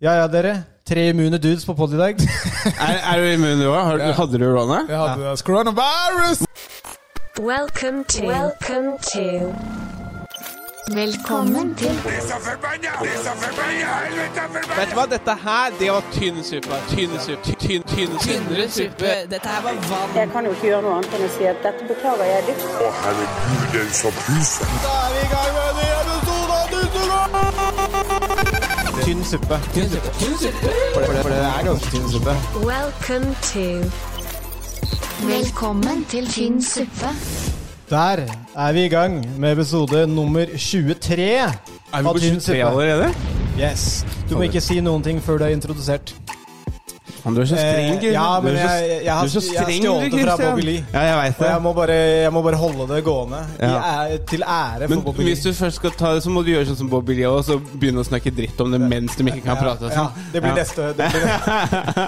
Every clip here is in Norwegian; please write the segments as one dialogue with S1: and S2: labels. S1: Ja ja, dere. Tre immune dudes på pod i dag.
S2: Er, er du immun, du òg? Hadde du korona?
S3: Jeg hadde det. Coronavirus!
S4: Welcome to. Welcome to. Velkommen til
S2: Vet du hva, dette her, det var tynn suppe. Tynn suppe. Tynn, tynn, tynnere suppe.
S5: Dette her var vann.
S6: Jeg kan jo ikke gjøre noe annet enn å si at dette beklager jeg dypt.
S7: Å, herregud, den som puser.
S1: Tynn suppe. Tynn suppe. For, det, for det er ganske tynn suppe.
S4: Welcome to. Velkommen til tynn suppe.
S1: Der er vi i gang med episode nummer 23
S2: Er vi på 23 allerede?
S1: Yes. Du må ikke si noen ting før du er introdusert.
S2: Faen, du er så streng.
S1: Eh, ja,
S2: du
S1: men
S2: er så,
S1: jeg- jeg- jeg har-
S2: du er så
S1: jeg har
S2: streng,
S1: stjålet
S2: du,
S1: det fra
S2: Christian.
S1: Bobby Lee.
S2: Ja, jeg veit
S1: Og jeg
S2: det.
S1: må bare, jeg må bare holde det gående. I
S2: Ja.
S1: æ- til ære for
S2: Men
S1: Bobby
S2: hvis
S1: Lee.
S2: du først skal ta det, så må du gjøre sånn som Bobby Lee og så begynne å snakke dritt om det mens de ikke kan prate. og
S1: Ja,
S2: Sånn.
S1: det blir
S2: Ja.
S1: neste Det blir,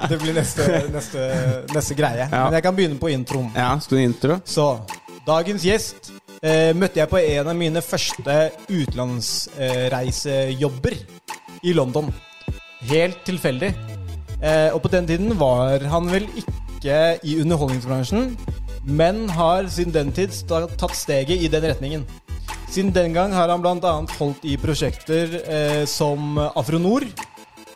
S1: det blir neste, neste, neste greie.
S2: Ja.
S1: Men jeg kan begynne på introen.
S2: Ja, skal du intro?
S1: Så dagens gjest eh, møtte jeg på en av mine første utenlandsreisejobber i London. Helt tilfeldig. Eh, og på den tiden var han vel ikke i underholdningsbransjen, men har siden den tid sta- tatt steget i den retningen. Siden den gang har han bl.a. holdt i prosjekter eh, som Afronor.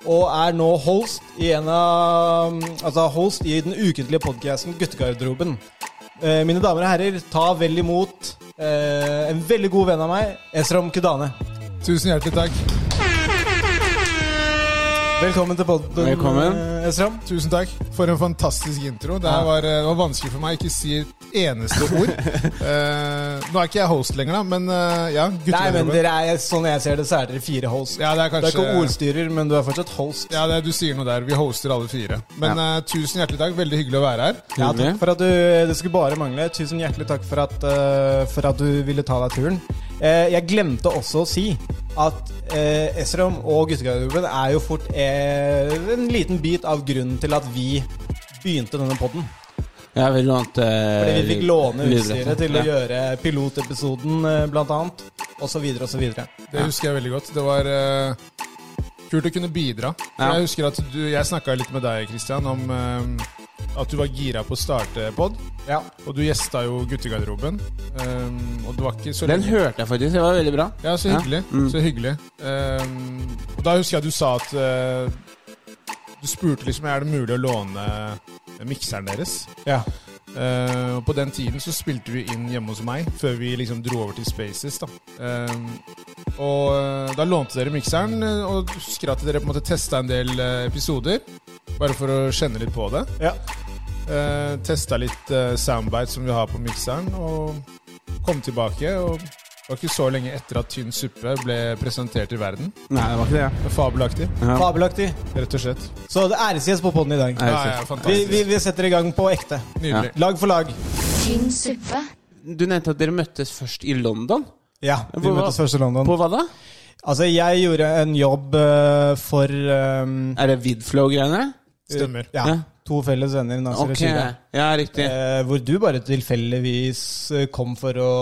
S1: Og er nå host i, en av, altså host i den ukentlige podkasten Guttegarderoben. Eh, mine damer og herrer, ta vel imot eh, en veldig god venn av meg, Esrom Kudane.
S3: Tusen hjertelig takk.
S1: Velkommen til podden,
S2: Velkommen.
S1: eh, Esrom.
S3: Tusen takk for en fantastisk intro. Det her var, eh, det var vanskelig for meg å ikke si et eneste ord. Eh, nå er ikke jeg host lenger, da, men eh, ja.
S1: Nei, men
S3: Guttegarderoben.
S1: dere er, sånn jeg ser det, så er dere fire host.
S3: Ja, det er
S1: Du er ikke
S3: kanskje
S1: ordstyrer, men du er fortsatt host.
S3: ja, det, Du sier noe der. Vi hoster alle fire. Men eh, tusen hjertelig takk. Veldig hyggelig å være her.
S1: Ja, takk for at du Det skulle bare mangle. Tusen hjertelig takk for at, eh, for at du ville ta deg turen. Eh, jeg glemte også å si at uh, Esrom og guttegarderoben er jo fort eh, en liten bit av grunnen til at vi begynte denne podden.
S2: Ja, vi lånte
S1: Fordi vi fikk låne
S2: lydretten.
S1: utstyret til å
S2: Eh, Ja.
S1: gjøre pilotepisoden, eh, blant annet. Og så videre og så videre.
S3: Det husker jeg veldig godt. Det var eh, kult å kunne bidra. For
S2: Ja.
S3: Jeg husker at du, jeg snakka litt med deg, Christian, om eh, at du var gira på å starte pod.
S1: Ja.
S3: Og du gjesta jo guttegarderoben. eh, og det var ikke så
S2: Den hørte jeg faktisk. Det var veldig bra.
S3: Ja, så
S2: Ja.
S3: hyggelig.
S2: Mm.
S3: Så hyggelig. Ehm, og da husker jeg du sa at eh, Du spurte liksom er det mulig å låne mikseren deres.
S1: ja.
S3: Eh, og på den tiden så spilte vi inn hjemme hos meg, før vi liksom dro over til Spaces. da. Ehm, og eh, da lånte dere mikseren, eh, og du husker at dere på en måte testa en del eh, episoder. Bare for å kjenne litt på det.
S1: Ja.
S3: Uh, testa litt uh, soundbite som vi har på mikseren, og kom tilbake. og det var ikke så lenge etter at Tynn suppe ble presentert i verden.
S2: Nei, det var ikke det. ja.
S3: Fabelaktig,
S2: Ja.
S1: Fabelaktig.
S3: rett og slett.
S1: Så det æresgjest på podden i dag.
S2: Nei,
S3: Ja,
S2: så-
S3: ja,
S1: Vi,
S3: fantastisk.
S1: vi, vi setter i gang på ekte.
S3: Nydelig.
S1: Lag for lag.
S4: Tynn suppe.
S2: Du nevnte at dere møttes først i London.
S1: Ja, vi
S2: Hvor-
S1: møtes først i London.
S2: På hva da?
S1: Altså, jeg gjorde en jobb eh, for ehm,
S2: Er det Vidflow-greiene?
S3: Stemmer.
S1: ja,
S2: Ja.
S1: to felles venner, Nasir og
S2: Ok,
S1: Syria.
S2: ja, riktig.
S1: Eh, hvor du bare tilfeldigvis eh, kom for å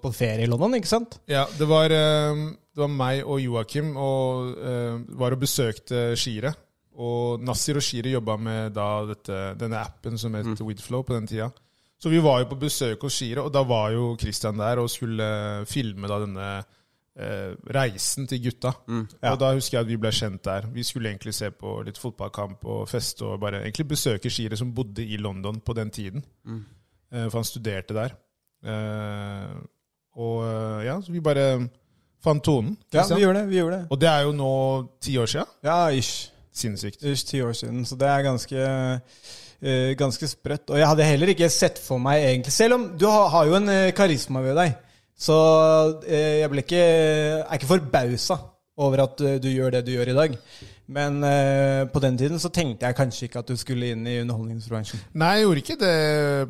S1: på ferie i London, ikke sant?
S3: Ja, det var, eh, det var meg og Joakim og eh, var og besøkte Shire. Og Nasir og Shire jobba med da dette, denne appen som het Widflow på den tida. Så vi var jo på besøk hos Shire, og da var jo Christian der og skulle filme da denne eh, reisen til gutta.
S1: Mm.
S3: Og da husker jeg at vi ble kjent der. Vi skulle egentlig se på litt fotballkamp og feste og bare egentlig besøke Shire, som bodde i London på den tiden.
S1: Mm.
S3: Eh, For han studerte der. Eh, Og eh, ja, så vi bare fant tonen.
S1: Ja,
S3: ikke sant?
S1: vi gjorde det. vi gjorde det.
S3: Og det er jo nå ti år sia.
S1: Ja, ish.
S3: Sinnssykt.
S1: ish ti år siden, så det er ganske, eh, ganske sprøtt. Og jeg hadde heller ikke sett for meg egentlig Selv om du har, har jo en eh, karisma ved deg, så eh, jeg ble ikke, er ikke forbausa over at eh, du gjør det du gjør i dag. Men eh, på den tiden så tenkte jeg kanskje ikke at du skulle inn i underholdningsbransjen.
S3: Nei, jeg gjorde ikke det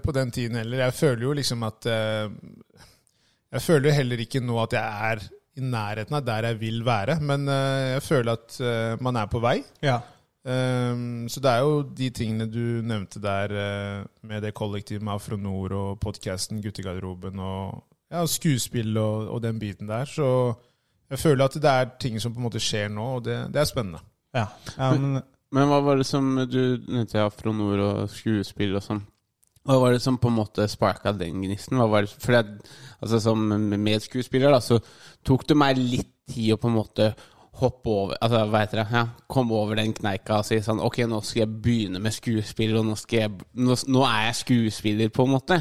S3: på den tiden heller. Jeg føler jo liksom at eh, Jeg føler jo heller ikke nå at jeg er i nærheten av der jeg vil være, men eh, jeg føler at eh, man er på vei.
S1: Ja.
S3: Ehm, så det er jo de tingene du nevnte der, eh, med det kollektivet med Afronor og podkasten Guttegarderoben og ja, og skuespill og, og den biten der. Så jeg føler at det er ting som på en måte skjer nå, og det, det er spennende.
S1: Ja. ja men,
S2: Men hva var det som Du nevnte Afro Nord og skuespill og sånn. Hva var det som på en måte sparka den gnisten? Hva var det, for jeg, altså Som medskuespiller da, så tok det meg litt tid å på en måte hoppe over altså hva heter det, ja, Komme over den kneika og si sånn Ok, nå skal jeg begynne med skuespill, og nå, skal jeg, nå, nå er jeg skuespiller, på en måte.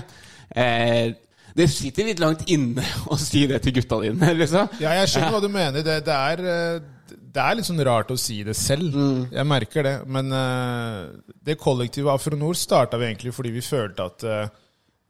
S2: Eh, det sitter litt langt inne å si det til gutta dine, liksom.
S3: Ja, jeg skjønner hva du mener. Det, det, er, eh, det er litt sånn rart å si det selv. Jeg merker det. Men eh, det kollektive Afronor starta vi egentlig fordi vi følte at eh,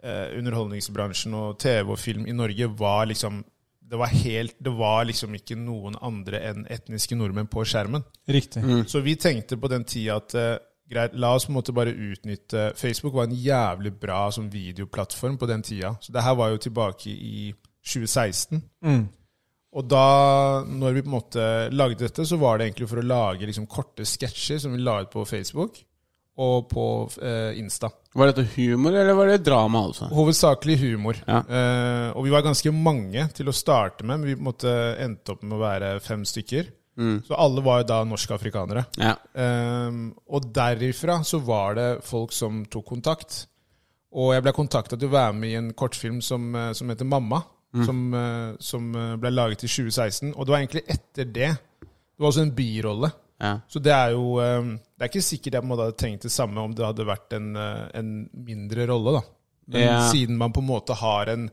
S3: eh, underholdningsbransjen og TV og film i Norge var liksom det var, helt, det var liksom ikke noen andre enn etniske nordmenn på skjermen.
S1: riktig.
S3: Så vi tenkte på den tida at eh, greit, la oss på en måte bare utnytte Facebook var en jævlig bra sånn, videoplattform på den tida. Så det her var jo tilbake i 2016. Og da, når vi på en måte lagde dette, så var det egentlig for å lage liksom, korte sketsjer som vi la ut på Facebook og på eh, Insta.
S2: Var dette humor, eller var det drama, altså?
S3: Hovedsakelig humor.
S2: Ja.
S3: Eh, og vi var ganske mange til å starte med, men vi på en måte endte opp med å være fem stykker. Så alle var jo da norske afrikanere.
S2: Ja.
S3: Ehm, og derifra så var det folk som tok kontakt. Og jeg ble kontakta til å være med i en kortfilm som, eh, som heter Mamma. Som, eh, som eh, ble laget i 2016. Og det var egentlig etter det. Det var også en birolle.
S2: ja.
S3: Så det er jo eh, Det er ikke sikkert jeg på en måte hadde tenkt det samme om det hadde vært en, eh, en mindre rolle, da. Men
S2: Ja.
S3: siden man på en måte har en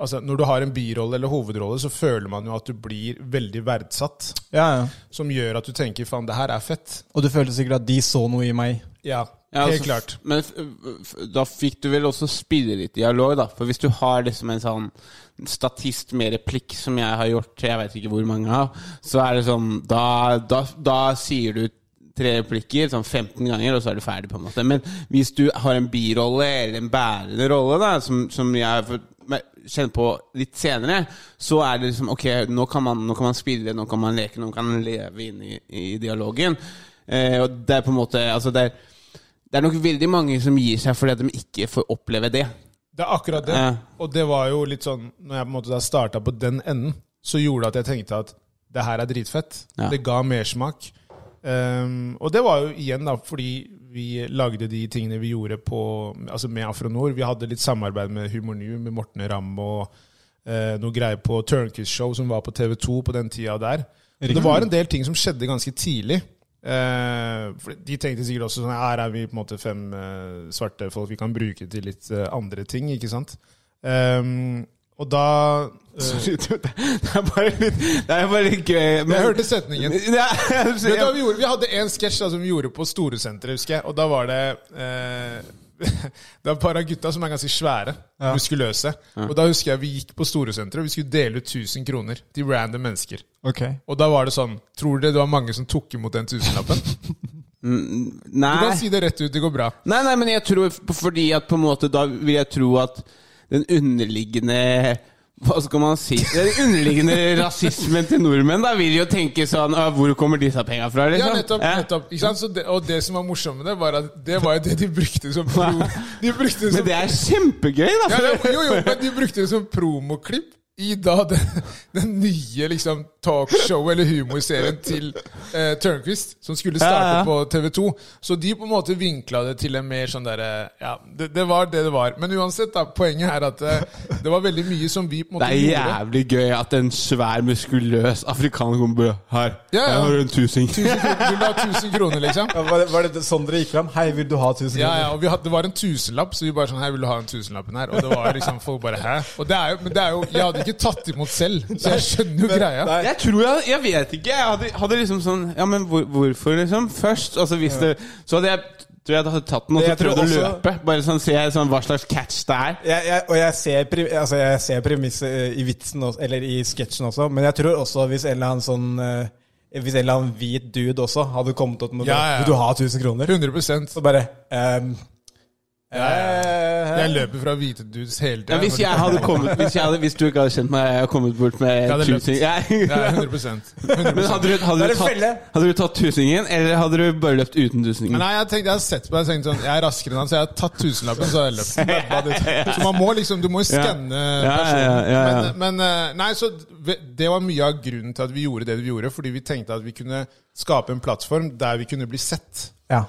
S3: Altså Når du har en birolle eller hovedrolle, så føler man jo at du blir veldig verdsatt.
S1: Ja, ja.
S3: Som gjør at du tenker 'faen, det her er fett'.
S1: Og du følte sikkert at de så noe i meg.
S3: Ja,
S2: Ja,
S3: helt
S2: altså,
S3: klart.
S2: Men f- f- da fikk du vel også spille litt dialog, da. For hvis du har liksom en sånn statist med replikk som jeg har gjort, jeg vet ikke hvor mange av, så er det sånn Da, da, da sier du tre replikker sånn 15 ganger, og så er du ferdig, på en måte. Men hvis du har en birolle eller en bærende rolle, da, som, som jeg har fått me- kjenne på litt senere, så er det liksom Ok, nå kan man, nå kan man spille, nå kan man leke, nå kan man leve inn i, i dialogen. Eh, og det er på en måte Altså, det er det er nok veldig mange som gir seg fordi at de ikke får oppleve det.
S3: Det er akkurat det.
S2: Ja.
S3: Og det var jo litt sånn Når jeg på en måte da starta på den enden, så gjorde det at jeg tenkte at det her er dritfett.
S2: Ja.
S3: Det ga mersmak. Um, og det var jo igjen da fordi vi lagde de tingene vi gjorde på, altså med Afronor. Vi hadde litt samarbeid med Humor New, med Morten Ramm og eh, noe greier på Turnkiss Show, som var på TV2 på den tida der. Og Det var en del ting som skjedde ganske tidlig. Eh, for de tenkte sikkert også sånn Her er vi på en måte fem eh, svarte folk vi kan bruke til litt eh, andre ting, ikke sant? Ehm, og da eh,
S2: Det er bare litt, det er bare litt gøy. men-
S3: Jeg hørte setningen.
S2: Det er-
S3: Vet du hva vi gjorde? Vi hadde en sketsj da som vi gjorde på Storesenteret, husker jeg. Og da var det eh, Det var et par av gutta som er ganske svære, muskuløse. Og da husker jeg vi gikk på Storesenteret, og vi skulle dele ut 1000 kroner til random mennesker.
S1: Ok.
S3: Og da var det sånn Tror dere det var mange som tok imot den tusenlappen? Du
S2: Nei.
S3: kan si det rett ut, det går bra.
S2: nei, nei, men jeg tror f- Fordi at på en måte da vil jeg tro at den underliggende hva skal man si? Den underliggende rasismen til nordmenn da vil jo tenke sånn «Å, Hvor kommer disse penga fra?
S3: Ja,
S2: Liksom?
S3: nettopp.
S2: Ja.
S3: nettopp ikke sant? Så det, og det som var morsomt med det, var at det var jo det de brukte som pro, De brukte
S2: Men
S3: som
S2: det er kjempegøy, da!
S3: ja, ja, Jo, jo, men de brukte det som promoklipp i da den, den nye liksom talkshow- eller humorserien til eh, Tørnquist, som skulle starte
S2: Ja, ja.
S3: på TV2. Så de på en måte vinkla det til en mer sånn derre Ja, det, det var det det var. Men uansett, da, poenget er at eh, det var veldig mye som vi på en
S2: Det
S3: måte
S2: er
S3: gjorde.
S2: jævlig gøy at en svær, muskuløs afrikaner kommer bare Her,
S3: Ja, ja.
S2: her har du en tusing.
S3: Du la 1000 kroner, liksom.
S1: var, det, var det sånn dere gikk fram? Hei, vil du ha 1000
S3: Ja, ja,
S1: kroner?
S3: og vi hadde, Det var en tusenlapp, så vi bare sånn Hei, vil du ha en tusenlappen her? Og det var liksom folk bare Hæ? Og det er jo, men det er jo Jeg hadde ikke tatt imot selv, så jeg skjønner jo greia.
S1: Nei.
S2: Jeg tror jeg Jeg vet ikke. Jeg hadde, hadde liksom sånn Ja, men hvor, hvorfor, liksom? Først. Altså, hvis det Så hadde jeg tror jeg hadde tatt den og så
S1: Jeg tror
S2: prøvd å
S1: også-
S2: løpe. Bare sånn se sånn, hva slags catch det er.
S1: Jeg, jeg, og jeg ser, pre- altså jeg ser premisset eh, i vitsen også, eller i sketsjen også, men jeg tror også hvis en eller annen sånn eh, Hvis en eller annen hvit dude også hadde kommet opp med
S3: Ja, ja, ja.
S1: Vil du ha 1000 kroner?
S3: 100
S1: Så bare ehm, eh,
S3: Jeg løper fra hvite dudes hele tida.
S2: Ja, hvis jeg hadde kommet Hvis, jeg hadde, hvis du ikke hadde kjent meg, jeg hadde kommet bort med
S3: hadde løpt.
S2: tusing ja.
S3: Ja, 100
S2: Men hadde du, hadde,
S1: Det er en
S2: du tatt,
S1: felle.
S2: hadde du tatt tusingen, eller hadde du bare løpt uten tusingen?
S3: Men nei, jeg, tenkte, jeg har sett på deg og tenkt sånn Jeg er raskere enn han, så jeg har tatt tusenlappen, så har jeg løpt. Så man må liksom Du må jo skanne
S2: Ja, ja, ja, ja, ja.
S3: personen. Men, men eh, Nei, så ve- det var mye av grunnen til at vi gjorde det vi gjorde, fordi vi tenkte at vi kunne skape en plattform der vi kunne bli sett.
S1: Ja.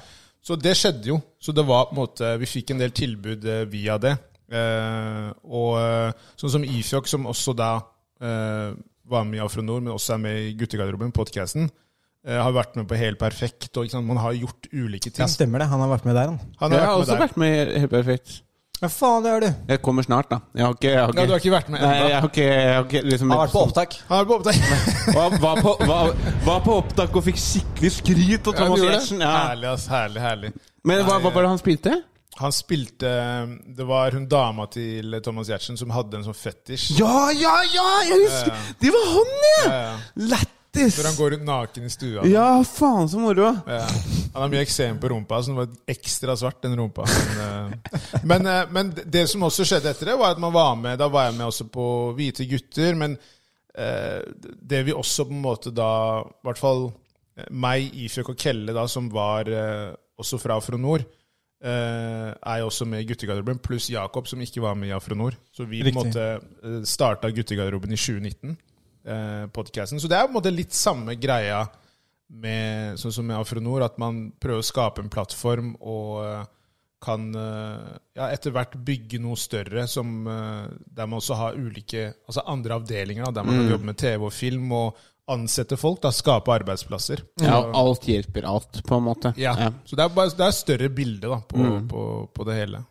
S3: Så det skjedde jo. Så det var på en måte Vi fikk en del tilbud eh, via det. Eh, og eh, sånn som Ifjok, som også da eh, var med i Afronord, men også er med i Guttegarderoben, podkasten, eh, har vært med på Helt perfekt. Og ikke sant? Man har gjort ulike ting.
S1: ja, stemmer det. Han har vært med der, han.
S3: Han
S2: Jeg
S3: har
S2: har
S3: vært
S2: også
S3: med der.
S2: vært med i helt perfekt.
S1: Ja, faen, det er du.
S2: Jeg kommer snart, da. Jeg har ikke, jeg har ikke,
S3: Ja, du har ikke vært med
S2: Nei,
S3: ennå.
S2: jeg har ikke, jeg har ikke
S1: Han
S2: liksom,
S1: har vært på opptak.
S3: Han har vært på opptak.
S2: Var, var, på, var, var på opptak og fikk skikkelig skryt av
S3: Ja, du
S2: Thomas
S3: gjorde det.
S2: Giertsen. Ja.
S3: Herlig, ass. Herlig, herlig.
S2: Men hva, hva var det han spilte?
S3: Han spilte eh, Det var hun dama til Thomas Giertsen som hadde en sånn fetisj.
S2: Ja, ja, ja! Jeg husker! Det var han, ja!
S3: Ja, ja.
S2: Lættis!
S3: Hvor han går rundt naken i stua.
S2: Ja, faen så moro.
S3: Ja. Han har mye eksem på rumpa, så den var ekstra svart, den rumpa. Men, eh, men, eh, men det som også skjedde etter det, var at man var med Da var jeg med også på Hvite gutter, men eh, det vi også på en måte da I hvert fall eh, meg, Ifjøk og Kelle, da, som var eh, også fra Afro Nord, eh, er jo også med i guttegarderoben, pluss Jakob, som ikke var med i Afro Nord. Så vi på en
S1: Riktig.
S3: måte eh, starta guttegarderoben i 2019, eh, podcasten. Så det er på en måte litt samme greia med, sånn som med Afronor, at man prøver å skape en plattform og eh, kan eh, ja, etter hvert bygge noe større som, eh, der man også har ulike, altså andre avdelinger, da, der man kan jobbe med TV og film og ansette folk, da, skape arbeidsplasser.
S2: Ja, og alt hjelper alt, på en måte.
S3: Ja. Så det er, bare, det er større bilde da, på, på, på det hele.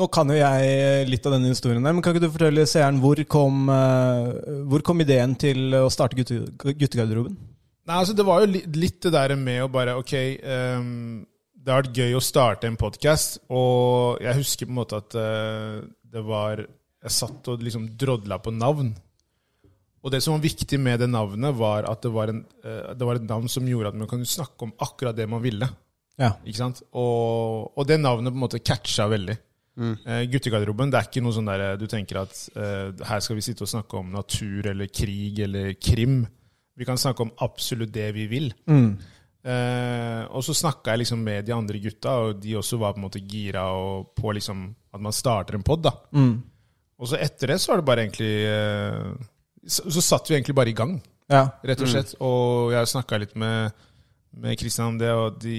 S1: Nå kan jo jeg eh, litt av denne historien der, men kan ikke du fortelle seeren hvor kom, eh, hvor kom ideen til å starte gutte, guttegarderoben?
S3: Nei, altså Det var jo li litt det der med å bare Ok, ehm, det har vært gøy å starte en podkast. Og jeg husker på en måte at eh, det var Jeg satt og liksom drodla på navn. Og det som var viktig med det navnet, var at det var, en, eh, det var et navn som gjorde at man kunne snakke om akkurat det man ville.
S1: Ja.
S3: Ikke sant? Og, og det navnet på en måte catcha veldig. Eh, guttegarderoben, det er ikke noe sånn der eh, du tenker at eh, her skal vi sitte og snakke om natur eller krig eller krim. Vi kan snakke om absolutt det vi vil. Eh, og så snakka jeg liksom med de andre gutta, og de også var på en måte gira og på liksom at man starter en pod. da. Og så etter det så var det bare egentlig eh, så, så satt vi egentlig bare i gang
S1: Ja.
S3: rett og slett. Og jeg snakka litt med, med Christian om det, og de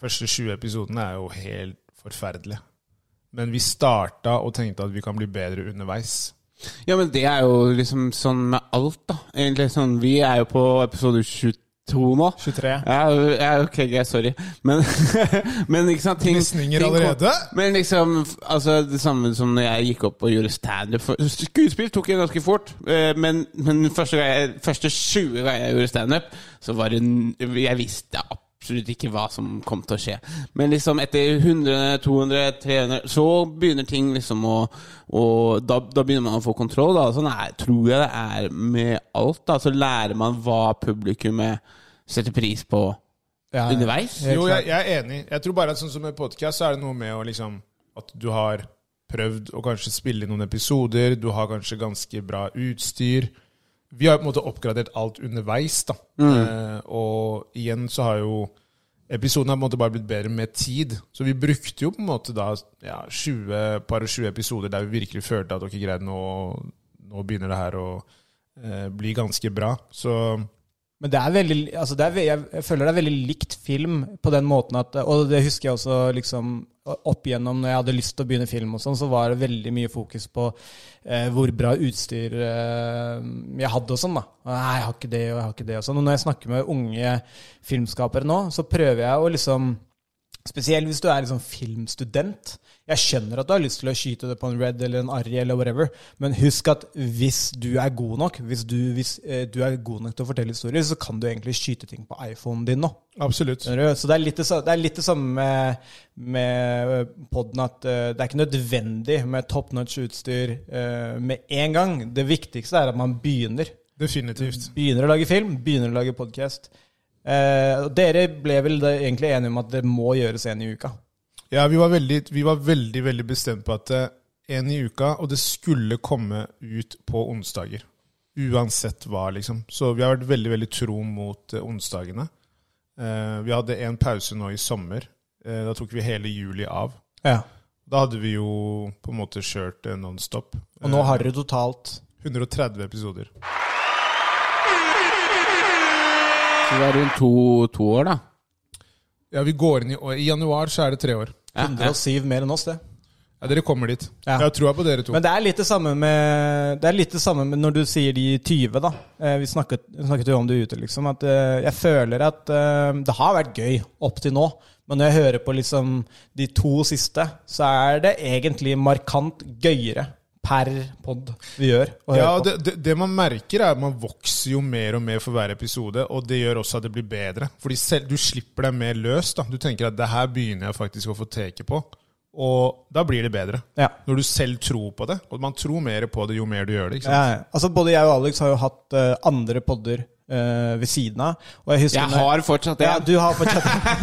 S3: første 20 episodene er jo helt forferdelige. Men vi starta og tenkte at vi kan bli bedre underveis.
S2: Ja, men det er jo liksom sånn med alt, da. Egentlig sånn, Vi er jo på episode 22 nå.
S3: 23.
S2: Ja, ja ok, greit, sorry. Men, men ikke sant ting,
S3: Gnisninger
S2: ting kom-
S3: allerede?
S2: Men liksom, f- altså det samme som når jeg gikk opp og gjorde standup. for- Skuespill tok jeg ganske fort, eh, men, men første, gang jeg, første 20 ganger jeg gjorde standup, så var det n- Jeg visste absolutt ikke hva som kom til å skje. Men liksom etter 100, 200, 300 Så begynner ting liksom å og da, da begynner man å få kontroll. Da. Sånn er, tror jeg det er med alt. Da. Så lærer man hva publikummet setter pris på
S1: Ja, ja.
S2: underveis.
S1: Helt
S3: Jo,
S1: klart.
S3: jeg, jeg er enig. Jeg tror bare at sånn som med podkast, så er det noe med å liksom At du har prøvd å kanskje spille inn noen episoder, du har kanskje ganske bra utstyr. Vi har jo på en måte oppgradert alt underveis, da.
S1: Mm.
S3: Eh, og igjen så har jo Episoden har på en måte bare blitt bedre med tid. Så vi brukte jo på en måte da ja, 20, par og 20 episoder der vi virkelig følte at ok, greit, nå, nå begynner det her å eh, bli ganske bra. Så
S1: Men det er veldig, altså det er, ve- jeg jeg føler det er veldig likt film på den måten at Og det husker jeg også liksom opp igjennom når jeg hadde lyst til å begynne film, og sånn, så var det veldig mye fokus på eh, hvor bra utstyr eh, jeg hadde og sånn. da. Og, Nei, jeg har ikke det, og jeg har ikke det og sånn. Og når jeg snakker med unge filmskapere nå, så prøver jeg å liksom Spesielt hvis du er liksom filmstudent. Jeg skjønner at du har lyst til å skyte det på en Red eller en Arri, eller whatever, men husk at hvis du er god nok hvis du, hvis, eh, du er god nok til å fortelle historier, så kan du egentlig skyte ting på iPhonen din nå.
S3: absolutt.
S1: Skjønner du? Så det er litt det, sa- det, er litt det samme med, med poden, at eh, det er ikke nødvendig med top notch utstyr eh, med en gang. Det viktigste er at man begynner.
S3: Definitivt.
S1: Begynner å lage film, begynner å lage podkast. dere ble vel da egentlig enige om at det må gjøres én i uka?
S3: Ja, vi var veldig, vi var veldig, veldig bestemt på at eh, en i uka, og det skulle komme ut på onsdager. Uansett hva, liksom. Så vi har vært veldig, veldig tro mot eh, onsdagene. Eh, vi hadde en pause nå i sommer. Eh, da tok vi hele juli av.
S1: Ja.
S3: Da hadde vi jo på en måte kjørt eh, nonstop.
S1: Og nå har dere totalt
S3: Eh, 130 episoder.
S2: Så det er rundt to, to år, da.
S3: Ja, vi går inn i, år- I januar så er det tre år.
S1: 107 mer enn oss, det.
S3: Ja, Dere kommer dit.
S1: Ja.
S3: Jeg har trua på dere to.
S1: Men det er litt det samme med Det er litt det samme med når du sier de 20, da. Eh, Vi snakket, snakket jo om det ute, liksom. At eh, jeg føler at eh, det har vært gøy opp til nå. Men når jeg hører på liksom de to siste, så er det egentlig markant gøyere per pod vi gjør. å høre
S3: ja,
S1: på.
S3: det, det, det man merker, er at man vokser jo mer og mer for hver episode. Og det gjør også at det blir bedre. Fordi selv, du slipper deg mer løs. da. Du tenker at det her begynner jeg faktisk å få teke på. Og da blir det bedre.
S1: Ja.
S3: Når du selv tror på det. Og man tror mer på det jo mer du gjør det. ikke sant?
S1: Ja, ja. altså Både jeg og Alex har jo hatt eh, andre podder eh, ved siden av. Og jeg husker
S2: Jeg
S1: når-
S2: har fortsatt det.
S1: ja, du har fortsatt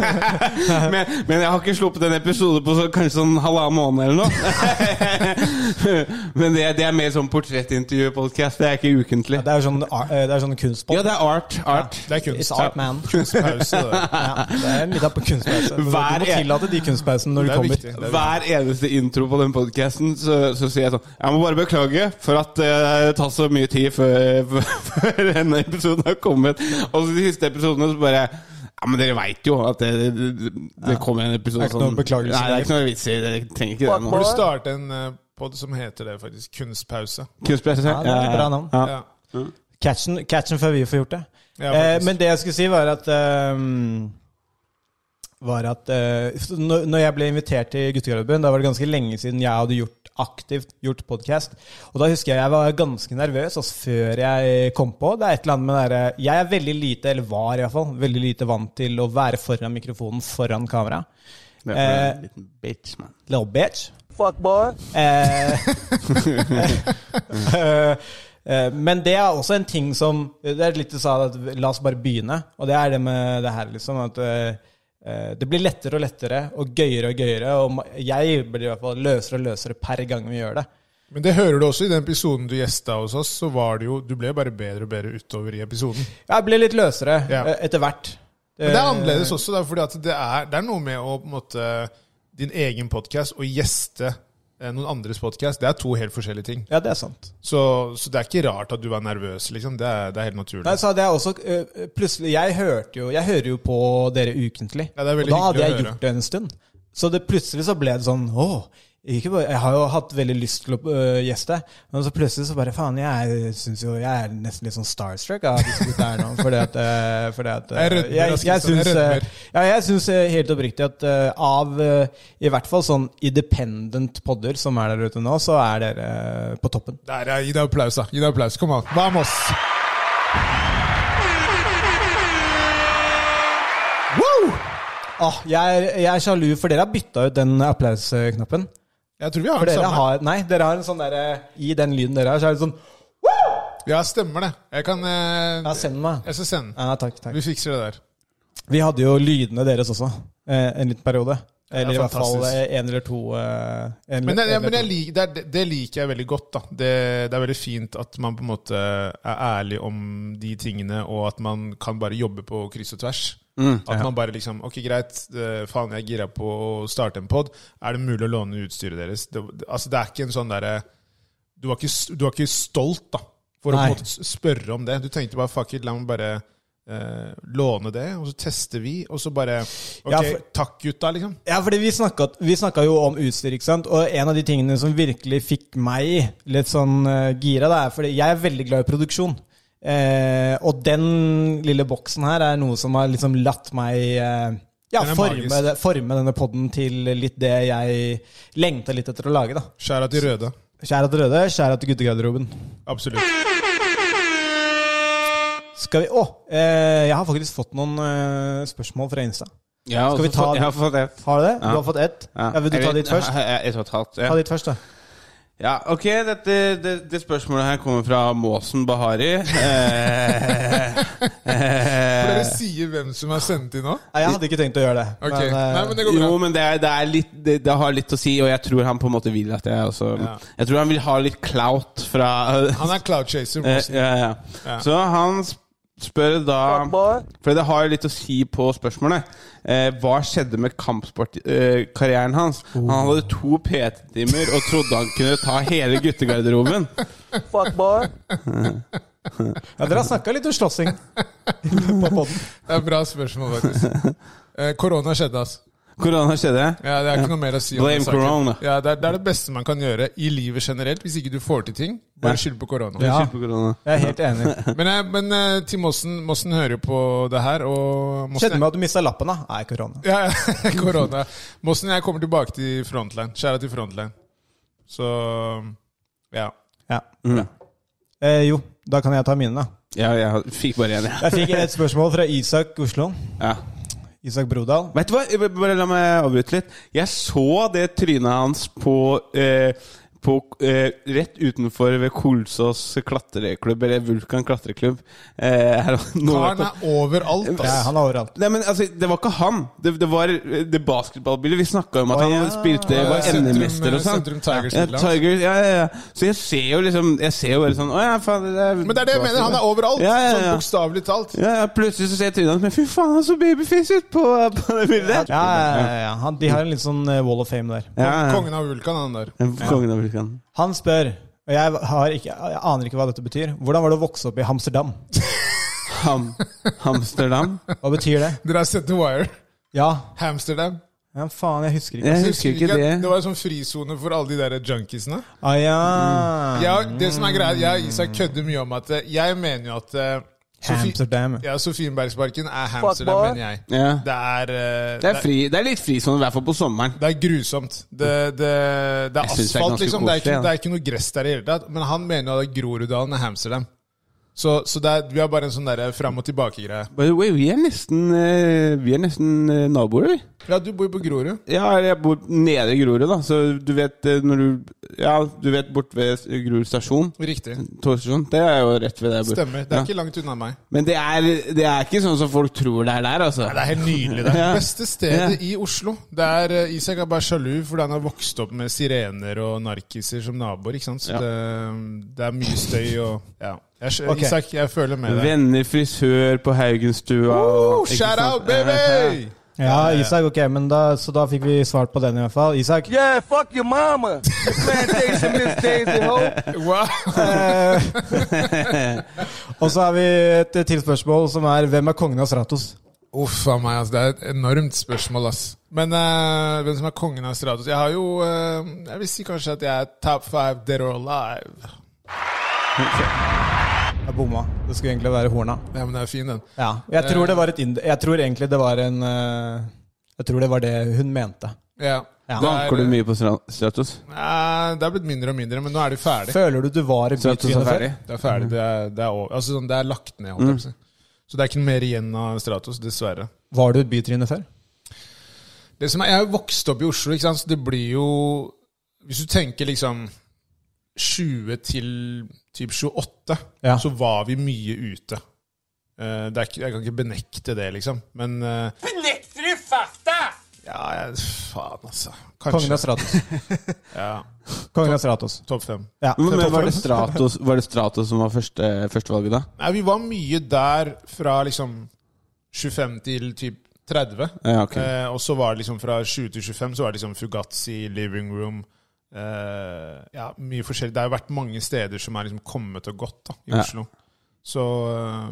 S2: men, men jeg har ikke sluppet en episode på så, kanskje sånn halvannen måned eller noe. men det, det er mer sånn portrettintervju-podkast. Det er ikke ukentlig.
S1: Det er sånn, ar- eh, det er sånn kunstpod.
S2: Ja, det er art. art.
S3: Det er
S1: It's
S3: kunst.
S1: art, man.
S3: Kunstpause. Det.
S1: Ja, det er middag på kunstpause. Du må
S2: Hver en-
S1: tillate de kunstpausene når
S3: Det
S1: du
S3: er
S1: kommer.
S3: viktig. Det er
S2: Hver eneste intro på den podkasten så, så sier jeg sånn Jeg må bare beklage for at eh, det tar så mye tid før, før denne episoden har kommet. Og så de siste episodene så bare ja, men Dere veit jo at det, det, det det kommer en
S1: Det
S2: episode sånn."
S1: er ikke noen beklagelse
S2: Nei, det er ikke noe vits i. Dere trenger ikke det
S3: Du
S2: nå.
S3: burde starte en eh, pod som heter det, faktisk. Kunstpause.
S2: Kunstpresse. eh,
S1: Ja, det er et bra navn.
S2: Ja.
S3: Ja.
S1: Catchen, catchen før vi får gjort det. eh,
S3: Ja, faktisk.
S1: men det jeg skulle si, var at ehm, Var at eh, når når jeg ble invitert til guttegarderoben, da var det ganske lenge siden jeg hadde gjort aktivt gjort podkast. Og da husker jeg jeg var ganske nervøs altså, før jeg kom på. Det er et eller annet med det derre Jeg er veldig lite, eller var iallfall, veldig lite vant til å være foran mikrofonen, foran kamera.
S2: Det er for
S1: Eh,
S2: en liten bitch, man.
S1: Little bitch.
S5: fuckboy.
S1: Eh, eh, eh, Men det er også en ting som Det er litt du sa, at la oss bare begynne. Og det er det med det her, liksom. At eh, eh, det blir lettere og lettere, og gøyere og gøyere. Og ma- jeg blir i hvert fall løsere og løsere per gang vi gjør det.
S3: Men det hører du også i den episoden du gjesta hos oss. så var det jo, Du ble bare bedre og bedre utover i episoden.
S1: Jeg blir litt løsere
S3: Ja.
S1: eh, etter hvert.
S3: Men det er
S1: Eh,
S3: annerledes også, da, fordi at det er, det er noe med å på en måte, din egen podkast og gjeste eh, noen andres podkast. Det er to helt forskjellige ting.
S1: Eh, Ja, det er sant.
S3: Så, så det er ikke rart at du var nervøs. liksom. Det er, det er helt naturlig.
S1: Nei, så hadde jeg også øh, Plutselig, jeg hørte jo Jeg hører jo på dere ukentlig.
S3: Ja, det er
S1: og
S3: veldig
S1: da hadde
S3: hyggelig å
S1: jeg
S3: høre.
S1: gjort det en stund. Så det plutselig så ble det sånn Å, ikke bare, jeg har jo hatt veldig lyst til å øh, gjeste, men så plutselig så bare Faen, jeg syns jo Jeg er nesten litt sånn starstruck av disse gutta her nå, fordi at, øh, fordi at øh,
S3: Jeg rødmer,
S1: jeg,
S3: Rasmus,
S1: jeg
S3: jeg
S1: syns øh,
S3: rødmer.
S1: ja, jeg syns eh, helt oppriktig at eh, av eh, i hvert fall sånn independent podder som er der ute nå, så er dere eh, på toppen.
S3: Der, ja, gi deg applaus, da. Gi deg applaus. Kom an. Vamos! Woo!
S1: Åh, jeg, er, jeg er sjalu, for dere har bytta ut den applausknappen.
S3: Jeg tror vi har
S1: For
S3: det
S1: dere
S3: samme.
S1: har, nei, dere har en sånn derre I den lyden dere har, så er det sånn Woo!
S3: Ja, stemmer det. Jeg kan eh,
S1: Ja, send meg.
S3: Jeg skal sende den.
S1: Ja, takk, takk.
S3: Vi fikser det der.
S1: Vi hadde jo lydene deres også, eh, en liten periode. Eller i hvert fall
S3: fantastisk.
S1: eh, en eller to. Eh, en,
S3: Men, det,
S1: en
S3: ja,
S1: eller
S3: men jeg
S1: to.
S3: lik- det, er- det liker jeg veldig godt. da. Det, det er veldig fint at man på en måte er ærlig om de tingene, og at man kan bare jobbe på kryss og tvers.
S1: Mm,
S3: at man bare liksom Ok, greit, eh, faen, jeg er gira på å starte en pod. Er det mulig å låne utstyret deres? Det, det, altså, det er ikke en sånn derre du, var ikke s- du var ikke stolt, da, for å på
S1: Nei.
S3: en måte s- spørre om det. Du tenkte bare fuck it, la meg bare eh, låne det, og så tester vi, og så bare Ok,
S1: Ja, for-
S3: takk, gutta, liksom.
S1: Ja, fordi vi snakka, vi snakka jo om utstyr, ikke sant? og en av de tingene som virkelig fikk meg litt sånn eh, gira, det er fordi jeg er veldig glad i produksjon. Eh, og den lille boksen her er noe som har liksom latt meg eh, ja,
S3: Den er magisk.
S1: forme, det- forme denne podden til litt det jeg lengta litt etter å lage. da.
S3: Skjær av de røde.
S1: Kjære til Røde, kjære til guttegarderoben.
S3: Absolutt.
S1: Skal vi Å! eh, jeg har faktisk fått noen eh, spørsmål fra Insta.
S2: Jeg har
S1: Skal vi
S2: også
S1: ta
S2: fått-
S1: den?
S2: Jeg har fått det.
S1: Har du det?
S2: Ja.
S1: Du har fått ett? Ja. vil du ta
S2: Eller-
S1: ditt først?
S2: Ja, ja, Et og et halvt. Ja.
S1: Ta ditt først, da.
S2: Ja, ok, dette, det, det spørsmålet her kommer fra Måsen Bahari. Eh,
S3: Skal dere si hvem som har sendt inn nå?
S1: Nei, Jeg hadde ikke tenkt å gjøre det.
S3: Ok,
S1: men, eh,
S3: Nei, men det går bra.
S2: jo, men det, er, det, er litt, det, det har litt å si, og jeg tror han på en måte vil at jeg også
S3: Ja.
S2: Jeg tror han vil ha litt clout fra
S3: Han er cloud chaser.
S2: Eh,
S3: Mosen.
S2: ja, ja. Så han sp- spør da For det har jo litt å si på spørsmålet. Eh, hva skjedde med kampsportkarrieren eh, karrieren hans? Han hadde to PT-timer og trodde han kunne ta hele guttegarderoben.
S5: Fuckboy.
S1: Ja, dere har snakka litt om slåssing på podden.
S3: Det er et bra spørsmål, faktisk. Eh, Korona skjedde, altså.
S2: Korona skjedde.
S3: Ja, det er ikke noe mer å si om
S2: Blame
S3: den saken.
S2: corona.
S3: Ja, det, er, det er det beste man kan gjøre i livet generelt, hvis ikke du får til ting.
S2: Ja.
S3: Bare skyld på korona.
S1: Ja.
S2: Skyld på korona.
S1: Jeg er helt enig.
S3: Men, eh, men eh, til Mossen, Mossen hører jo på det her, og Mossen
S1: Skjedde med at du mista lappen, da? Nei, korona.
S3: Ja, ja, korona. Mossen, jeg kommer tilbake til Frontline. Skjæra til Frontline. Så ja.
S1: Ja.
S2: Mm.
S1: Eh, jo, da kan jeg ta mine, da.
S2: Ja, jeg fikk bare én, jeg.
S1: Jeg fikk et spørsmål fra Isak Oslo.
S2: Ja.
S1: Isak Brodal.
S2: Vet du hva, Jeg- bare la meg avbryte litt. Jeg så det trynet hans på, eh, på eh, Rett utenfor ved Kolsås klatreklubb, eller Vulkan klatreklubb. Eh, her, nå-
S3: Karen er overalt,
S1: Ja,
S3: ass.
S1: han er overalt.
S2: Nei, men altså, Det var ikke han. Det, det var eh, det basketballbildet. Vi snakka om at
S1: Å,
S2: han
S1: ja.
S2: spilte var
S3: Sentrum-
S2: NM-mester og sånn.
S3: Sentrum Tigers
S2: ja,
S3: spiller han.
S2: Tigers, ja, ja, ja. Så jeg ser jo liksom Jeg ser jo bare sånn Å ja, faen det er,
S3: Men det er det jeg mener, han er overalt.
S2: Ja, ja, ja.
S3: Sånn bokstavelig talt.
S2: ja, ja, Plutselig så ser jeg trynet hans, men fy faen, han så babyface ut på, på det bildet!
S1: Ja, ja, ja, ja. Han, de har en litt sånn eh, wall of fame der.
S2: ja, ja.
S3: Kongen av Vulkan, han der.
S2: Kongen av Vulkan.
S1: Han spør, og jeg, har ikke, jeg aner ikke hva dette betyr, hvordan var det å vokse opp i Amsterdam?
S2: Ham, Amsterdam?
S1: Hva betyr det?
S3: Dere har sett The Wire?
S1: Ja,
S3: Hamsterdam?
S1: ja faen, jeg husker ikke.
S2: Jeg husker ikke
S3: at
S2: det.
S3: Det var en sånn frisone for alle de der junkiesene.
S1: Ah, ja.
S3: Jeg, det som er greia, jeg og Isak kødder mye om at eh, jeg mener jo at eh, Sofi-
S1: Amsterdam.
S3: Ja, Sofienbergsparken er Hamsterdam, mener jeg.
S2: Ja.
S3: Det er, eh,
S2: Det er, fri, det er litt frisone, i hvert fall på sommeren.
S3: Det er grusomt. Det, det, det er
S2: Jeg synes det er
S3: asfalt,
S2: ganske
S3: liksom. Det er, ikke,
S2: koselig, ja.
S3: det er ikke noe gress der i det hele tatt. Men han mener jo at Groruddalen er Hamsterdam. Så, så det er, vi har bare en sånn derre fram og tilbake-greie.
S2: By the way, vi er nesten, eh, vi er nesten eh, naboer, vi.
S3: Ja, du bor jo på Grorud.
S2: Ja, eller jeg bor nede i Grorud, da. Så du vet eh, når du Ja, du vet bort ved Grorud stasjon.
S3: Riktig.
S2: Togstasjon. Det er jo rett ved der jeg bor.
S3: Stemmer. Det er
S2: Ja.
S3: ikke langt unna meg.
S2: Men det er, det er ikke sånn som folk tror det er der, altså.
S3: Det er helt nydelig. Det er
S2: Ja.
S3: det beste stedet
S2: Ja.
S3: i Oslo. Det er, eh, Isak er bare sjalu fordi han har vokst opp med sirener og narkiser som naboer. ikke sant? Så
S2: Ja.
S3: det, det er mye støy og ja. jeg, skj-
S1: Ok.
S3: Isak, jeg føler med deg.
S2: Venner frisør på Haugenstua
S3: Oh,
S2: og- ikke
S3: shout
S2: sant?
S3: out, baby!
S1: Ja, Isak, ok, men da, så da fikk vi svart på den i hvert fall. Isak,
S5: Yeah, fuck your mama. Your plantation Miss Daisy Ho.
S3: Wow.
S1: Eh, og så har vi et til spørsmål som er, hvem er kongen av Stratos?
S3: Uff a meg, ass. Det er et enormt spørsmål, ass. Men eh, hvem som er kongen av Stratos? Jeg har jo eh, Jeg vil si kanskje at jeg er top five dead or alive.
S1: Jeg bomma. Det skulle egentlig være horna.
S3: Ja, men den er fin, den.
S1: Ja, jeg tror det var et ind... Jeg tror egentlig det var en eh, Jeg tror det var det hun mente.
S3: Ja.
S1: Ja.
S2: Vanker du mye på Stra- Stratos?
S3: Eh, det er blitt mindre og mindre, men nå er det ferdig.
S1: Føler du du var i
S2: Stratos er
S1: bytrynet før?
S2: ferdig?
S3: Det er ferdig. Det er, det er, over. altså, sånn, det er lagt ned. Holdt jeg på å si. Så det er ikke noe mer igjen av Stratos, dessverre.
S1: Var du et bytryne før?
S3: Det som er, jeg har jo vokst opp i Oslo, ikke sant? så det blir jo Hvis du tenker liksom 20 til typ 28,
S1: Ja.
S3: så var vi mye ute. Eh, det er ikke, jeg kan ikke benekte det, liksom. Men Benekter du fakta?! Ja, jeg, faen, altså.
S1: Kongen
S3: Kanskje.
S1: av Stratos.
S3: Ja.
S1: Kongen av Stratos.
S3: Topp fem.
S1: Ja.
S2: Men, men var, det
S1: Topp fem.
S2: Stratos, var det Stratos som var første, førstevalget da?
S3: Nei, vi var mye der fra liksom 25 til typ 30.
S2: Ja, ok.
S3: Eh, og så var det liksom fra 20 til 25 så var det liksom Fugazi, Living Room eh, Ja, mye forskjellig. Det har jo vært mange steder som er liksom kommet og gått da, i
S2: Ja.
S3: Oslo. Så eh,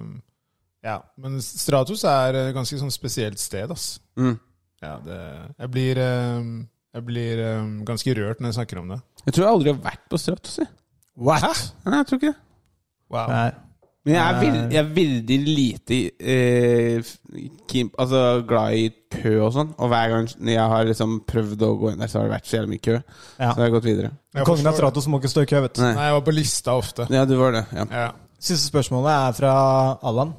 S3: Ja. Men Stratos er et ganske sånn spesielt sted, ass.
S2: Mm.
S3: Ja, det, jeg blir, eh, jeg blir eh, ganske rørt når jeg snakker om det.
S2: Jeg tror jeg aldri har vært på Stratos. Jeg.
S1: What?
S2: Nei, jeg tror ikke det.
S3: Wow.
S1: Nei.
S2: Men jeg er, veld, jeg er veldig lite eh, keen- altså, glad i kø og sånn. Og hver gang jeg har liksom prøvd å gå inn der, så har det vært så jævlig mye kø.
S1: Ja.
S2: Så jeg har gått videre.
S3: Jeg
S1: Kongen av
S3: forstår
S1: Stratos må ikke stå i kø, vet du.
S2: Nei.
S3: det. Nei, jeg var på lista ofte.
S2: Ja, du var det. Ja.
S3: Ja.
S1: Siste spørsmålet er fra Allan.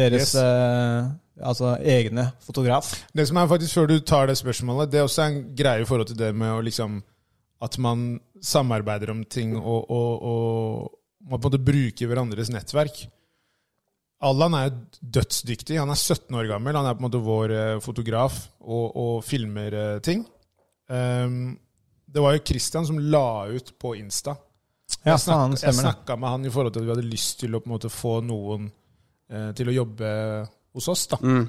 S1: Deres
S3: Yes.
S1: eh, altså egne fotograf.
S3: Det som er faktisk Før du tar det spørsmålet, det er også en greie i forhold til det med å liksom At man samarbeider om ting og, og, og man på en måte bruker hverandres nettverk. Allan er jo dødsdyktig. Han er 17 år gammel. Han er på en måte vår eh, fotograf og, og filmer eh, ting. Ehm, det var jo Christian som la ut på Insta.
S1: Ja,
S3: Jeg snakka-
S1: faen,
S3: jeg
S1: stemmer det.
S3: snakka med han i forhold til at vi hadde lyst til å på en måte få noen eh, til å jobbe hos oss. da.
S2: Mm.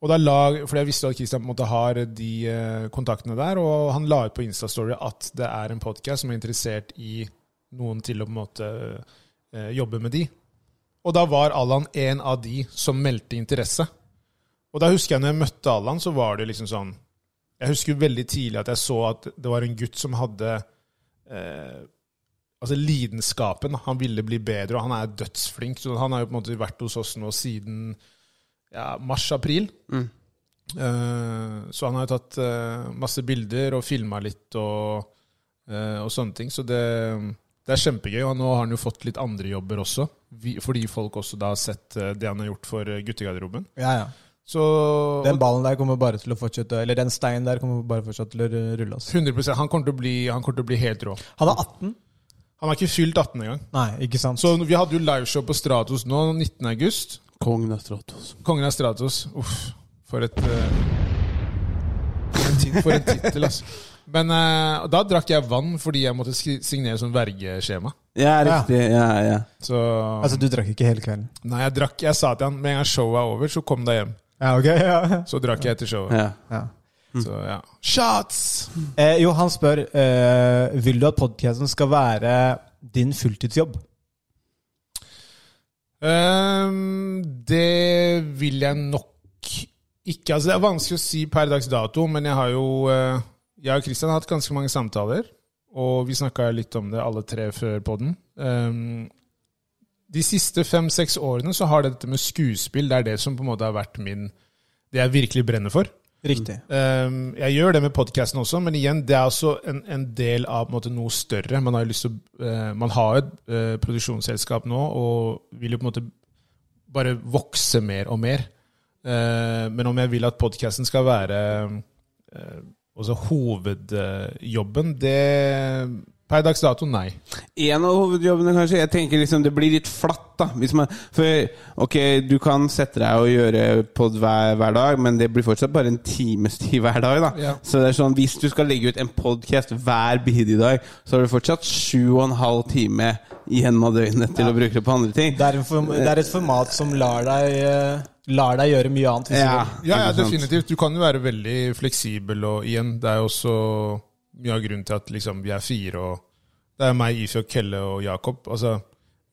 S3: Og da la, fordi jeg visste at Christian på en måte har de eh, kontaktene der, og han la ut på Instastory at det er en podkast som er interessert i noen til å på en måte eh, jobbe med de. Og da var Allan en av de som meldte interesse. Og da husker jeg når jeg møtte Allan, så var det liksom sånn Jeg husker veldig tidlig at jeg så at det var en gutt som hadde eh, Altså lidenskapen. Han ville bli bedre, og han er dødsflink. Så han har jo på en måte vært hos oss nå siden ja, mars-april. Eh, så han har jo tatt eh, masse bilder og filma litt og, eh, og sånne ting. Så det, det er kjempegøy. Og nå har han jo fått litt andre jobber også, vi, fordi folk også da har sett eh, det han har gjort for eh, guttegarderoben.
S1: Ja, ja.
S3: Så
S1: Den ballen der kommer bare til å fortsette Eller den steinen der kommer bare fortsatt til å rulle oss.
S3: 100 han kommer, til å bli, han kommer til å bli helt rå.
S1: Han er 18.
S3: Han har ikke fylt 18 engang.
S1: Nei, ikke sant?
S3: Så vi hadde jo liveshow på Stratos nå 19. august.
S2: Kongen av Stratos.
S3: Kongen av Stratos. Uff, for et eh, For en tit- for en tittel, altså. Men eh, da drakk jeg vann fordi jeg måtte skri- signere sånn vergeskjema.
S2: Ja, riktig. Ja, ja.
S3: Så
S1: Altså, du drakk ikke hele kvelden?
S3: Nei, jeg drakk Jeg sa til han med en gang showet er over, så kom deg hjem.
S1: Ja, ok. Ja.
S3: Så drakk jeg etter showet.
S2: ja.
S1: Ja.
S3: Så ja Shots!
S1: Eh, jo, han spør eh, Vil du at podcasten skal være din fulltidsjobb.
S3: Ehm, det vil jeg nok ikke. Altså, det er vanskelig å si per dags dato, men jeg har jo eh, Jeg og Christian har hatt ganske mange samtaler, og vi snakka litt om det alle tre før podden. Ehm, de siste fem-seks årene så har dette med skuespill Det er det som på en måte har vært min Det jeg virkelig brenner for.
S1: Riktig.
S3: Um, jeg gjør det med podkasten også, men igjen, det er også en, en del av på en måte, noe større. Man har, jo lyst til, å- eh, man har et eh, produksjonsselskap nå og vil jo på en måte bare vokse mer og mer. Eh, men om jeg vil at podkasten skal være eh, også hovedjobben, det Per dags dato, nei.
S2: En av hovedjobbene, kanskje. Jeg tenker liksom Det blir litt flatt, da. Hvis man, for ok, du kan sette deg og gjøre pod hver, hver dag, men det blir fortsatt bare en times tid hver dag. da
S3: Ja.
S2: Så det er sånn, hvis du skal legge ut en podkast hver bidige dag, så har du fortsatt sju og en halv time igjen av døgnet til å bruke det på andre ting.
S1: Det er, en form, det er et format som lar deg, eh, lar deg gjøre mye annet. Hvis
S2: Ja,
S1: du vil.
S3: Ja, ja,
S2: ikke sant?
S3: definitivt. Du kan jo være veldig fleksibel, og igjen, det er jo også mye av grunnen til at liksom, vi er fire, og det er meg, Ifi og Kelle og Jakob. Altså,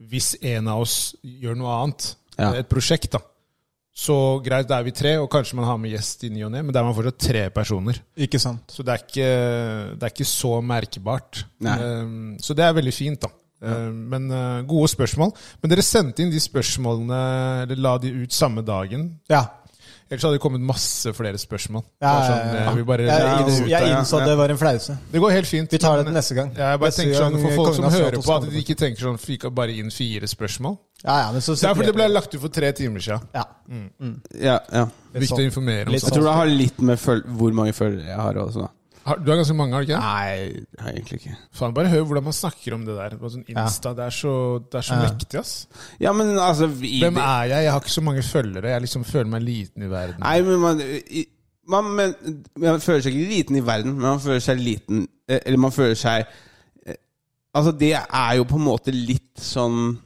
S3: hvis en av oss gjør noe annet,
S2: Ja.
S3: et prosjekt, da, så greit, da er vi tre, og kanskje man har med gjest i ny og ne, men da er man fortsatt tre personer.
S1: Ikke sant?
S3: Så det er ikke, det er ikke så merkbart.
S2: Nei.
S3: Um, så det er veldig fint, da. Um, Men uh, gode spørsmål. Men dere sendte inn de spørsmålene, eller la de ut samme dagen.
S1: Ja.
S3: Ellers hadde det kommet masse flere spørsmål.
S1: Ja,
S3: Bare sånn,
S1: ja, ja.
S3: eh, vi bare,
S1: Jeg,
S2: ja,
S1: inns- jeg
S2: ja,
S1: innså
S2: ja.
S1: at det var en flause.
S3: det går helt fint.
S1: Vi tar det
S3: men-
S1: til neste gang.
S3: Ja, jeg bare
S1: Neste
S3: tenker sånn,
S1: gang
S3: For folk
S1: Kongen
S3: som
S1: av
S3: hører
S1: Stratos
S3: på, at
S1: kommer
S3: de ikke tenker sånn Fikk jeg bare inn fire spørsmål.
S1: Ja, ja, men så
S3: Det er fordi det ble lagt ut for tre timer siden.
S1: ja.
S2: Ja, ja.
S3: Viktig å informere om
S1: sånn. Litt
S2: Jeg
S3: sånt.
S2: tror det har litt med føl hvor mange følgere jeg har også, da.
S3: Har- Du har ganske mange, har du ikke? det?
S2: Nei, det har jeg egentlig ikke.
S3: Faen, bare hør hvordan man snakker om det der. På sånn Insta, Det er så, det er så mektig, ass.
S2: Ja, men altså i
S3: Hvem
S2: det-
S3: er jeg? Jeg har ikke så mange følgere. Jeg liksom føler meg liten i verden.
S2: Nei, men man, i- man, men man føler seg ikke liten i verden, men man føler seg liten eh, Eller man føler seg eh, Altså, det er jo på en måte litt sånn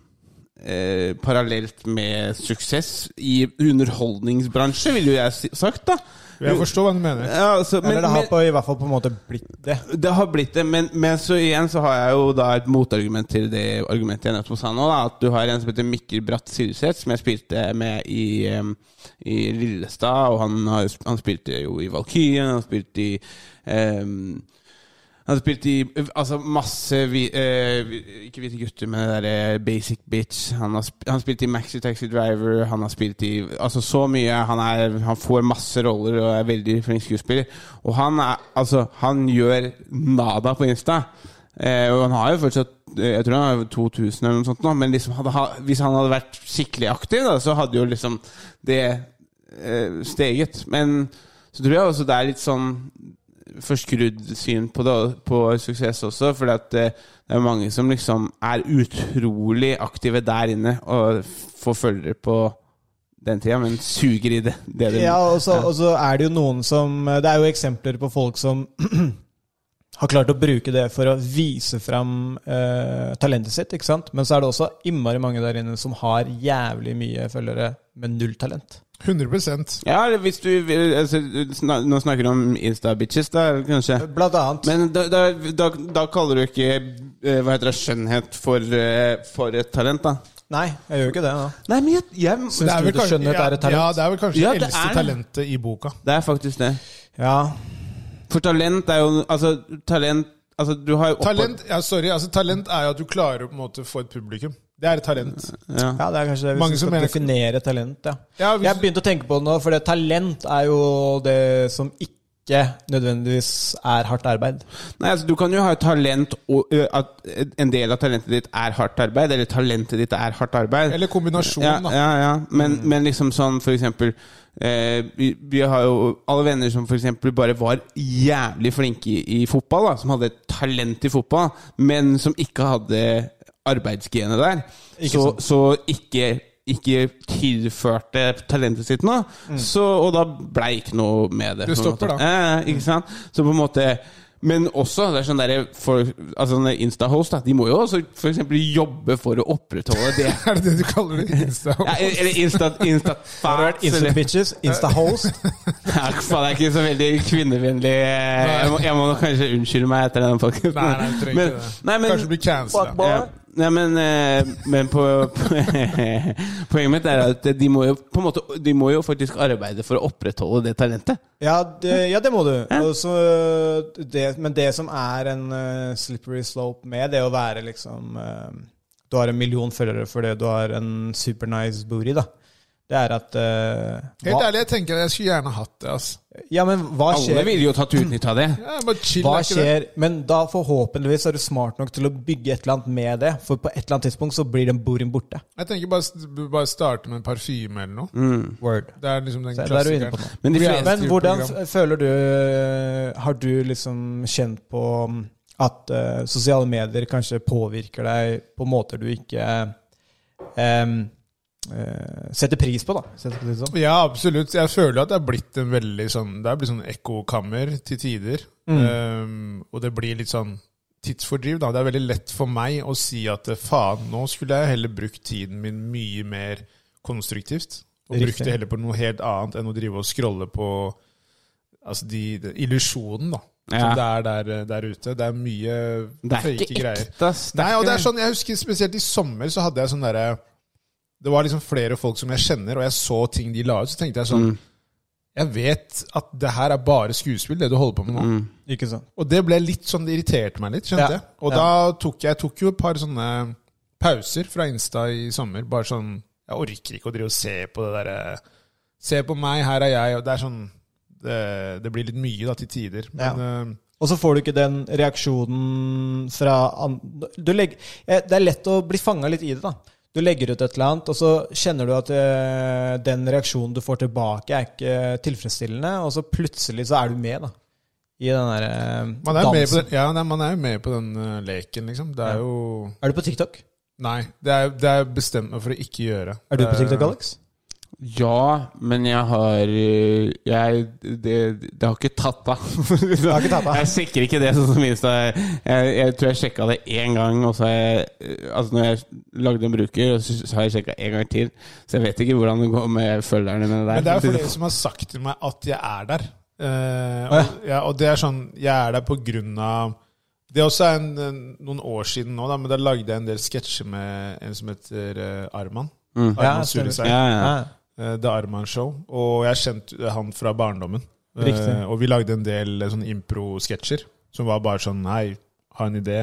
S2: eh, parallelt med suksess i underholdningsbransje, ville jo jeg si- sagt, da.
S3: Jeg forstår hva du mener.
S2: Ja, altså, men,
S1: Eller det har
S2: men,
S1: på, i hvert fall på en måte blitt det.
S2: det har blitt det, men, men så igjen så har jeg jo da et motargument til det argumentet jeg nettopp sa nå, da, at du har en som heter Mikkel Bratt Silseth, som jeg spilte med i, em, i Lillestad, og han, har, jo sp- han spilte jo i Valkyrien, han spilte i em, han spilte i altså masse vi, eh, vi- Ikke hvite gutter, men det derre Basic Bitch. Han har, sp han spilte i Maxi Taxi Driver. Han har spilt i Altså så mye. Han, er, han får masse roller og er veldig flink skuespiller. Og han er Altså, han gjør nada på Insta. Eh, og han har jo fortsatt eh, Jeg tror han har 2000 eller noe sånt nå, men liksom hadde, ha- hvis han hadde vært skikkelig aktiv, da, så hadde jo liksom det eh, steget. Men så tror jeg også det er litt sånn forskrudd syn på, det, på suksess også, for det er mange som liksom er utrolig aktive der inne og får følgere på den tida, men suger i det. det de-
S1: Ja, og så, og så er det jo noen som eh, Det er jo eksempler på folk som har klart å bruke det for å vise fram eh, talentet sitt, ikke sant? Men så er det også innmari mange der inne som har jævlig mye følgere med null talent.
S3: 100
S2: Ja, eller hvis du vil- altså, sna- Nå snakker du om Insta-bitches, da, kanskje?
S1: Blant annet.
S2: Men da, da, da, da kaller du ikke eh, hva heter det, skjønnhet for, eh, for et talent, da?
S1: Nei, jeg gjør ikke det. Da.
S2: Nei, men jeg, jeg
S1: Syns du det skjønnhet
S3: ja,
S1: er et talent?
S3: Ja, det er vel kanskje
S2: Ja,
S3: det
S2: det
S3: eldste
S2: er det.
S3: talentet i boka.
S2: Det er faktisk det.
S1: Ja.
S2: For talent er jo Altså, talent Altså, du har jo oppå-
S3: Talent ja, sorry, altså talent er jo at du klarer å på en måte få et publikum. Det er et talent.
S2: Ja.
S1: ja, det er kanskje det hvis
S3: Mange
S1: vi skal
S3: som mener-
S1: definere talent. Ja.
S3: Ja, hvis-
S1: Jeg begynte å tenke på det nå, for det talent er jo det som ikke nødvendigvis er hardt arbeid.
S2: Nei, altså, du kan jo ha et talent og ø, at en del av talentet ditt er hardt arbeid, eller talentet ditt er hardt arbeid.
S3: Eller kombinasjonen,
S2: ja,
S3: da.
S2: ja, ja. Men,
S3: Mm.
S2: men liksom sånn for eksempel eh, vi, vi har jo alle venner som for eksempel bare var jævlig flinke i, i fotball, da, som hadde et talent i fotball, men som ikke hadde arbeidsgenet der. så, så ikke ikke tilførte talentet sitt noe, så, og da ble ikke noe med det. på en
S3: Det Mm. stopper
S2: måte.
S3: da. Mm.
S2: Ja, ja, ikke sant? Så på en måte Men også det er sånn der, for, altså, sånne Insta-host da, De må jo også for eksempel jobbe for å opprettholde det.
S3: Er det det du kaller det? Insta?
S2: Ja, eller Insta, Insta Farts
S1: Insta
S2: eller
S1: bitches, insta host.
S2: ja, faen, Det er ikke så veldig kvinnevennlig eh, Jeg må, jeg må nok kanskje unnskylde meg etter den podcasten.
S3: Nei, nei, du trenger
S2: Men-
S3: ikke det.
S2: Nei, men,
S3: Kanskje blir cancela.
S5: Fuck,
S2: ja. Nei, men, eh, men på, poenget mitt er at de må, jo, på en måte, de må jo faktisk arbeide for å opprettholde det talentet.
S1: Ja, det, ja, det må du. Og så, det, men det som er en eh, slippery slope med det å være liksom eh, Du har en million følgere fordi du har en super nice booty, da. Det er at eh,
S3: Helt
S1: hva,
S3: ærlig, jeg tenker at jeg skulle gjerne hatt det. ass.
S1: Ja, men hva
S2: Alle
S1: skjer?
S2: ville jo tatt utnytt av det.
S3: Ja, bare chill,
S1: Hva
S3: er ikke det?
S1: skjer? Men da forhåpentligvis er du smart nok til å bygge et eller annet med det. For på et eller annet tidspunkt så blir den boorien borte.
S3: Jeg tenker bare, bare starte med en parfyme eller noe.
S1: Word.
S3: Det er liksom den
S1: Så der Mm. er du inne på
S3: klassikeren.
S1: noe.
S2: Men de fleste
S1: Men hvordan
S3: program.
S1: f- føler du Har du liksom kjent på mm, at eh, sosiale medier kanskje påvirker deg på måter du ikke em, eh, setter pris på, da? Setter pris på det sånn.
S3: Ja, absolutt. Jeg føler at det er blitt en veldig sånn Det er blitt sånn ekkokammer til tider.
S2: Mm.
S3: Um, og det blir litt sånn tidsfordriv, da. Det er veldig lett for meg å si at eh, faen, nå skulle jeg heller brukt tiden min mye mer konstruktivt. Og
S1: Riktig.
S3: brukt det heller på noe helt annet enn å drive og scrolle på Altså de, de illusjonen, da. Som det
S2: Ja.
S3: er der, eh, der ute. Det er mye
S2: Det er
S3: fake
S2: ikke
S3: greier.
S2: ekte, ass.
S3: Nei, og det er sånn, jeg husker spesielt i sommer så hadde jeg sånn derre Det var liksom flere folk som jeg kjenner, og jeg så ting de la ut, så tenkte jeg sånn Jeg vet at det her er bare skuespill, det du holder på med nå.
S1: Ikke sant?
S3: Og det ble litt sånn, det irriterte meg litt,
S1: Ja.
S3: skjønte jeg. Og da tok jeg tok jo et par sånne pauser fra Insta i sommer. Bare sånn Jeg orker ikke å drive og se på det derre Se på meg, her er jeg, og det er sånn Det, det blir litt mye da til tider. Men eh,
S1: Og så får du ikke den reaksjonen fra an du legg- eh, Det er lett å bli fanga litt i det, da. Du legger ut et eller annet, og så kjenner du at eh, den reaksjonen du får tilbake, er ikke tilfredsstillende, og så plutselig så er du med, da. I den derre
S3: man er, jo med på
S1: dansen.
S3: den, ja, nei, man er jo med på den eh, leken, liksom. Det
S1: Ja.
S3: er jo
S1: Er du på TikTok?
S3: Nei, det er, det er bestemt meg for å ikke gjøre.
S1: Er du på
S3: Eh,
S1: TikTok, Alex?
S2: Ja, men jeg har øh, jeg, det, det har ikke tatt av.
S1: har ikke tatt av.
S2: Jeg sjekker ikke det sånn som Insta. Jeg, jeg tror jeg sjekka det én gang, og så har jeg øh, Altså, når jeg lagde en bruker, så, så har jeg sjekka en gang til. Så jeg vet ikke hvordan det går med følgerne mine der.
S3: Men det er for dere som har sagt til meg at jeg er der. Eh, og, ja, og det er sånn Jeg er der på grunn av Det er også en, en, noen år siden nå, da, men da lagde jeg en del sketsjer med en som heter eh, Arman.
S1: Ja,
S3: Arman
S1: stemmer.
S3: Sureseid.
S2: sånn. ja, ja.
S1: Ja.
S3: Eh, The Arman Show. Og jeg kjente han fra barndommen. Eh,
S1: Riktig.
S3: og vi lagde en del eh, sånne impro-sketsjer som var bare sånn Hei, ha en idé.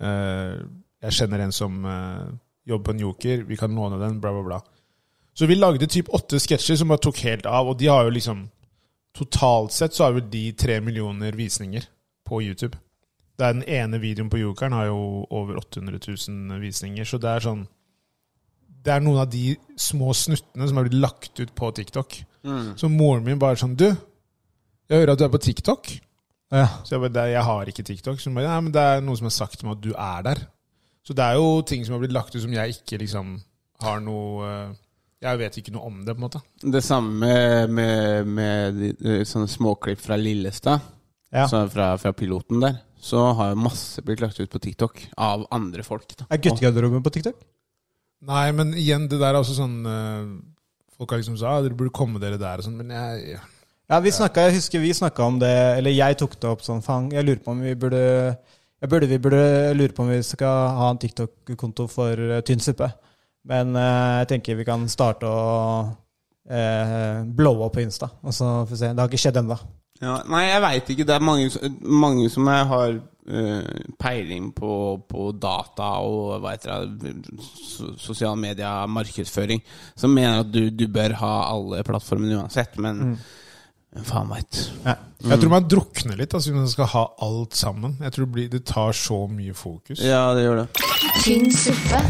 S3: Eh, jeg kjenner en som eh, jobber på en joker. Vi kan låne den. Bla, bla, bla. Så vi lagde typ åtte sketsjer som bare tok helt av. Og de har jo liksom Totalt sett så har vel de tre millioner visninger på YouTube. Det er Den ene videoen på jokeren har jo over 800 000 visninger. Så det er sånn det er noen av de små snuttene som er blitt lagt ut på TikTok. Så moren min bare sånn Du, jeg hører at du er på TikTok.
S1: Ja.
S3: Så jeg bare «Nei, Jeg har ikke TikTok. Så hun bare Nei, men det er noen som har sagt til meg at du er der. Så det er jo ting som har blitt lagt ut som jeg ikke liksom har noe eh, Jeg vet ikke noe om det, på en måte.
S2: Det samme med, med de, eh, sånne småklipp fra Lillestad,
S1: Ja.
S2: så fra, fra piloten der. Så har jo masse blitt lagt ut på TikTok av andre folk. Da.
S1: Er guttegarderoben på TikTok?
S3: Nei, men igjen, det der er også sånn eh, Folk har liksom sagt ah, dere burde komme dere der og sånn, men jeg
S1: Ja, vi snakket, jeg husker vi snakka om det, eller jeg tok det opp sånn faen, jeg lurer på om vi burde jeg burde, vi burde lure på om vi skal ha en TikTok-konto for eh, tynn suppe. Men eh, jeg tenker vi kan starte å eh, blow opp på Insta. Og så får vi se. Det har ikke skjedd ennå.
S2: Ja, nei, jeg veit ikke. Det er mange, som- mange som jeg har eh, peiling på, på data og hva heter det, so, sosiale medier, markedsføring, som mener at du, du bør ha alle plattformene uansett, men
S3: Mm.
S2: hvem faen veit.
S3: Jeg tror man drukner litt altså, hvis man skal ha alt sammen. Jeg tror det, blir, det tar så mye fokus.
S2: Ja, det gjør det.
S4: Tynn suppe.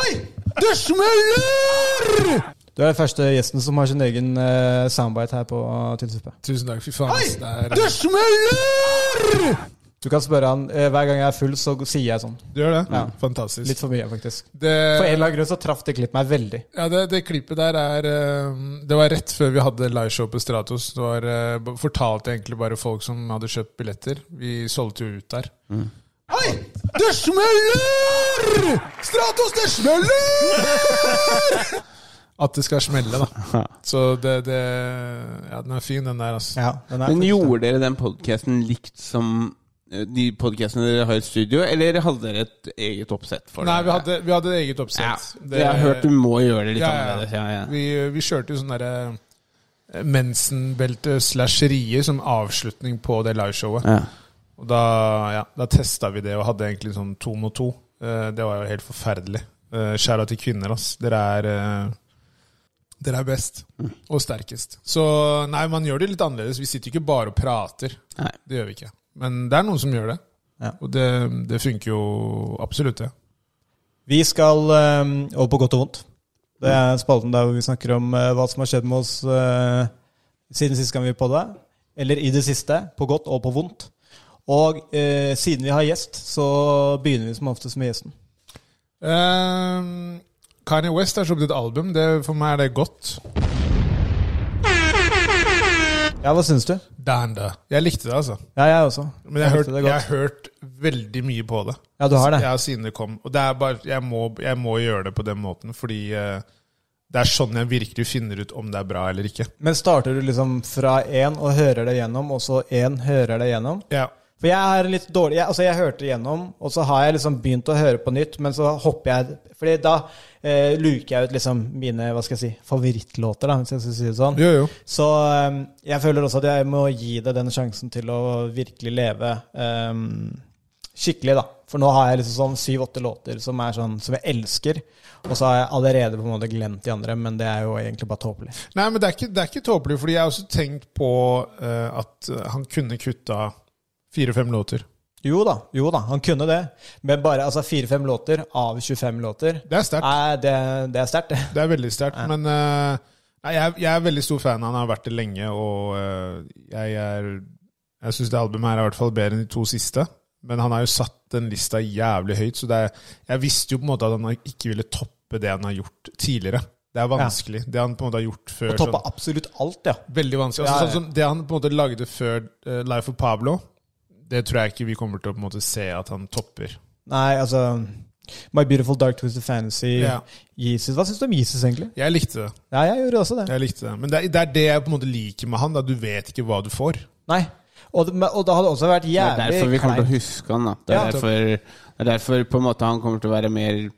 S3: Oi! Det smeller!
S1: Du er den første gjesten som har sin egen eh, soundbite her på eh, Tynn suppe.
S3: Tusen takk, fy faen. ass. Det er-
S2: smeller!
S1: Du kan spørre han eh, hver gang jeg er full, så sier jeg sånn.
S3: Du gjør det? Fantastisk.
S2: sånn-
S1: Litt for mye, faktisk. For en
S3: det,
S1: eller annen grunn så traff det klippet meg veldig.
S3: ja, det, det klippet der er eh, Det var rett før vi hadde liveshow på Stratos. Det var, eh, b- fortalte egentlig bare folk som hadde kjøpt billetter. Vi solgte jo ut der. Oi! Det smeller! Stratos, det smeller! At det skal smelle, da. Så det, det Ja, den er fin, den der, altså.
S1: Ja, den er
S2: Men
S1: faktisk-
S2: gjorde dere den podkasten likt som eh, de podkastene dere har i studio, eller hadde dere et eget oppsett for
S3: Nei,
S2: det?
S3: vi hadde, vi hadde eget
S2: ja.
S3: oppsett.
S2: det, Jeg har hørt du må gjøre det litt
S3: Ja, ja,
S2: annerledes. Ja, ja.
S3: Vi, vi kjørte jo sånn derre eh, mensenbelte slash rie som avslutning på det liveshowet.
S2: Ja.
S3: Og da, ja, da testa vi det og hadde egentlig sånn to mot to. Eh, Det var jo helt forferdelig. Skjæra til kvinner, ass. Dere er eh, dere er best
S1: Mm.
S3: og sterkest. Så nei, man gjør det litt annerledes. Vi sitter ikke bare og prater.
S2: Nei.
S3: Det gjør vi ikke. Men det er noen som gjør det.
S1: Ja.
S3: Og det, det funker jo absolutt, det.
S1: Vi skal eh, over på godt og vondt. Det er spalten der hvor vi snakker om eh, hva som har skjedd med oss eh, siden sist gang vi var på det. Eller i det siste. På godt og på vondt. Og eh, siden vi har gjest, så begynner vi som oftest med gjesten.
S3: Ehm, Kanye West har sluppet et album. Det, for meg er det godt.
S1: Ja, hva syns du?
S3: Damn det. Jeg likte det, altså.
S1: Ja, jeg også.
S3: Men jeg har, hørt,
S1: likte det
S3: jeg
S1: godt.
S3: har hørt veldig mye på det.
S1: Ja, du har det.
S3: Ja, siden det kom. Og det er bare, jeg må, jeg må gjøre det på den måten, fordi eh, det er sånn jeg virkelig finner ut om det er bra eller ikke.
S1: Men starter du liksom fra én og hører det gjennom, og så én hører det gjennom?
S3: Ja.
S1: For jeg er litt dårlig jeg, Altså, jeg hørte igjennom, og så har jeg liksom begynt å høre på nytt, men så hopper jeg Fordi da eh, luker jeg ut liksom mine hva skal jeg si, favorittlåter, da, hvis jeg skal si det sånn.
S3: Jo, jo.
S1: Så eh, jeg føler også at jeg må gi det den sjansen til å virkelig leve eh, skikkelig, da. For nå har jeg liksom sånn syv-åtte låter som er sånn som jeg elsker, og så har jeg allerede på en måte glemt de andre, men det er jo egentlig bare tåpelig.
S3: Nei, men det er ikke, det er ikke tåpelig, fordi jeg har også tenkt på eh, at eh, han kunne kutta fire-fem låter.
S1: Jo da, jo da, han kunne det, men bare altså fire-fem låter av 25 låter
S3: Det er sterkt.
S1: Nei, det, det er sterkt, det.
S3: Det er veldig sterkt. Men eh, nei, jeg, jeg er veldig stor fan. Han har vært det lenge, og eh, jeg er Jeg syns det albumet her er i hvert fall bedre enn de to siste. Men han har jo satt den lista jævlig høyt, så det er, jeg visste jo på en måte at han ikke ville toppe det han har gjort tidligere. Det er vanskelig. Det han på en måte har gjort før
S1: Å toppe
S3: sånn-
S1: absolutt alt, ja.
S3: Veldig vanskelig.
S1: Ja,
S3: Altså,
S1: ja.
S3: sånn som det han på en måte lagde før eh, Life of Pablo, det tror jeg ikke vi kommer til å på en måte se at han topper.
S1: Nei, altså My Beautiful Dark Twisted Fantasy,
S3: Ja.
S1: Jesus Hva syns du om Jesus, egentlig?
S3: Jeg likte det.
S1: Ja, jeg gjorde også det.
S3: Jeg likte det. Men det er, det er det jeg på en måte liker med han. Da. Du vet ikke hva du får.
S1: Nei. Og det, men- og det hadde også vært
S2: Det er
S1: jævlig
S2: derfor vi kommer til å
S1: kleint.
S2: huske han. da Det er,
S1: Ja.
S2: derfor, det er derfor på en måte han kommer til å være mer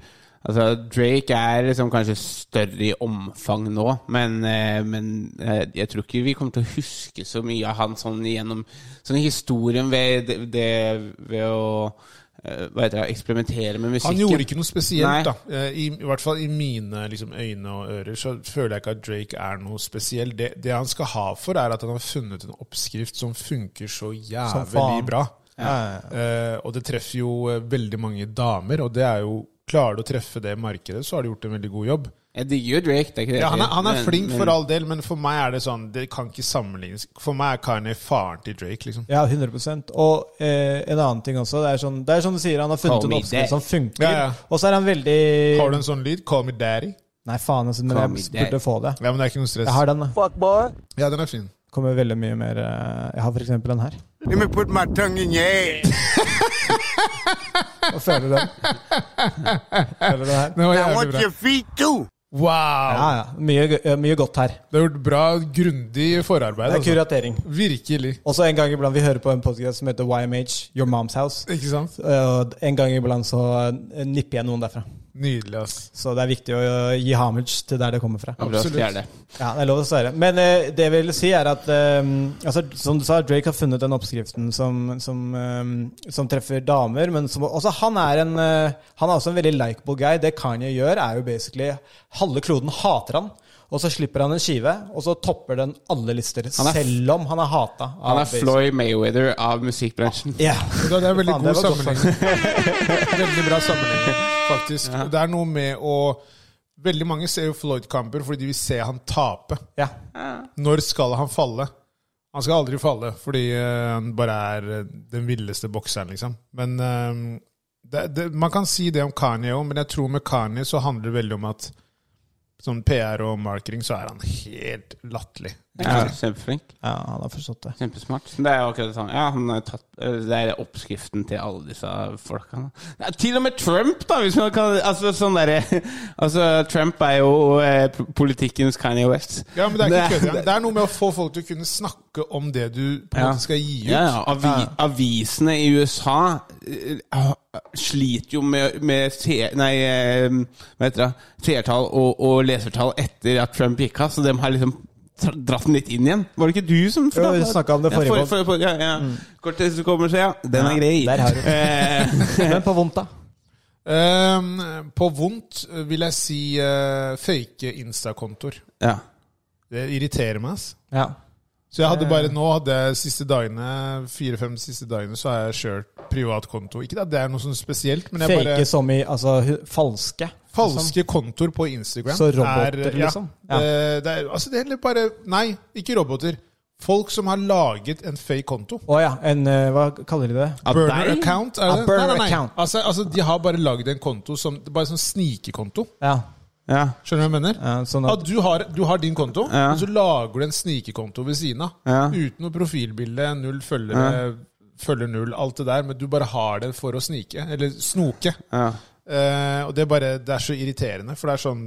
S2: Altså Drake er liksom kanskje større i omfang nå, men, eh, men eh, jeg tror ikke vi kommer til å huske så mye av han sånn gjennom sånn historien ved det, det- ved å eh, hva heter det, eksperimentere med musikken.
S3: Han gjorde ikke noe
S2: Nei.
S3: spesielt, da. Eh, I, I hvert fall i mine liksom, øyne og ører så føler jeg ikke at Drake er noe spesiell. Det, det han skal ha for, er at han har funnet en oppskrift som funker så
S1: Som
S3: jævlig
S1: faen.
S3: bra.
S1: Ja, ja, ja.
S3: Eh, og det treffer jo eh, veldig mange damer, og det er jo Klarer du å treffe det markedet, så har du gjort en veldig god jobb.
S2: Jeg digger jo Drake. Det er ikke det.
S3: Ja, han er, han er
S2: Men-
S3: flink
S2: men-
S3: for all del, men for meg er det sånn Det kan ikke sammenlignes. For meg er Kanye faren til Drake, liksom.
S1: Ja, 100 Og eh, en annen ting også. Det er, sånn, det er som du sier, han har funnet
S2: Call
S1: en
S2: me
S1: oppskrift
S2: dad.
S1: som funker.
S3: Ja, ja.
S1: Og så er han veldig
S3: Har du en sånn lyd? Call me daddy.
S1: Nei, faen, altså, men
S2: Call me
S1: jeg burde
S2: dad.
S1: få det.
S3: Ja, men det er ikke noe
S1: Jeg
S3: stress.
S1: har den. da.
S5: Fuck boy.
S3: Ja, den er fin.
S1: Kommer veldig mye mer eh, Jeg har for eksempel den her.
S7: Let me put my tongue in your ass.
S1: Og føler den. Føler den her.
S3: Den var
S7: I
S3: jævlig
S7: want
S3: bra.
S7: your feet too.
S3: Wow!
S1: Ja, ja. Mye, gø- eh, mye godt her.
S3: Det har gjort bra, grundig forarbeid.
S1: Det er
S3: Altså.
S1: kuratering.
S3: Virkelig.
S1: Også en gang iblant vi hører på en podcast som heter YMH, Your Mom's House.
S3: Ikke sant?
S1: Og en gang iblant så eh, nipper jeg noen derfra.
S3: Nydelig, ass.
S1: Så det er viktig å eh, gi homage til der det kommer fra.
S2: Ja, det
S3: Absolutt.
S2: er det.
S1: Ja, det er lov å svære. Men eh, det jeg vil si, er at eh, altså, Som du sa, Drake har funnet den oppskriften som, som, eh, som treffer damer. Men som, også han er en eh, Han er også en veldig likeable guy. Det Kanye gjør, er jo basically Halve kloden hater han. Og så slipper han en skive, og så topper den alle lister.
S2: er-
S1: selv om han er hata. av
S2: Han er
S1: basically-
S2: Floyd Mayweather av musikkbransjen.
S1: Ja.
S3: Det er en veldig
S1: Faen, det
S3: god
S1: var godt
S3: sammenligning. veldig bra sammenligning, faktisk. Det er noe med å Veldig mange ser jo Floyd-kamper fordi de vil se han tape.
S1: ja.
S3: Når skal han falle? Han skal aldri falle, fordi eh, han bare er eh, den villeste bokseren, liksom. Men eh, det, det, man kan si det om Kanye òg, men jeg tror med Kanye så handler det veldig om at sånn PR og marketing, så er han helt latterlig.
S2: Ja, kjempeflink.
S1: ja, han har forstått det.
S2: Kjempesmart. Det er jo akkurat det samme. Ja, han har tatt, eh, det er oppskriften til alle disse folka. Ja, til og med Trump, da! Hvis man kan, altså, sånn derre- altså, Trump er jo eh, politikkens Kanye West.
S3: Ja, men Det er ikke kødd. ja. Det er noe med å få folk til å kunne snakke om det du på en
S2: Ja.
S3: måte skal gi ut.
S2: Ja, ja. Avi, Avisene i USA eh, ah, sliter jo med, med se- nei, eh, hva heter det, seertall og, og lesertall etter at Trump gikk av, så de har liksom tra- dratt den litt inn igjen. Var det ikke du som
S1: Jo, vi snakket om det forrige
S2: Ja, forrige, forrige, ja, ja. Cortez kommer seg, ja. Den er grei.
S1: der har du
S2: Eh,
S1: Men på vondt, da.
S3: Ehm, på vondt eh, vil jeg si eh, fake Insta-kontoer.
S2: ja.
S3: Det irriterer meg. ass.
S1: Ja.
S3: Så jeg hadde bare nå hadde jeg siste dagene, fire-fem siste dagene så har jeg kjørt privat konto. Ikke at det er noe sånn spesielt, men jeg
S1: Fake
S3: bare
S1: som i altså hu- falske. liksom.
S3: Falske kontoer på Instagram
S1: Så roboter,
S3: er,
S1: liksom?
S3: Ja, Det, det er, altså det er heller bare Nei, ikke roboter. Folk som har laget en fake konto.
S1: Å ja. En eh, Hva kaller de det?
S2: Av
S3: Burner
S2: deg?
S3: account? Er
S1: Ja,
S3: det?
S1: burner
S3: nei, nei, nei.
S1: account.
S3: Altså, altså, de har bare lagd en konto som Bare sånn snikekonto.
S1: Ja.
S2: Ja.
S3: Skjønner du hva jeg mener?
S1: ja sånn
S3: Ja,
S1: at
S3: du har, du har din konto,
S2: Ja.
S3: men så lager du en snikekonto ved siden av.
S2: Ja.
S3: Uten noe profilbilde, null følgere, følger null, alt det der. Men du bare har det for å snike, eller snoke.
S2: ja.
S3: Eh, og det er bare, det er så irriterende, for det er sånn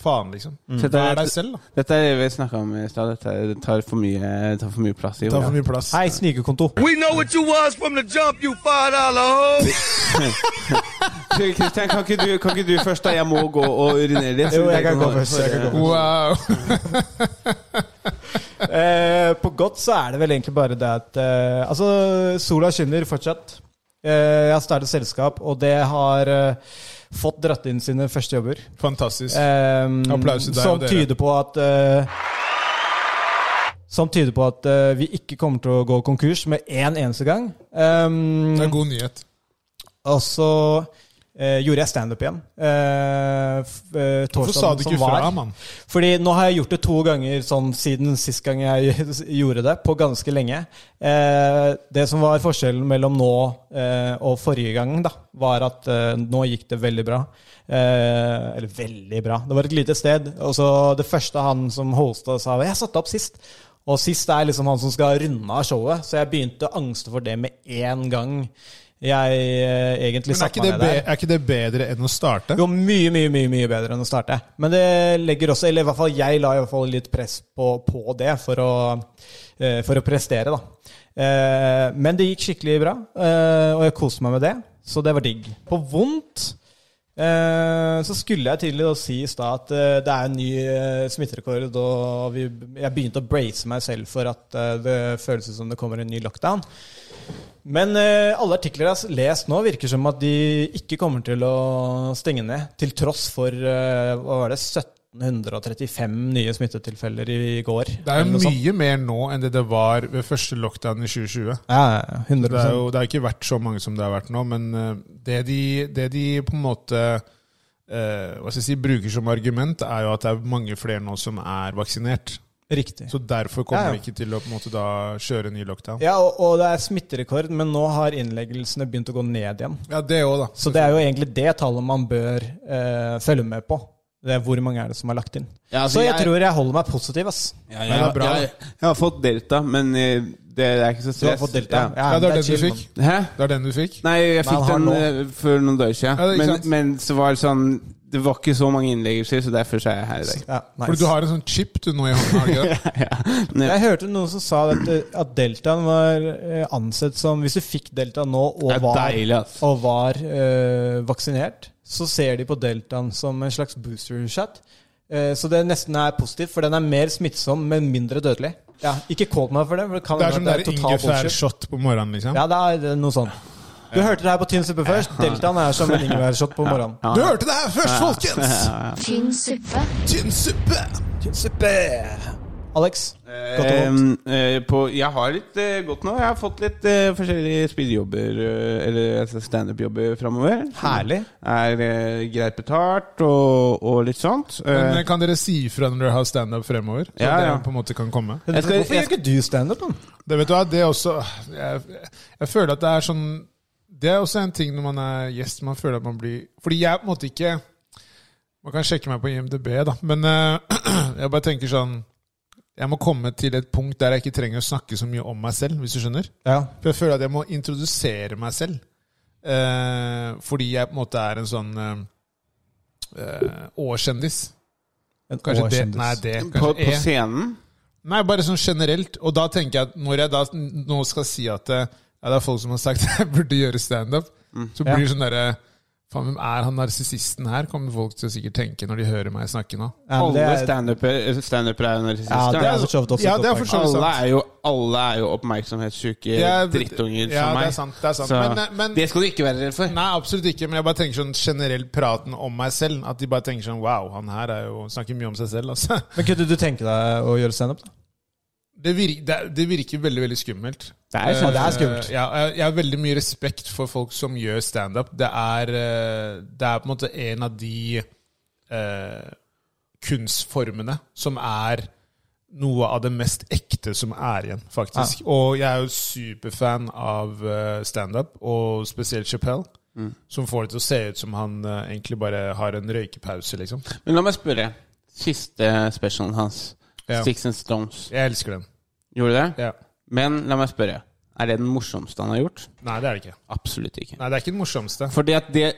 S3: faen, liksom.
S1: Mm.
S2: Så dette
S3: Vær
S2: er-
S3: deg selv, da.
S2: Dette er det vi snakka om i stad. Dette tar for mye, tar for mye plass i
S3: Ta
S2: jorda.
S3: for mye plass.
S1: Hei, snikekonto.
S5: We know what you was from the jump, you five dollar hoe.
S2: Kristian, kan, ikke du- kan ikke du først, da? Jeg må gå og urinere litt.
S1: Jo, jeg kan gå først, jeg kan gå
S3: Wow.
S1: Eh, på godt så er det vel egentlig bare det at eh, Altså, sola skinner fortsatt. Eh, jeg har startet selskap, og det har eh, fått dratt inn sine første jobber.
S3: Fantastisk.
S1: Eh,
S3: Applaus til deg
S1: som
S3: og dere.
S1: tyder på at eh, Som tyder på at eh, vi ikke kommer til å gå konkurs med én eneste gang. Um,
S3: Det er god nyhet.
S1: Og så eh, gjorde jeg standup igjen. Eh, f- eh,
S3: Hvorfor sa
S1: torsdagen
S3: du
S1: som
S3: ikke
S1: var.
S3: fra, mann?
S1: Fordi nå har jeg gjort det to ganger sånn, siden sist gang jeg gjorde det, på ganske lenge. Eh, det som var forskjellen mellom nå eh, og forrige gang, da, var at eh, nå gikk det veldig bra. Eh, eller veldig bra. Det var et lite sted. Og så det første han som hosta, sa Jeg satte opp sist. Og sist er liksom han som skal runde av showet, så jeg begynte å angste for det med en gang jeg eh, egentlig
S3: Men er
S1: satte
S3: ikke,
S1: meg
S3: det
S1: ned
S3: be,
S1: der.
S3: er ikke det bedre enn å starte?
S1: Jo, mye, mye, mye mye bedre enn å starte. Men det legger også, eller i hvert fall jeg la i hvert fall litt press på, på det for å, eh, for å prestere, da. Eh, Men det gikk skikkelig bra, eh, og jeg koste meg med det, så det var digg. På vondt eh, så skulle jeg til å si i stad at eh, det er en ny eh, smitterekord, og vi, jeg begynte å brace meg selv for at eh, det føles ut som det kommer en ny lockdown. Men eh, alle artikler jeg har lest nå, virker som at de ikke kommer til å stenge ned, til tross for eh, hva var det, 1735 nye smittetilfeller i går.
S3: Det er
S1: eller
S3: jo
S1: noe sånt.
S3: mye mer nå enn det det var ved første lockdown i 2020.
S1: Ja, ja, 100
S3: Det er jo det har ikke vært så mange som det har vært nå, men eh, det de, det de på en måte eh, hva skal jeg si, bruker som argument, er jo at det er mange flere nå som er vaksinert.
S1: Riktig.
S3: Så derfor kommer
S1: Ja, ja.
S3: vi ikke til å på en måte da kjøre ny lockdown.
S1: Ja, og, og det er smitterekord, men nå har innleggelsene begynt å gå ned igjen.
S3: Ja, det òg, da.
S1: Så det er jo egentlig det tallet man bør eh, følge med på. Det er hvor mange er det som er lagt inn.
S2: Ja, altså,
S1: Så jeg,
S2: jeg-
S1: tror jeg holder meg positiv, ass.
S2: Ja,
S3: Men det
S2: jeg,
S3: er bra.
S2: jeg, jeg har fått delta, men eh, det er ikke så
S1: Du har
S2: stress.
S1: fått delta.
S2: Ja.
S1: Ja,
S3: Ja,
S1: men
S3: det er den
S1: chill,
S3: du fikk.
S1: mann.
S2: Hæ?
S3: Det er den du fikk.
S2: Nei, jeg
S1: Men
S2: fikk
S1: han
S2: den
S1: har
S2: eh, for noen dager
S3: Ja,
S2: siden.
S3: ikke
S2: men,
S3: sant?
S2: men så var det sånn det var ikke så mange innleggelser, så derfor så er jeg her i dag.
S1: Ja, nice.
S3: Fordi du har en sånn chip du nå i hånda. har du ikke det?
S1: Jeg hørte noen som sa at, eh, at deltaen var eh, ansett som Hvis du fikk delta nå og
S2: Det er
S1: var,
S2: deilig, ass.
S1: og var eh, vaksinert, så ser de på deltaen som en slags booster-chat. Eh, så det nesten er positivt, for den er mer smittsom, men mindre dødelig. Ja, ikke kål meg for det, for det kan
S3: Det
S1: være
S3: er
S1: at
S3: som
S1: det er
S3: der
S1: total bullshit.
S3: ingefærshot på morgenen, liksom.
S1: Ja, det er det er noe sånt. Du hørte det her på Tynn suppe først. Deltaen er som en ingefærshot på morgenen.
S3: Du hørte det her først, folkens!
S4: tynn suppe,
S3: Tynn suppe!
S1: Tynn suppe! Alex, godt og vondt.
S2: Ehm, eh, på, jeg har litt eh, godt nå. Jeg har fått litt eh, forskjellige spillejobber, eh, eller altså standup-jobber framover.
S1: Herlig.
S2: Er eh, greit betalt og, og litt sånt. Eh,
S3: Men kan dere si ifra når dere har standup fremover? Så
S2: Ja,
S3: ja,
S2: ja.
S3: dere på en måte kan komme?
S2: Jeg skal-
S1: Hvorfor
S2: jeg
S1: gjør ikke du standup, da?
S3: Det vet du hva, det er også jeg, jeg føler at det er sånn Det er også en ting når man er gjest. Man føler at man blir Fordi jeg er på en måte ikke Man kan sjekke meg på IMDb, da, men eh, jeg bare tenker sånn Jeg må komme til et punkt der jeg ikke trenger å snakke så mye om meg selv, hvis du skjønner.
S1: Ja.
S3: For jeg føler at jeg må introdusere meg selv. Eh, fordi jeg på en måte er en sånn eh, eh, årskjendis.
S1: En
S3: Kanskje det,
S1: årskjendis.
S3: nei, det
S2: på,
S3: kanskje E.
S2: på
S3: er.
S2: scenen.
S3: Nei, bare sånn generelt. Og da tenker jeg at når jeg da nå skal si at eh, ja, det er folk som har sagt jeg burde gjøre standup,
S2: Mm.
S3: så blir det sånn derre Faen, hvem er han narsissisten her? Kommer folk til å sikkert tenke når de hører meg snakke nå.
S1: Ja, men det
S2: Alle
S1: er-
S2: standuper standuper er jo
S1: Ja,
S2: narsissister.
S1: det er for så vidt også
S3: Ja,
S1: et
S3: det er
S1: godt
S3: for
S1: poeng.
S3: så vidt
S2: alle
S3: sant.
S2: er jo, alle er jo oppmerksomhetssyke
S3: Jeg-
S2: drittunger
S3: ja,
S2: som meg.
S3: det er sant, det er sant.
S2: Så
S3: Men, eh, men-
S2: det skal du ikke være redd for.
S3: Nei, absolutt ikke, men jeg bare tenker sånn generelt praten om meg selv. At de bare tenker sånn Wow, han her er jo, snakker mye om seg selv, altså.
S1: Men kunne du tenke deg å gjøre standup? da?
S3: Det virker, det, er- det virker veldig, veldig skummelt.
S2: Det er
S1: Ja, det er skummelt.
S3: Eh, Ja, jeg- jeg har veldig mye respekt for folk som gjør standup. Det, er, eh, det er på en måte en av de eh, kunstformene som er noe av det mest ekte som er igjen, faktisk. Og jeg er jo superfan av eh, standup, og spesielt Chappelle.
S2: Mm.
S3: Som får det til å se ut som han eh, egentlig bare har en røykepause, liksom.
S2: Men la meg spørre. Siste specialen hans,
S3: Ja.
S2: Sticks and Stones,
S3: Jeg elsker den.
S2: gjorde du det?
S3: Ja.
S2: Men la meg spørre. Er det den morsomste han har gjort?
S3: Nei, det er det ikke.
S2: Absolutt ikke.
S3: Nei, det er ikke den morsomste.
S2: Fordi at det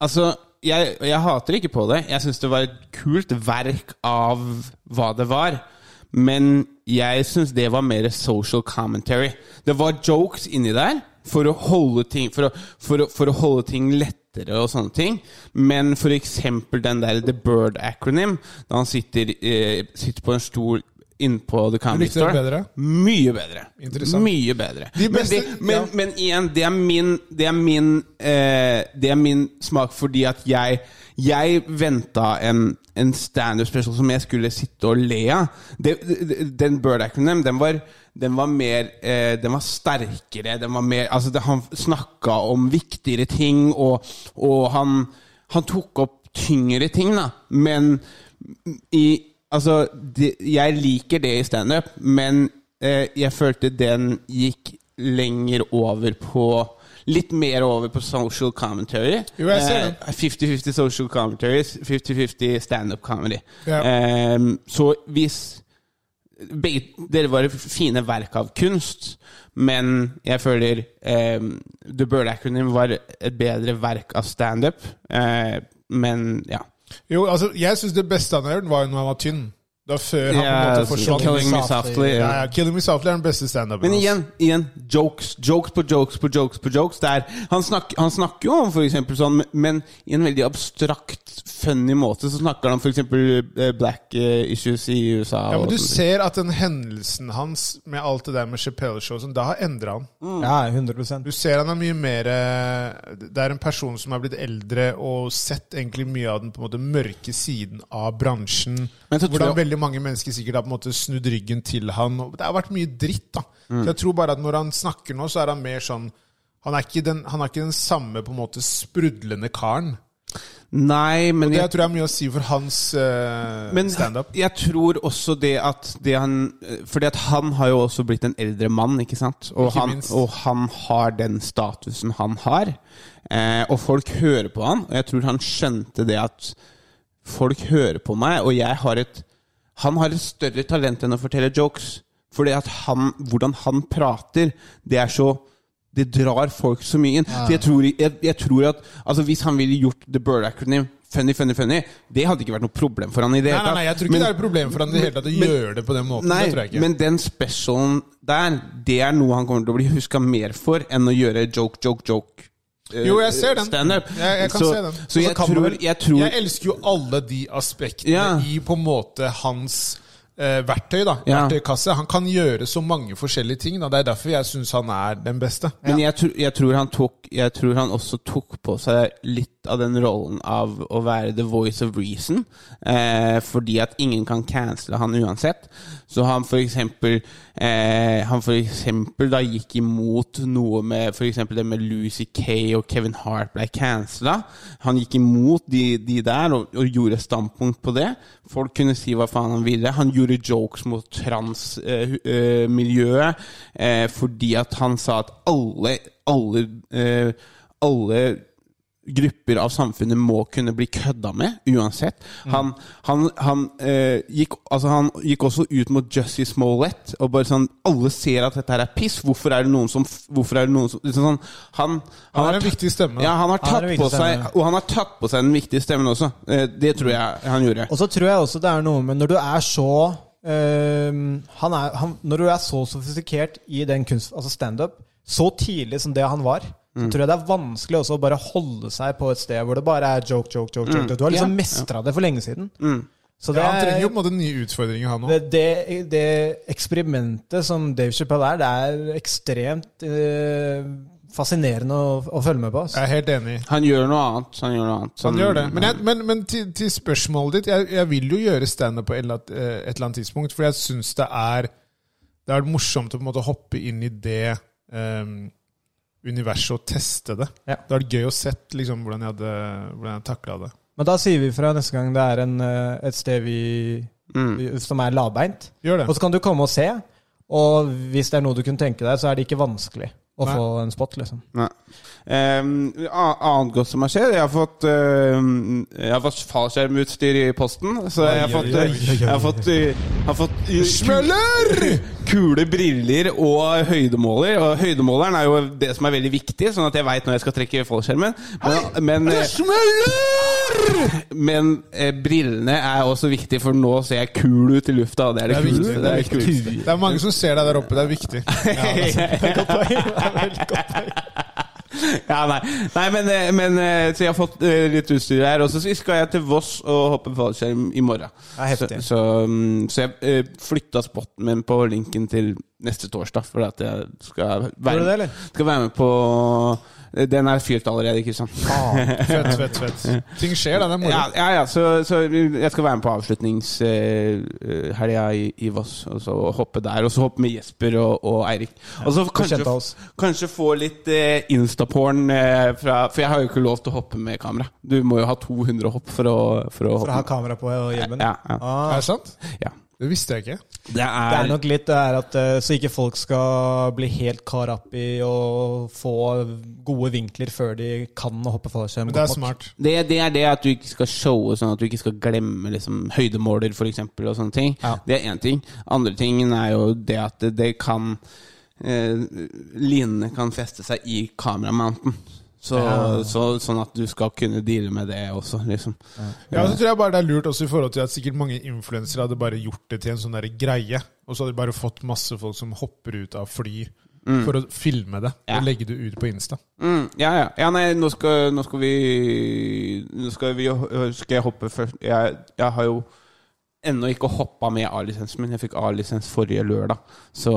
S2: Altså, jeg, jeg hater ikke på det. Jeg syns det var et kult verk av hva det var. Men jeg syns det var mer social commentary. Det var jokes inni der for å holde ting, for å, for å, for å holde ting lettere og sånne ting. Men for eksempel den der The Bird Acronym, da han sitter, eh, sitter på en stol innpå The Comedy
S3: likte den
S2: Store.
S3: bedre?
S2: Mye bedre.
S3: Interessant.
S2: Mye bedre.
S3: De beste-
S2: men, det, men,
S3: ja.
S2: men igjen, det er min, det er min, eh, det er min smak fordi at jeg, jeg venta en, en standup special som jeg skulle sitte og le av. Det- det- Den Bird Acronym, den var, den var mer eh, Den var sterkere. Den var mer, altså det, han snakka om viktigere ting, og, og han, han tok opp tyngre ting, da. Men i Altså, det, jeg liker det i standup, men eh, jeg følte den gikk lenger over på Litt mer over på social commentary.
S3: Jo, jeg ser det.
S2: Eh, 50-50 social commentaries, 50-50 standup comedy.
S3: Ja.
S2: Eh, så hvis begge, Dere var fine verk av kunst, men jeg føler eh, The Bird Acronym var et bedre verk av standup, eh, men ja.
S3: Jo, altså, jeg syns det beste han har gjort, var jo når han var tynn. Det var før han på en
S2: Ja,
S3: måte forsvant.
S2: Killing me
S1: Softly.
S2: softly.
S3: Ja,
S2: ja.
S3: ja, Killing Me Softly er den beste standupen
S2: Men
S3: hans.
S2: igjen, igjen jokes. Jokes på jokes på jokes. på jokes Det er- han, snak, han snakker jo om for eksempel sånn, men i en veldig abstrakt, funny måte så snakker han om f.eks. black eh, issues i USA.
S3: Ja, men
S2: og
S3: Du
S2: sånne ting.
S3: ser at den hendelsen hans med alt det der med Chappelle-show, og sånn, det har endra han.
S1: Ja, 100
S3: Du ser han er mye mer eh, Det er en person som er blitt eldre og sett egentlig mye av den på en måte mørke siden av bransjen.
S2: Men så tror
S3: Hvordan
S2: jeg-
S3: veldig mange mennesker sikkert har på en måte snudd ryggen til han. og Det har vært mye dritt, da.
S2: Mm.
S3: Så jeg tror bare at når han snakker nå, så er han mer sånn Han er ikke den, han er ikke den samme på en måte sprudlende karen.
S2: Nei, men
S3: Det
S2: jeg,
S3: jeg tror jeg har mye å si for hans uh,
S2: men
S3: standup.
S2: jeg tror også det at det han Fordi at han har jo også blitt en eldre mann, ikke sant? Og,
S3: Ikke
S2: han,
S3: minst.
S2: og han har den statusen han har. Eh, og folk hører på han, og jeg tror han skjønte det at folk hører på meg, og jeg har et Han har et større talent enn å fortelle jokes. Fordi at han, hvordan han prater, det er så det drar folk så mye inn. Så jeg tror, jeg, jeg tror at altså, Hvis han ville gjort The Bird Acronym funny, funny, funny, det hadde ikke vært noe problem for han i det
S3: Nei,
S2: hele
S3: nei, nei, jeg tror ikke
S2: Men-
S3: det er et problem for han i det hele tatt å
S2: men-
S3: gjøre det på den måten.
S2: Nei,
S3: det tror jeg ikke.
S2: men den specialen der, det er noe han kommer til å bli huska mer for enn å gjøre joke, joke, joke. eh,
S3: Jo, jeg ser den.
S2: Standup.
S3: Jeg- jeg kan
S2: så,
S3: se den.
S2: Så jeg
S3: Og så kan man
S2: tror,
S3: vel-
S2: jeg tror
S3: Jeg elsker jo alle de aspektene
S2: Ja.
S3: i på en måte hans eh, verktøy, da.
S2: Ja.
S3: Verktøykasse. Han kan gjøre så mange forskjellige ting. Da. Det er derfor jeg syns han er den beste.
S2: Men jeg, tror- jeg, tror han tok, jeg tror han også tok på seg litt av den rollen av å være the voice of reason, eh, fordi at ingen kan cancele han uansett. Så han for eksempel, eh, han for eksempel da gikk imot noe med for eksempel det med Lucy Kay og Kevin Hart ble cancela. Han gikk imot de, de der og, og gjorde standpunkt på det. Folk kunne si hva faen han ville. Han gjorde jokes mot transmiljøet eh, miljøet, eh, fordi at han sa at alle, alle, eh, alle grupper av samfunnet må kunne bli kødda med, uansett.
S3: Mm.
S2: Han, han, han, eh, gikk, altså han gikk også ut mot Jussie Smollett, og bare sånn Alle ser at dette her er piss, hvorfor er det noen som Hvorfor er det noen som liksom sånn, han,
S3: Han
S2: har
S3: er en
S2: tatt-
S3: viktig stemme. da.
S2: Ja, han har
S1: Han er
S2: tatt
S1: en
S2: på
S1: viktig
S2: seg
S1: stemme.
S2: Og han har tatt på seg den viktige stemmen også. Eh, Det tror jeg han gjorde.
S1: Og så tror jeg også det er noe med når du er så øhm, han er, han, Når du er så sofistikert i den kunst, altså standup, så tidlig som det han var, så tror jeg det er vanskelig også å bare holde seg på et sted hvor det bare er joke, joke, joke. joke. Du har liksom
S2: Ja.
S1: mestra det for lenge siden. Så det,
S3: Ja, han trenger
S1: er,
S3: jo på en måte nye utfordringer, han òg.
S1: det, det, det eksperimentet som Dave Chappelle er, det er ekstremt øh, fascinerende å, å følge med på. Altså.
S3: Jeg er helt enig.
S2: Han gjør noe annet. Han gjør noe annet. Sånn-
S1: Mm.
S3: Han gjør det. Men, jeg, men, men til, til spørsmålet ditt Jeg, jeg vil jo gjøre standup på et eller, annet, eh, et eller annet tidspunkt, for jeg syns det er Det er morsomt å på en måte hoppe inn i det eh, universet og teste det.
S1: Ja.
S3: Det hadde vært gøy å sett liksom, hvordan jeg hadde hvordan jeg takla det.
S1: Men da sier vi fra neste gang det er en, øh, et sted vi, vi- som er lavbeint.
S3: Gjør det.
S1: Og så kan du komme og se, og hvis det er noe du kunne tenke deg, så er det ikke vanskelig å
S3: Nei.
S1: få en spot, liksom.
S2: Nei. Em, a- annet godt som har skjedd Jeg har fått um, Jeg har fått fallskjermutstyr i posten. Så jeg har
S3: Oi,
S2: fått,
S3: oi, oi, oi, oi.
S2: jeg har fått, eh, har fått eh,
S3: Smeller!
S2: kule briller og høydemåler. Og høydemåleren er jo det som er veldig viktig, sånn at jeg veit når jeg skal trekke fallskjermen. Men, men, eh, men eh, brillene er også viktig, for nå ser jeg kul ut i lufta. og Det er det,
S3: Det er viktig,
S2: kuleste. Det er det kuleste.
S3: Det er mange som ser deg der oppe. Det er viktig.
S1: altså.
S2: ja, nei. nei men, eh, men eh, Så jeg har fått eh, litt utstyr her. Og så skal jeg til Voss og hoppe fallskjerm i morgen.
S1: er
S2: Så,
S1: heftig.
S2: så, mm, så jeg eh, flytta spotten min på linken til neste torsdag, for at jeg skal
S1: Gjorde du det,
S2: være,
S1: eller?
S2: skal være med på Den er fyrt allerede, ikke sant?
S3: Fett, fett, fett. Ting skjer, da. Det er moro.
S2: Ja, ja, ja så, så jeg skal være med på avslutningshelga i, i Voss. Og så hoppe der. Og så hoppe med Jesper og, og Eirik. Og så kanskje,
S1: bekjente av oss.
S2: kanskje få litt eh, instaporn eh, fra For jeg har jo ikke lov til å hoppe med kamera. Du må jo ha 200 hopp for å, for å
S1: For å ha
S2: hoppe.
S1: kamera på og hjemmen.
S2: Ja, ja.
S1: Ah,
S3: Er det sant?
S2: ja.
S3: Det visste jeg ikke.
S2: Det er,
S1: det er nok litt det er at eh, så ikke folk skal bli helt caught up i å få gode vinkler før de kan å hoppe fallskjerm.
S3: Men det
S1: godt
S3: er
S1: nok.
S3: smart.
S2: det, det er det at du ikke skal showe, sånn at du ikke skal glemme liksom, høydemåler for eksempel, og sånne ting.
S1: Ja.
S2: Det er én ting. Andre tingen er jo det at det, det kan eh, Linene kan feste seg i kameramounten. Så, så, sånn at du skal kunne deale med det også, liksom.
S3: Ja, og så tror jeg bare det er lurt også i forhold til at sikkert mange influensere hadde bare gjort det til en sånn der greie, og så hadde de bare fått masse folk som hopper ut av fly
S1: Mm.
S3: for å filme det
S2: Ja.
S3: og legge det ut på Insta.
S2: Mm, ja, ja. ja, nei, nå skal, nå skal vi Nå skal, vi, øh, skal jeg hoppe først Jeg, jeg har jo ennå ikke hoppa med A-lisensen min. Jeg fikk A-lisens forrige lørdag. Så,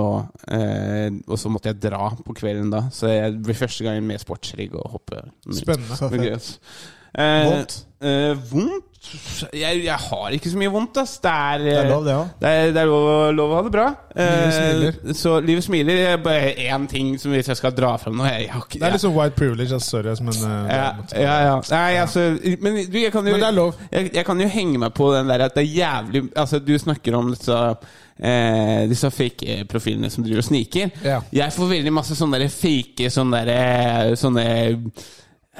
S2: eh, og så måtte jeg dra på kvelden da. Så jeg blir første gangen med sportsrigg og hoppe.
S3: Spennende.
S1: Så
S2: Med
S1: fett.
S2: gress. Eh,
S1: Vondt?
S2: Eh, vondt? Jeg, jeg har ikke så mye vondt, ass. Det er,
S1: Det er
S2: eh,
S1: lov, det òg.
S2: det er, det er lov, å- lov å ha det bra.
S3: Livet
S2: Eh,
S3: smiler.
S2: så livet smiler. Det er Bare én ting som hvis jeg skal dra fram nå jeg, jeg, har ikke-
S3: Det er
S2: jeg-
S3: litt sånn white privilege, altså, sorry, ass, men, eh,
S2: ja, ja, ja. Nei, altså Men du, jeg kan jo
S3: Men det er lov.
S2: Jeg, jeg kan jo henge meg på den der at det er jævlig Altså, du snakker om disse eh, Disse fake-profilene som driver og sniker.
S3: Ja.
S2: Jeg får veldig masse sånne der fake sånne der, eh, Sånne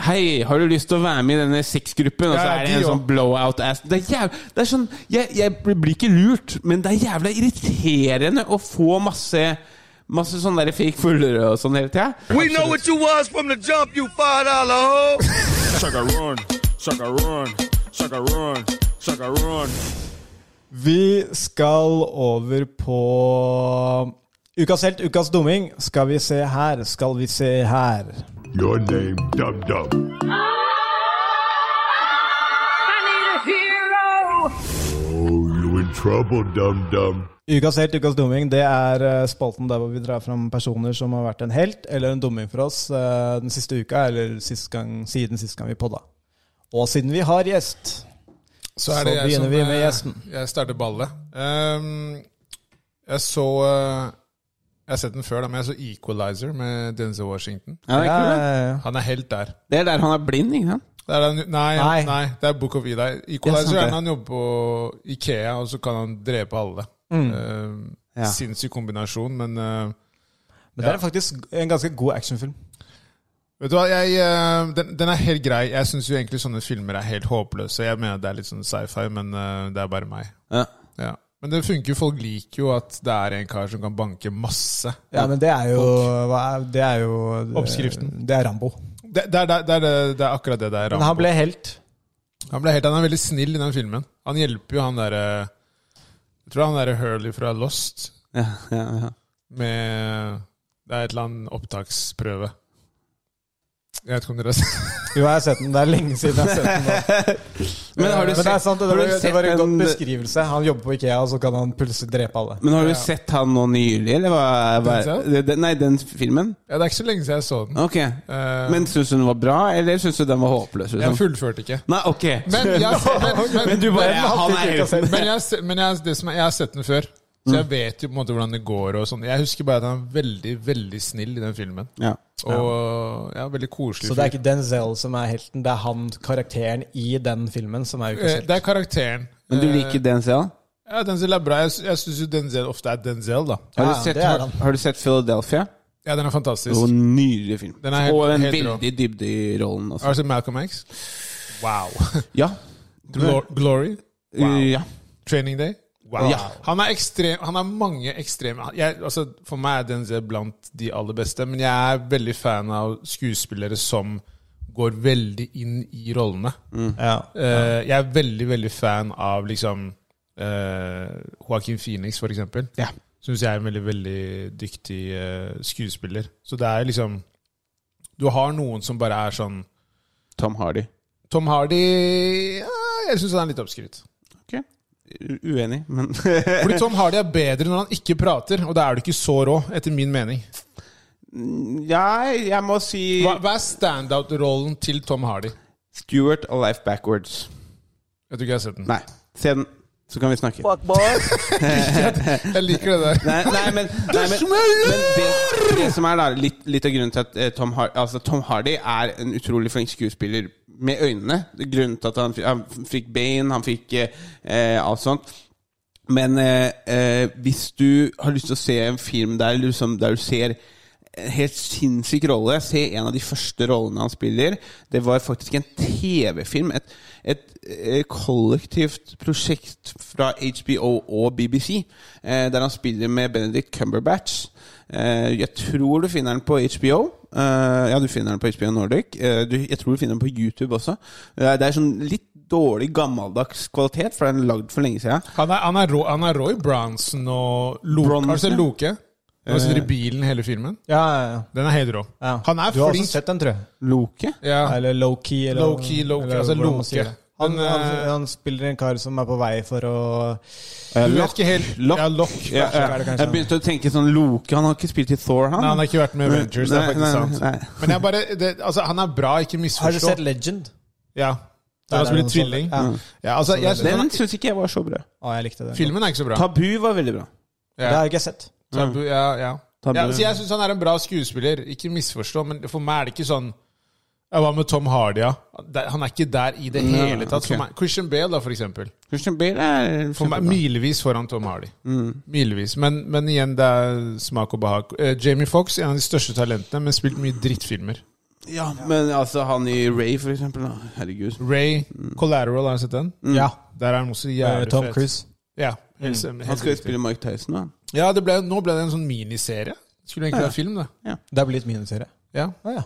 S2: Hei, har du lyst til å være med i denne sexgruppen? Og så
S3: Ja,
S2: er det
S3: de
S2: en
S3: også.
S2: sånn blowout-ass. Det, er jæv- det er sånn Jeg, jeg blir ikke lurt, men det er jævla irriterende å få masse Masse sånne der fake fuglere og sånn hele tida.
S5: We know what you was from the jump, you five dollar hoe.
S7: Sucker run, sucker run, sucker run, sucker run.
S1: Vi skal over på um, Ukas helt, ukas dumming. Skal vi se her, skal vi se her.
S8: Your name, Dub Dub. Oh, you in trouble, Dum Dum.
S1: Ukas helt, ukas dumming, det er eh, spalten der hvor vi drar fram personer som har vært en helt eller en dumming for oss eh, den siste uka, eller sist gang, siden sist gang vi podda. Og siden vi har gjest.
S3: Så,
S1: Så begynner vi med
S3: eh,
S1: gjesten.
S3: Jeg starter ballet. Ehm, jeg så eh, Jeg har sett den før, da, men jeg så Equalizer med Denzel Washington.
S2: Ja, det, er kult, da.
S1: Eh,
S3: Han er helt der.
S2: det er der han er blind, ikke sant?
S3: Det er den, nei,
S1: Nei.
S3: nei. det er Book of Eli.
S1: Ja, sant
S3: Equalizer
S1: det.
S3: er når han jobber på Ikea, og så kan han drepe alle.
S1: Mm.
S3: Ehm,
S2: Ja.
S3: Sinnssyk kombinasjon, men eh,
S1: men det er faktisk en ganske god actionfilm.
S3: Vet du hva, jeg, eh, den, den er helt grei. Jeg syns jo egentlig sånne filmer er helt håpløse. Jeg mener det er litt sånn sci-fi, men eh, det er bare meg.
S2: Ja.
S3: Ja. Men det funker jo. Folk liker jo at det er en kar som kan banke masse.
S1: Ja, men det er jo, hva er, det er jo eh,
S3: Oppskriften.
S1: Det er Rambo.
S3: Det, det, er, det, er, det, er, det- det er akkurat det det er.
S1: Men han
S3: Rambo.
S1: ble helt.
S3: Han, ble helt, han er veldig snill i den filmen. Han hjelper jo han derre Jeg tror han derre Hurley fra Lost
S2: Ja, ja, ja.
S3: med Det er et eller annet opptaksprøve. Jeg vet ikke om dere har sett
S1: Jo, jeg har sett den. Det er lenge siden jeg har sett den. nå.
S2: Men har
S1: Men
S2: du
S1: det er
S2: sett,
S1: sant, det
S2: har
S1: var,
S2: du
S1: det
S2: sett
S1: var en
S2: en-
S1: godt beskrivelse. Han jobber på Ikea, og så kan han plutselig drepe alle.
S2: men har du sett han nå nylig, eller hva? hva
S3: Den
S2: det- nei, den filmen?
S3: ja, Det er ikke så lenge siden jeg så den.
S2: Ok.
S3: Eh,
S2: Men syns du den var bra, eller syns du den var håpløs?
S3: jeg
S2: Liksom?
S3: fullførte ikke.
S2: Nei, ok.
S3: Men, jeg, har se- men, men,
S2: Men du bare
S3: men-
S2: Han er
S1: ikke
S2: helten.
S3: Men, jeg, har se- men jeg, har- det som er, jeg har sett den før, så jeg vet jo på en måte hvordan det går. og sånn. Jeg husker bare at han er veldig veldig snill i den filmen.
S2: Ja.
S3: Og ja, veldig koselig.
S1: Så det er ikke Denzel som er helten, det er han karakteren i den filmen som er
S3: fyr. Eh,
S1: ukas helt.
S3: det er karakteren.
S2: Men du
S3: Eh,
S2: liker den serien?
S3: Ja, Denzel er bra. Jeg, sy- jeg syns jo Denzel ofte er Denzel, da.
S1: Ja,
S2: Har, du sett-
S1: det er
S2: har,
S1: han.
S2: har du sett Philadelphia?
S3: Ja, den er fantastisk.
S2: Og en nydelig film.
S3: Den er helt-
S2: og en
S3: helt rå.
S2: veldig dybde i rollen.
S3: Har
S2: Altså.
S3: du sett Malcolm X? Wow.
S2: Ja.
S3: Glor Glory?
S2: Uh, ja.
S3: Training Day? Wow.
S2: Ja.
S3: Han er ekstrem, han har mange ekstreme jeg, altså, For meg er Denzel blant de aller beste, men jeg er veldig fan av skuespillere som går veldig inn i rollene.
S1: Ja.
S3: Eh, jeg er veldig, veldig fan av liksom eh, Joaquin Phoenix, for eksempel.
S2: Ja.
S3: Syns jeg er en veldig, veldig dyktig eh, skuespiller. Så det er liksom Du har noen som bare er sånn
S2: Tom Hardy.
S3: Tom Hardy ja, Jeg syns han er litt oppskrytt.
S2: Ok. U- Uenig, men
S3: Fordi Tom Hardy er bedre når han ikke prater, og da er du ikke så rå, etter min mening.
S2: Ja, jeg må si
S3: Hva, hva er standout-rollen til Tom Hardy?
S2: Stuart A Life Backwards.
S3: Jeg tror ikke jeg har sett den.
S2: Nei, se den, så kan vi snakke.
S5: Fuck boy.
S3: Jeg liker det der.
S2: Nei, nei, men, nei, men, men det, det som er da litt, litt av grunnen til at eh, Tom, Har altså, Tom Hardy er en utrolig flink skuespiller med øynene. Grunnen til at han, fi- han fikk Bane, han fikk eh, eh, alt sånt. Men eh, eh, hvis du har lyst til å se en film der, liksom, der du ser en helt sinnssyk rolle Se en av de første rollene han spiller. Det var faktisk en TV-film. Et, et, eh, kollektivt prosjekt fra HBO og BBC. Eh, der han spiller med Benedict Cumberbatch. Eh, jeg tror du finner den på HBO. Eh, ja, du finner den på HBO Nordic. Eh, du, jeg tror du finner den på YouTube også. Eh, det er sånn litt dårlig gammeldags kvalitet, for den er lagd for lenge siden.
S3: Han er, han er, rå, han er rå i Bronson og Loke.
S2: Bronson,
S3: Har du sett
S2: ja.
S3: Loke? Han sitter i bilen hele filmen.
S1: Ja, ja, ja.
S3: Den er helt rå.
S1: ja.
S3: Han er
S1: du har også
S3: flink.
S1: sett den, tror jeg.
S2: Loke?
S3: Ja.
S1: Eller low-key. eller-
S3: Low-key, low-key,
S1: eller
S3: altså
S1: hvordan man
S3: Loke.
S1: sier det. Han,
S3: Men,
S1: han,
S3: eh,
S1: han spiller en kar som er på vei for å
S3: Du vet ikke helt
S2: Lock.
S3: Ja, Lock.
S2: Ja,
S3: Nei,
S1: er det
S2: ja.
S1: kanskje
S2: Jeg
S1: han.
S2: begynte å tenke sånn Loke Han har ikke spilt i Thor, han?
S3: han har ikke vært med i Avengers, det er faktisk sant.
S2: nei.
S3: Men jeg bare, det, altså, han er bra, ikke
S1: Har du
S3: misforstå.
S1: sett Legend? Mm.
S3: Ja.
S1: Der
S3: Han
S1: er
S3: spiller
S1: noen
S3: tvilling.
S1: sånne-
S3: Ja, altså, jeg,
S1: Så
S2: Den
S3: han,
S2: syns ikke jeg var så bra.
S1: Ja, å, jeg likte den.
S3: filmen er ikke så bra.
S2: Tabu var veldig bra.
S1: Det
S3: Ja,
S1: har jeg ikke sett.
S3: tabu,
S2: Mm.
S3: ja, ja.
S2: Tabu.
S3: ja så jeg syns han er en bra skuespiller. Ikke misforstå, men for meg er det ikke sånn ja, Hva med Tom Hardy? Ja? Der- Han er ikke der i det
S2: Nei,
S3: hele tatt.
S2: ok.
S3: For meg. Christian Bale, da, for eksempel.
S2: Christian Bale er
S3: For meg, milevis foran Tom Hardy.
S2: Mm.
S3: Milevis. Men, men igjen, det er smak og behag. Eh, Jamie Fox, en av de største talentene, men spilt mye drittfilmer.
S2: Ja, men altså han i Ray, for eksempel. Da. Herregud.
S3: Ray
S2: Mm.
S3: Collateral, har du sett den?
S1: Ja.
S3: Der er han også
S1: Eh,
S3: jævlig
S1: Tom
S3: fet.
S1: Cruise. Mm.
S3: Ja, helt, helt
S2: Han skal jo
S3: riktig.
S2: spille Mike Tyson, da.
S3: ja det ble, nå ble det en sånn miniserie Skulle egentlig være film, det.
S1: Det er blitt miniserie.
S3: Ja,
S1: Å ja.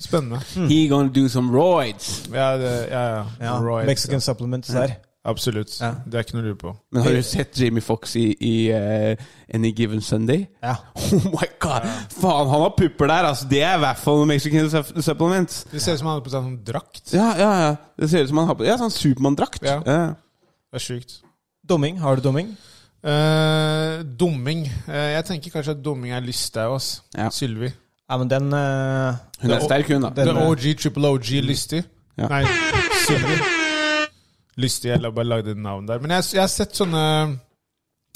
S3: Spennende.
S2: He gonna do some roids.
S3: Ja, det, ja, ja.
S1: ja. Mm.
S3: Right.
S1: Mexican supplements der.
S3: Absolutt.
S1: Ja.
S3: Det er ikke noe å lure på.
S2: Men har du sett Jamie Foxx i, i eh, Any Given Sunday?
S1: Ja.
S2: Oh my god! Faen, han har pupper der! altså Det er i hvert fall Mexican sup- supplements.
S3: Det ser ut som han hadde på seg en sånn drakt.
S2: Ja, ja, ja. Det ser ut som han har på Ja, sånn Supermann-drakt.
S3: Ja.
S2: Ja.
S3: Det er sjukt.
S1: Domming. Har du domming?
S3: Eh, dumming. Eh, jeg tenker kanskje at dumming er Lysthaug, ass.
S2: Ja.
S3: Sylvi.
S1: Ja, men den eh,
S2: Hun er sterk, hun, da.
S1: den,
S3: The
S1: eh,
S3: OG Triple OG Lystig.
S2: Ja.
S3: Nei, Sylvi. Lystig. Jeg la- bare lagde et navn der. Men jeg, jeg har sett sånne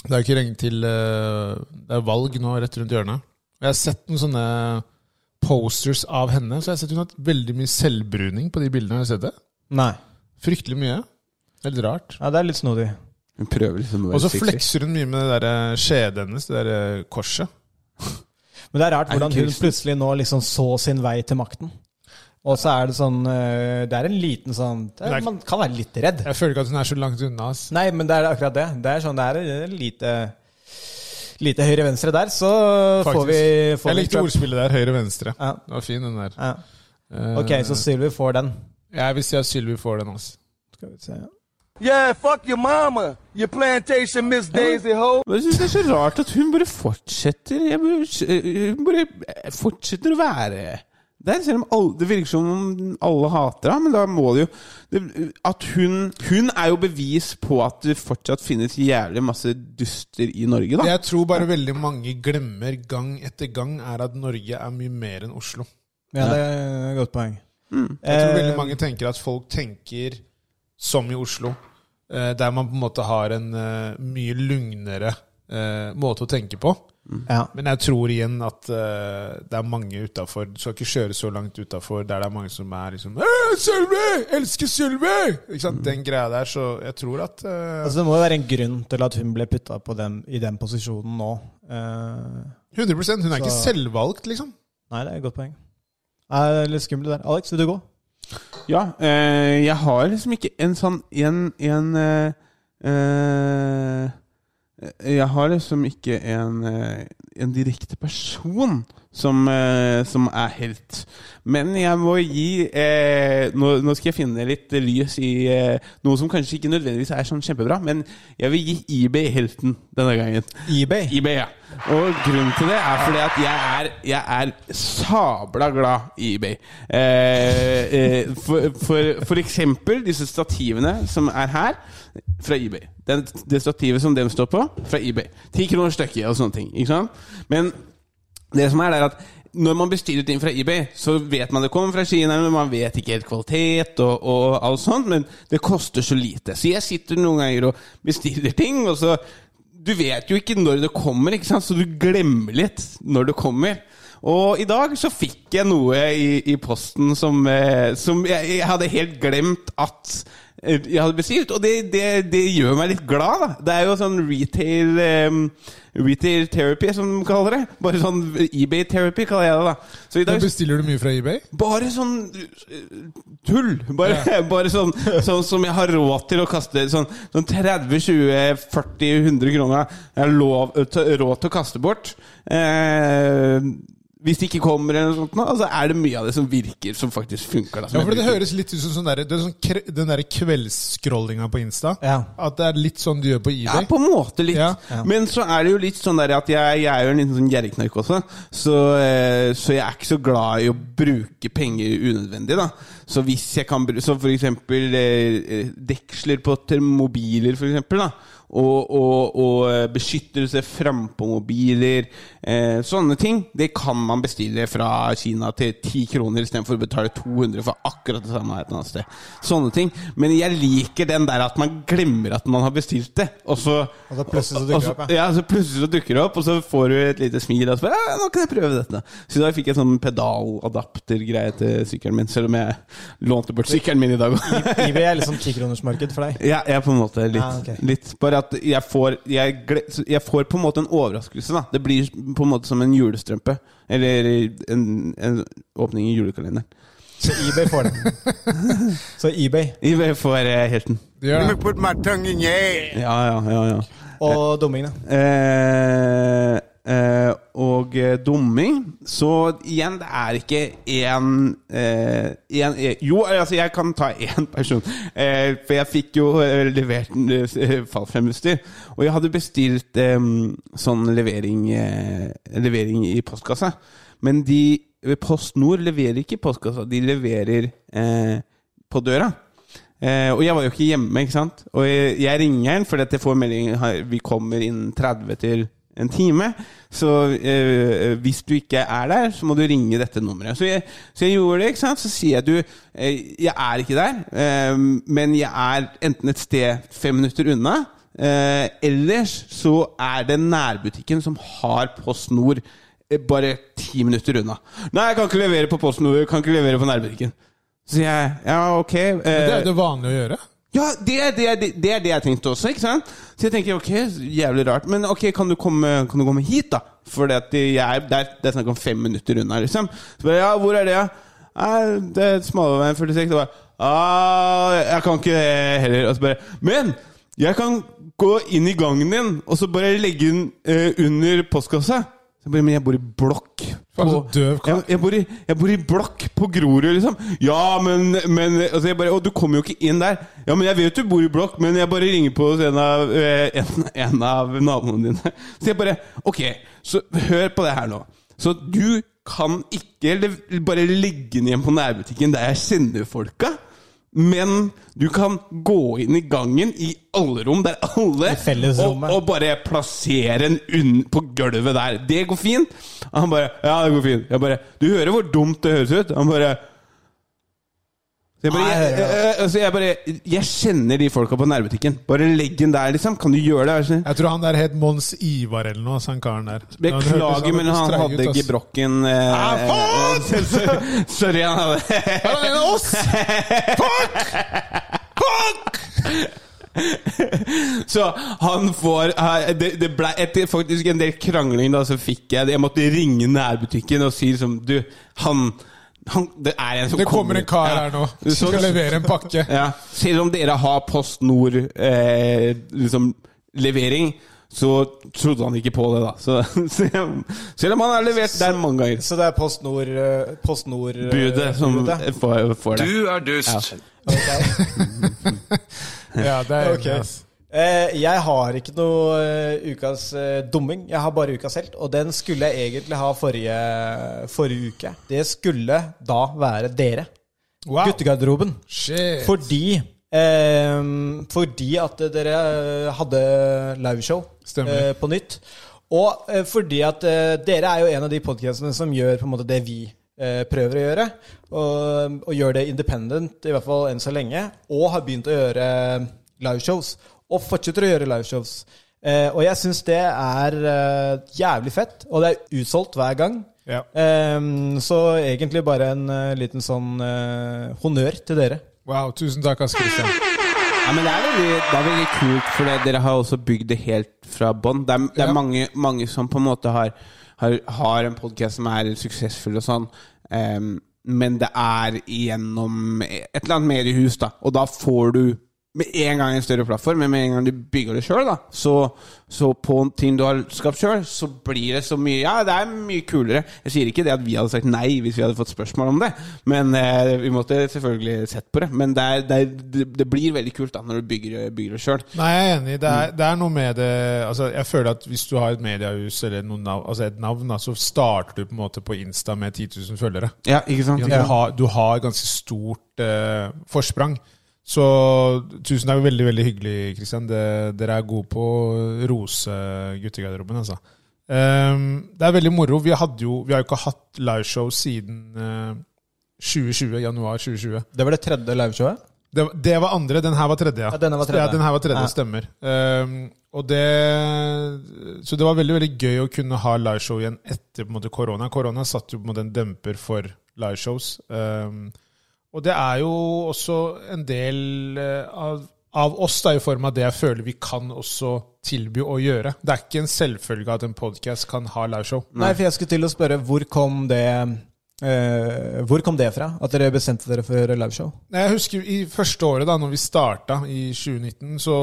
S3: Det er jo ikke lenge til eh, Det er valg nå rett rundt hjørnet. Og jeg har sett noen sånne posters av henne. Så jeg har sett hun har hatt veldig mye selvbruning på de bildene. Har du sett det?
S1: Nei.
S3: Fryktelig mye. Helt rart.
S1: Ja, det er litt snodig.
S2: Hun prøver liksom å
S3: Og
S2: være
S3: så
S2: sexy.
S3: flekser hun mye med det der eh, skjedet hennes, det der eh, korset.
S1: Men det er rart
S2: Er hun
S1: hvordan hun
S2: kristen?
S1: plutselig nå liksom så sin vei til makten. Og så er det sånn eh, Det er en liten sånn det
S3: Det
S1: er,
S3: er-
S1: Man kan være litt redd.
S3: Jeg føler ikke at hun er så langt unna. ass.
S1: Nei, men det er akkurat det. Det er sånn det er eh, lite Lite høyre-venstre der, så får
S3: Faktisk.
S1: vi får
S3: Jeg
S1: vi
S3: likte
S1: Trump.
S3: ordspillet der, høyre-venstre.
S1: Ja.
S3: Det var fin, den der.
S1: Ja.
S3: Eh,
S1: Ok, så Sylvi får den.
S3: Jeg vil si at Sylvi får den. ass.
S1: Skal vi se.
S5: Yeah, fuck your mama. Your plantation, Miss Daisy Ho.
S2: Men Jeg synes det er så rart at hun bare fortsetter jeg bare, Hun bare fortsetter å være der, selv om alle, det virker som om alle hater henne. Men da må det jo det, At hun Hun er jo bevis på at det fortsatt finnes jævlig masse duster i Norge, da.
S3: Det jeg tror bare veldig mange glemmer gang etter gang, er at Norge er mye mer enn Oslo.
S1: Ja, det er et godt poeng.
S3: Mm, Jeg tror
S1: Eh,
S3: veldig mange tenker at folk tenker som i Oslo, eh, der man på en måte har en eh, mye lugnere eh, måte å tenke på.
S1: Eh, ja.
S3: Men jeg tror igjen at eh, det er mange utafor. Du skal ikke kjøre så langt utafor der det er mange som er liksom «Æ, Sylvi! Elsker Sylvi! Ikke sant? Den greia der. Så jeg tror at eh,
S1: Altså, det må jo være en grunn til at hun ble putta på den, i den posisjonen nå. Eh,
S3: 100 Hun er ikke
S1: så-
S3: selvvalgt, liksom.
S1: nei, det er et godt poeng. Nei, det er litt skummelt der. Alex, vil du gå?
S2: Ja, eh, jeg har liksom ikke en sånn En, en eh, eh, Jeg har liksom ikke en, eh, en direkte person som, eh, som er helt. Men jeg må gi eh, nå, nå skal jeg finne litt lys i eh, noe som kanskje ikke nødvendigvis er sånn kjempebra, men jeg vil gi eBay helten denne gangen.
S1: eBay.
S2: eBay, ja. Og grunnen til det er fordi at jeg er, jeg er sabla glad i eBay. Eh, eh, for, for, for eksempel disse stativene som er her, fra eBay. Den, det stativet som dem står på, fra eBay. Ti kroner stykket og sånne ting. Ikke sant? Men det som er, det er at når man bestiller ting fra eBay, så vet man det kommer fra Kina, men man vet ikke helt kvalitet og, og alt sånt, men det koster så lite. Så jeg sitter noen ganger og bestiller ting, og så Du vet jo ikke når det kommer, ikke sant? så du glemmer litt når det kommer. Og i dag så fikk jeg noe i, i posten som, eh, som jeg, jeg hadde helt glemt at eh, jeg hadde bestilt, og det, det, det gjør meg litt glad, da. Det er jo sånn retail em, Retail therapy, som de kaller det. Bare sånn eBay-therapy, kaller jeg det. da Så i
S3: Men
S2: dag
S3: bestiller du mye fra eBay?
S2: bare sånn eh, tull. Bare, bare sånn, sånn som jeg har råd til å kaste. Sånn, sånn 30-20-40-100 kroner jeg har lov, t- råd til å kaste bort. Eh, hvis det ikke kommer, eller noe sånt, nå, så er det mye av det som virker, som faktisk funker. Da, som
S3: Ja, for
S2: jeg
S3: Det
S2: bruker.
S3: høres litt ut som sånn der, det er sånn kre, den derre kveldscrollinga på Insta.
S1: Ja.
S3: At det er litt sånn du gjør på
S2: Ja,
S3: eBay.
S2: på en måte litt.
S3: Ja.
S2: Men så er det jo litt sånn der at jeg, jeg er jo en liten sånn gjerrigknark også, så, eh, så jeg er ikke så glad i å bruke penger unødvendig, da. Så hvis jeg kan bruke Så for eksempel eh, eh, deksler på til mobiler, for eksempel, da. Og, og, og eh, beskyttelse frampå mobiler. Eh, sånne ting. Det kan man bestille fra Kina til 10 kroner istedenfor å betale 200 for akkurat det samme et annet sted. Sånne ting. Men jeg liker den der at man glemmer at man har bestilt det, og så
S1: Og så plutselig så dukker det
S2: og-
S1: opp,
S2: ja. så plutselig så dukker det opp, og så får du et lite smil. Og så bare, «Ja, nå kan jeg prøve dette Så da fikk jeg sånn pedaladapter-greie til sykkelen min, selv om jeg lånte bort sykkelen min i dag òg.
S1: eBay er liksom tikronersmarked for deg.
S2: Ja, jeg er på en måte litt,
S1: Ah, ok.
S2: litt Bare at jeg får jeg, gle- jeg får på en måte en overraskelse, da. Det blir på en måte som en julestrømpe. Eller en, en åpning i julekalenderen.
S1: Så eBay får den. Så eBay
S2: Jeg får eh, helten.
S3: Du gjør det.
S7: me put my tongue in your ass.
S2: Ja, ja, ja. ja.
S1: og dummingene.
S2: Eh, eh, og eh, dumming. Så igjen, det er ikke én eh, en- eh, Jo, altså, jeg kan ta én person. Eh, for jeg fikk jo eh, levert en, eh, fallskjermutstyr. Og jeg hadde bestilt eh, sånn levering, eh, levering i postkassa. Men de eh, Post Nord leverer ikke i postkassa, de leverer eh, på døra. Eh, og jeg var jo ikke hjemme, ikke sant? Og jeg, jeg ringer han fordi at jeg får melding «Hei, vi kommer innen 30 til en time. Så eh, hvis du ikke er der, så må du ringe dette nummeret. Så jeg, så jeg gjorde det, ikke sant? Så sier jeg du, eh, jeg er ikke der, eh, men jeg er enten et sted fem minutter unna, eh, ellers så er det nærbutikken som har Post Nord eh, bare ti minutter unna. Nei, jeg kan ikke levere på Post Nord, jeg kan ikke levere på nærbutikken. Så sier jeg ja, ok.
S3: Det er
S2: eh,
S3: jo det vanlige å gjøre.
S2: ja, det er det, er- det, er det jeg tenkte også, ikke sant? Så jeg tenker, ok, jævlig rart, men ok, kan du komme, kan du komme hit da? For det, er, det er- det er snakk om fem minutter unna, liksom. Så bare, ja, hvor er det, ja? Nei, det er Smalaveien 46. Og bare, ah, jeg kan ikke det heller. Og så bare, men jeg kan gå inn i gangen din, og så bare legge den eh, under postkassa. Så jeg bare, men jeg bor i blokk.
S3: Faen, så
S2: på-
S3: døv kar.
S2: Jeg, jeg bor, i, jeg bor i blokk på Grorud, liksom. Ja, men, men altså jeg bare, Og du kommer jo ikke inn der. Ja, men jeg vet du bor i blokk, men jeg bare ringer på hos en av, eh, en, en av naboene dine. Så jeg bare Ok, så hør på det her nå. Så du kan ikke lev- bare legge den igjen på nærbutikken der jeg kjenner folka. Men du kan gå inn i gangen i alle rom, der alle
S1: I fellesrommet.
S2: Og, og bare plassere den unn på gulvet der. Det går fint. Og han bare Ja, det går fint. Jeg bare Du hører hvor dumt det høres ut? Han bare så jeg bare,
S1: Nei,
S2: jeg,
S1: ja.
S2: jeg, altså jeg bare Jeg kjenner de folka på nærbutikken. Bare legg den der, liksom. Kan du gjøre det? Er du snill?
S3: Jeg tror han der het Mons Ivar eller noe, han karen der. Han hørtes-
S2: Beklager, men
S3: hørtes
S2: han
S3: streng
S2: hadde
S3: ut, ass.
S2: gebrokken eh,
S3: Ah, faen!
S2: eh, Sorry, han hadde
S3: Er han en av oss?
S2: Så han får eh, Det, det ble etter faktisk en del krangling, da, så fikk jeg Jeg måtte ringe nærbutikken og si liksom Du, han, han Det er en som
S3: Det kommer en kar
S2: Ja.
S3: her nå som
S2: Så-
S3: skal levere en pakke.
S2: Ja. Selv om dere har Post Nord eh, liksom, levering, så trodde han ikke på det, da. Så, selv om han har levert der mange ganger.
S1: Så det er Post Nord eh, Post Nord eh,
S2: Budet som
S1: budet.
S2: får, får det.
S5: Du er dust.
S1: Ok.
S3: Ja, det er
S1: Ok. Eh, jeg har ikke noe eh, ukas eh, dumming. Jeg har bare ukas helt. Og den skulle jeg egentlig ha forrige, forrige uke. Det skulle da være dere.
S3: Wow.
S1: Guttegarderoben.
S3: Shit.
S1: Fordi ehm, Fordi at dere hadde liveshow
S3: Stemmer.
S1: eh, på nytt. Og eh, fordi at eh, dere er jo en av de podkastene som gjør på en måte det vi eh, prøver å gjøre. Og, og gjør det independent, i hvert fall enn så lenge. Og har begynt å gjøre liveshows. Og fortsetter å gjøre liveshows. Eh, og jeg syns det er eh, jævlig fett. Og det er utsolgt hver gang.
S3: Ja.
S1: Ehm, så egentlig bare en eh, liten sånn eh, honnør til dere.
S3: Wow, tusen takk, Ass Christian.
S2: Ja, men det er veldig, det er veldig kult, for det, dere har også bygd det helt fra bånn. Det er, det er
S3: Ja.
S2: mange, mange som på en måte har, har, har en podkast som er suksessfull og sånn. em, men det er gjennom et eller annet mediehus, da. Og da får du med en gang en større plattform, men med en gang du bygger det sjøl, da. Så, så på ting du har skapt sjøl, så blir det så mye Ja, det er mye kulere. Jeg sier ikke det at vi hadde sagt nei hvis vi hadde fått spørsmål om det, men eh, vi måtte selvfølgelig sett på det. Men det, er, det, er, det, det blir veldig kult da når du bygger, bygger det sjøl.
S3: Nei, jeg er enig. Det er, det er noe med det altså, Jeg føler at hvis du har et mediehus eller noen nav, altså et navn, da, så starter du på en måte på Insta med 10 000 følgere.
S2: Ja, ikke sant?
S3: Du har, du har ganske stort eh, forsprang. Så tusen takk. Veldig veldig hyggelig, Kristian. Dere er gode på å rose guttegarderoben, altså. Ehm, det er veldig moro. Vi, hadde jo, vi har jo ikke hatt liveshow siden eh, 2020, januar 2020.
S1: Det var det tredje liveshowet.
S3: Det, det var andre, den her var tredje. Ja,
S1: Ja, denne var tredje.
S3: Ja, den her var tredje,
S1: Ja.
S3: stemmer. Ehm, og det, så det var veldig veldig gøy å kunne ha liveshow igjen etter på en måte, korona. Korona satt jo på en måte en demper for liveshows. Ehm, og det er jo også en del eh, av, av oss da, i form av det jeg føler vi kan også tilby å gjøre. Det er ikke en selvfølge at en podkast kan ha liveshow.
S1: Nei, for jeg skulle til å spørre hvor kom det eh, Hvor kom det fra? At dere bestemte dere for å gjøre liveshow?
S3: Nei, Jeg husker I første året, da når vi starta i 2019, så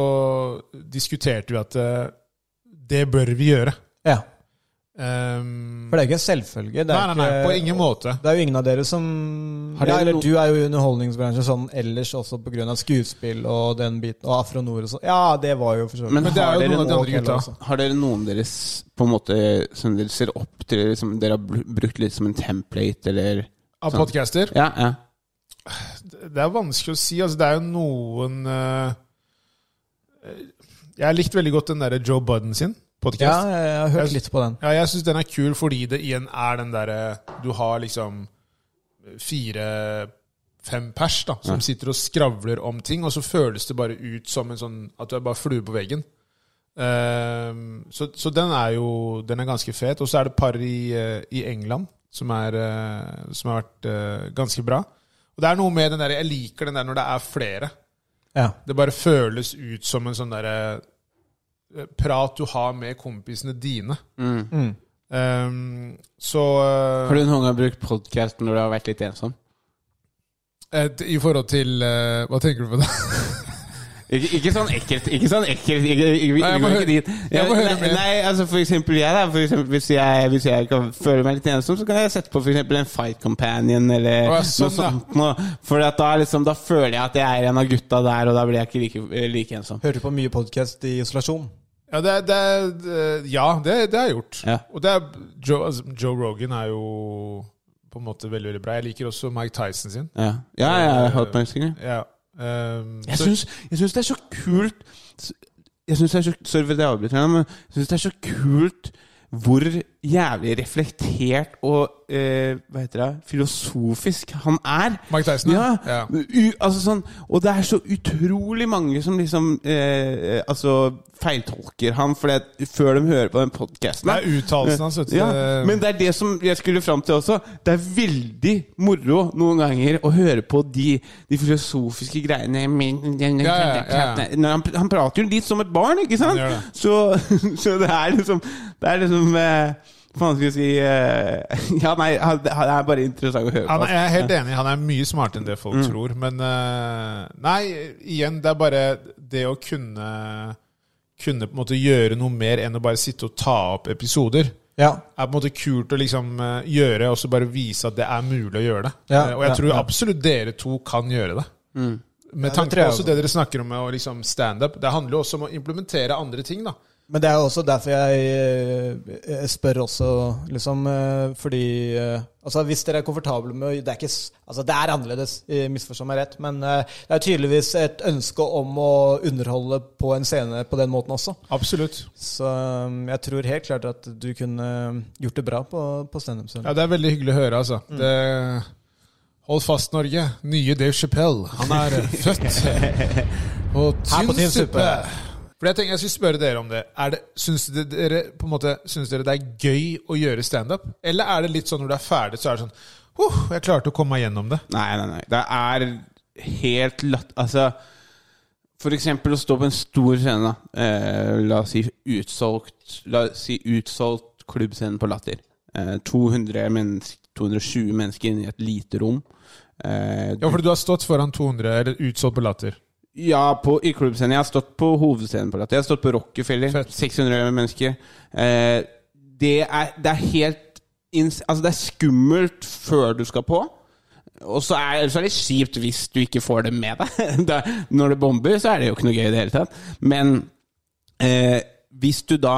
S3: diskuterte vi at eh, det bør vi gjøre.
S1: Ja.
S3: Eh, Ehm,
S1: For det er jo ikke en selvfølge. Det er,
S3: nei, nei, nei,
S1: ikke-
S3: på ingen måte.
S1: det er jo ingen av dere som
S2: Har
S1: ja,
S2: dere
S1: eller
S2: no-
S1: Du er jo i underholdningsbransjen sånn ellers også pga. skuespill og den biten. Og Afro Nord og sånn. Ja, det var jo for så vidt
S2: Men
S3: Men det
S2: har
S3: er jo
S2: dere
S3: noen av de
S2: noe-
S3: andre gutta.
S1: også.
S2: Har dere noen deres på en måte som dere ser opp til, eller som dere har br- brukt litt som en template, eller
S1: Sånn.
S3: Av podcaster?
S2: Ja, ja.
S3: Det er vanskelig å si. Altså, det er jo noen eh, Jeg har likt veldig godt den derre Joe Budden sin podcast.
S1: Ja, jeg, jeg har hørt litt på den.
S3: Ja, jeg syns den er kul fordi det igjen er den derre Du har liksom fire-fem pers da, som sitter og skravler om ting, og så føles det bare ut som en sånn at du er bare flue på veggen. Ehm, så, så den er jo Den er ganske fet. Og så er det par i, eh, i England som, er, eh, som har vært eh, ganske bra. Og det er noe med den der Jeg liker den der når det er flere.
S1: Ja.
S3: Det bare føles ut som en sånn derre eh, prat du har med kompisene dine.
S2: Mm.
S3: Um, så
S2: Har du noen gang brukt podkast når du har vært litt ensom?
S3: eh, et, I forhold til eh, Hva tenker du på da?
S2: Ikke, ikke sånn ekkelt. Ikke sånn ekkelt ikke, ikke, vi-
S3: Nei, jeg
S2: vi
S3: må
S2: går
S3: høre-
S2: ikke dit.
S3: jeg må høre
S2: nei,
S3: mer.
S2: nei, altså for eksempel jeg, da. For eksempel, hvis, jeg, hvis jeg kan føle meg litt ensom, så kan jeg sette på for eksempel en Fight Companion eller
S3: Å, ja,
S2: noe
S3: sånn, ja.
S2: sånt. Noe. For at da, liksom, da føler jeg at jeg er en av gutta der, og da blir jeg ikke like, like ensom.
S1: Hørte på mye podkast i isolasjon.
S3: Ja, det, er- det, er- det- ja det, det har jeg gjort.
S2: Ja.
S3: Og det er Joe, altså, Joe Rogan er jo på en måte veldig veldig bra. Jeg liker også Mike Tyson sin.
S2: Ja, ja, ja jeg har hørt på musikken.
S3: Ja. Um,
S2: Jeg
S3: så-
S2: syns, jeg syns det er så kult Jeg syns det er så Sorry for at jeg avbryter, deg, men jeg syns det er så kult hvor jævlig reflektert og eh, hva heter det, filosofisk han er.
S3: Mike Tyson,
S2: ja.
S3: ja. Ja.
S2: U, altså sånn, og det er så utrolig mange som liksom eh, altså feiltolker han fordi at før de hører på den podkasten.
S3: det er uttalelsen hans, vet du.
S2: Ja,
S3: Det-
S2: men det er det som jeg skulle fram til også. Det er veldig moro noen ganger å høre på de, de filosofiske greiene men-
S3: ja, ja, ja.
S2: Når han, han prater jo litt som et barn, ikke sant?
S3: Han gjør det.
S2: Så, så det er liksom Det er liksom eh, Faen skal jeg si eh, Ja, nei, han- det er bare interessant å høre på.
S3: Han er,
S2: altså.
S3: jeg er helt enig. Han er mye smartere enn det
S1: Mm.
S3: folk tror. Men eh, nei, igjen, det er bare det å kunne Kunne på en måte gjøre noe mer enn å bare sitte og ta opp episoder.
S1: Ja.
S3: er på en måte kult å liksom eh, gjøre, og så bare vise at det er mulig å gjøre det.
S1: Ja,
S3: Eh, og jeg
S1: ja,
S3: tror
S1: ja. Mm.
S3: absolutt dere to kan gjøre det. Med tanke
S1: tror
S3: på
S1: jeg
S3: også
S1: også.
S3: det dere snakker om med å liksom standup. Det handler jo også om å implementere andre ting, da.
S1: Men det er jo også derfor jeg, eh, spør også, liksom eh, Fordi eh, Altså, hvis dere er komfortable med å- Det er ikke s- Altså, det er annerledes, eh, misforstå meg rett, men eh, det er tydeligvis et ønske om å underholde på en scene på den måten også.
S3: Absolutt.
S1: Så um, jeg tror helt klart at du kunne eh, gjort det bra på, på standup.
S3: Ja, det er veldig hyggelig å høre, altså.
S2: Mm.
S3: Det, hold fast, Norge. Nye Dave Chappelle. Han er eh, født på
S1: Her på
S3: tynn
S1: tynn
S3: suppe.
S1: suppe.
S3: For jeg tenker jeg skulle spørre dere om det. Er det syns, det- dere, på en måte, syns dere det er gøy å gjøre standup? Eller er det litt sånn når du er ferdig, så er det sånn Huh, jeg klarte å komme meg gjennom det.
S2: Nei, nei, nei. Det er helt latt... Altså, for eksempel å stå på en stor scene, da. Eh, la oss si utsolgt La oss si utsolgt klubbscene på Latter. Eh, 200 mennesker 220 mennesker inne i et lite rom. Eh,
S3: Ja, fordi du har stått foran 200, eller utsolgt på Latter.
S2: ja, på, i klubbscenen. Jeg har stått på hovedscenen på Latter. Jeg har stått på Rockefeller.
S3: Fett.
S2: 600 mennesker. Eh, det, er, det er helt ins Altså, det er skummelt før du skal på. Og så er, så er det kjipt hvis du ikke får det med deg. Da, når det bomber, så er det jo ikke noe gøy i det hele tatt. Men eh, hvis du da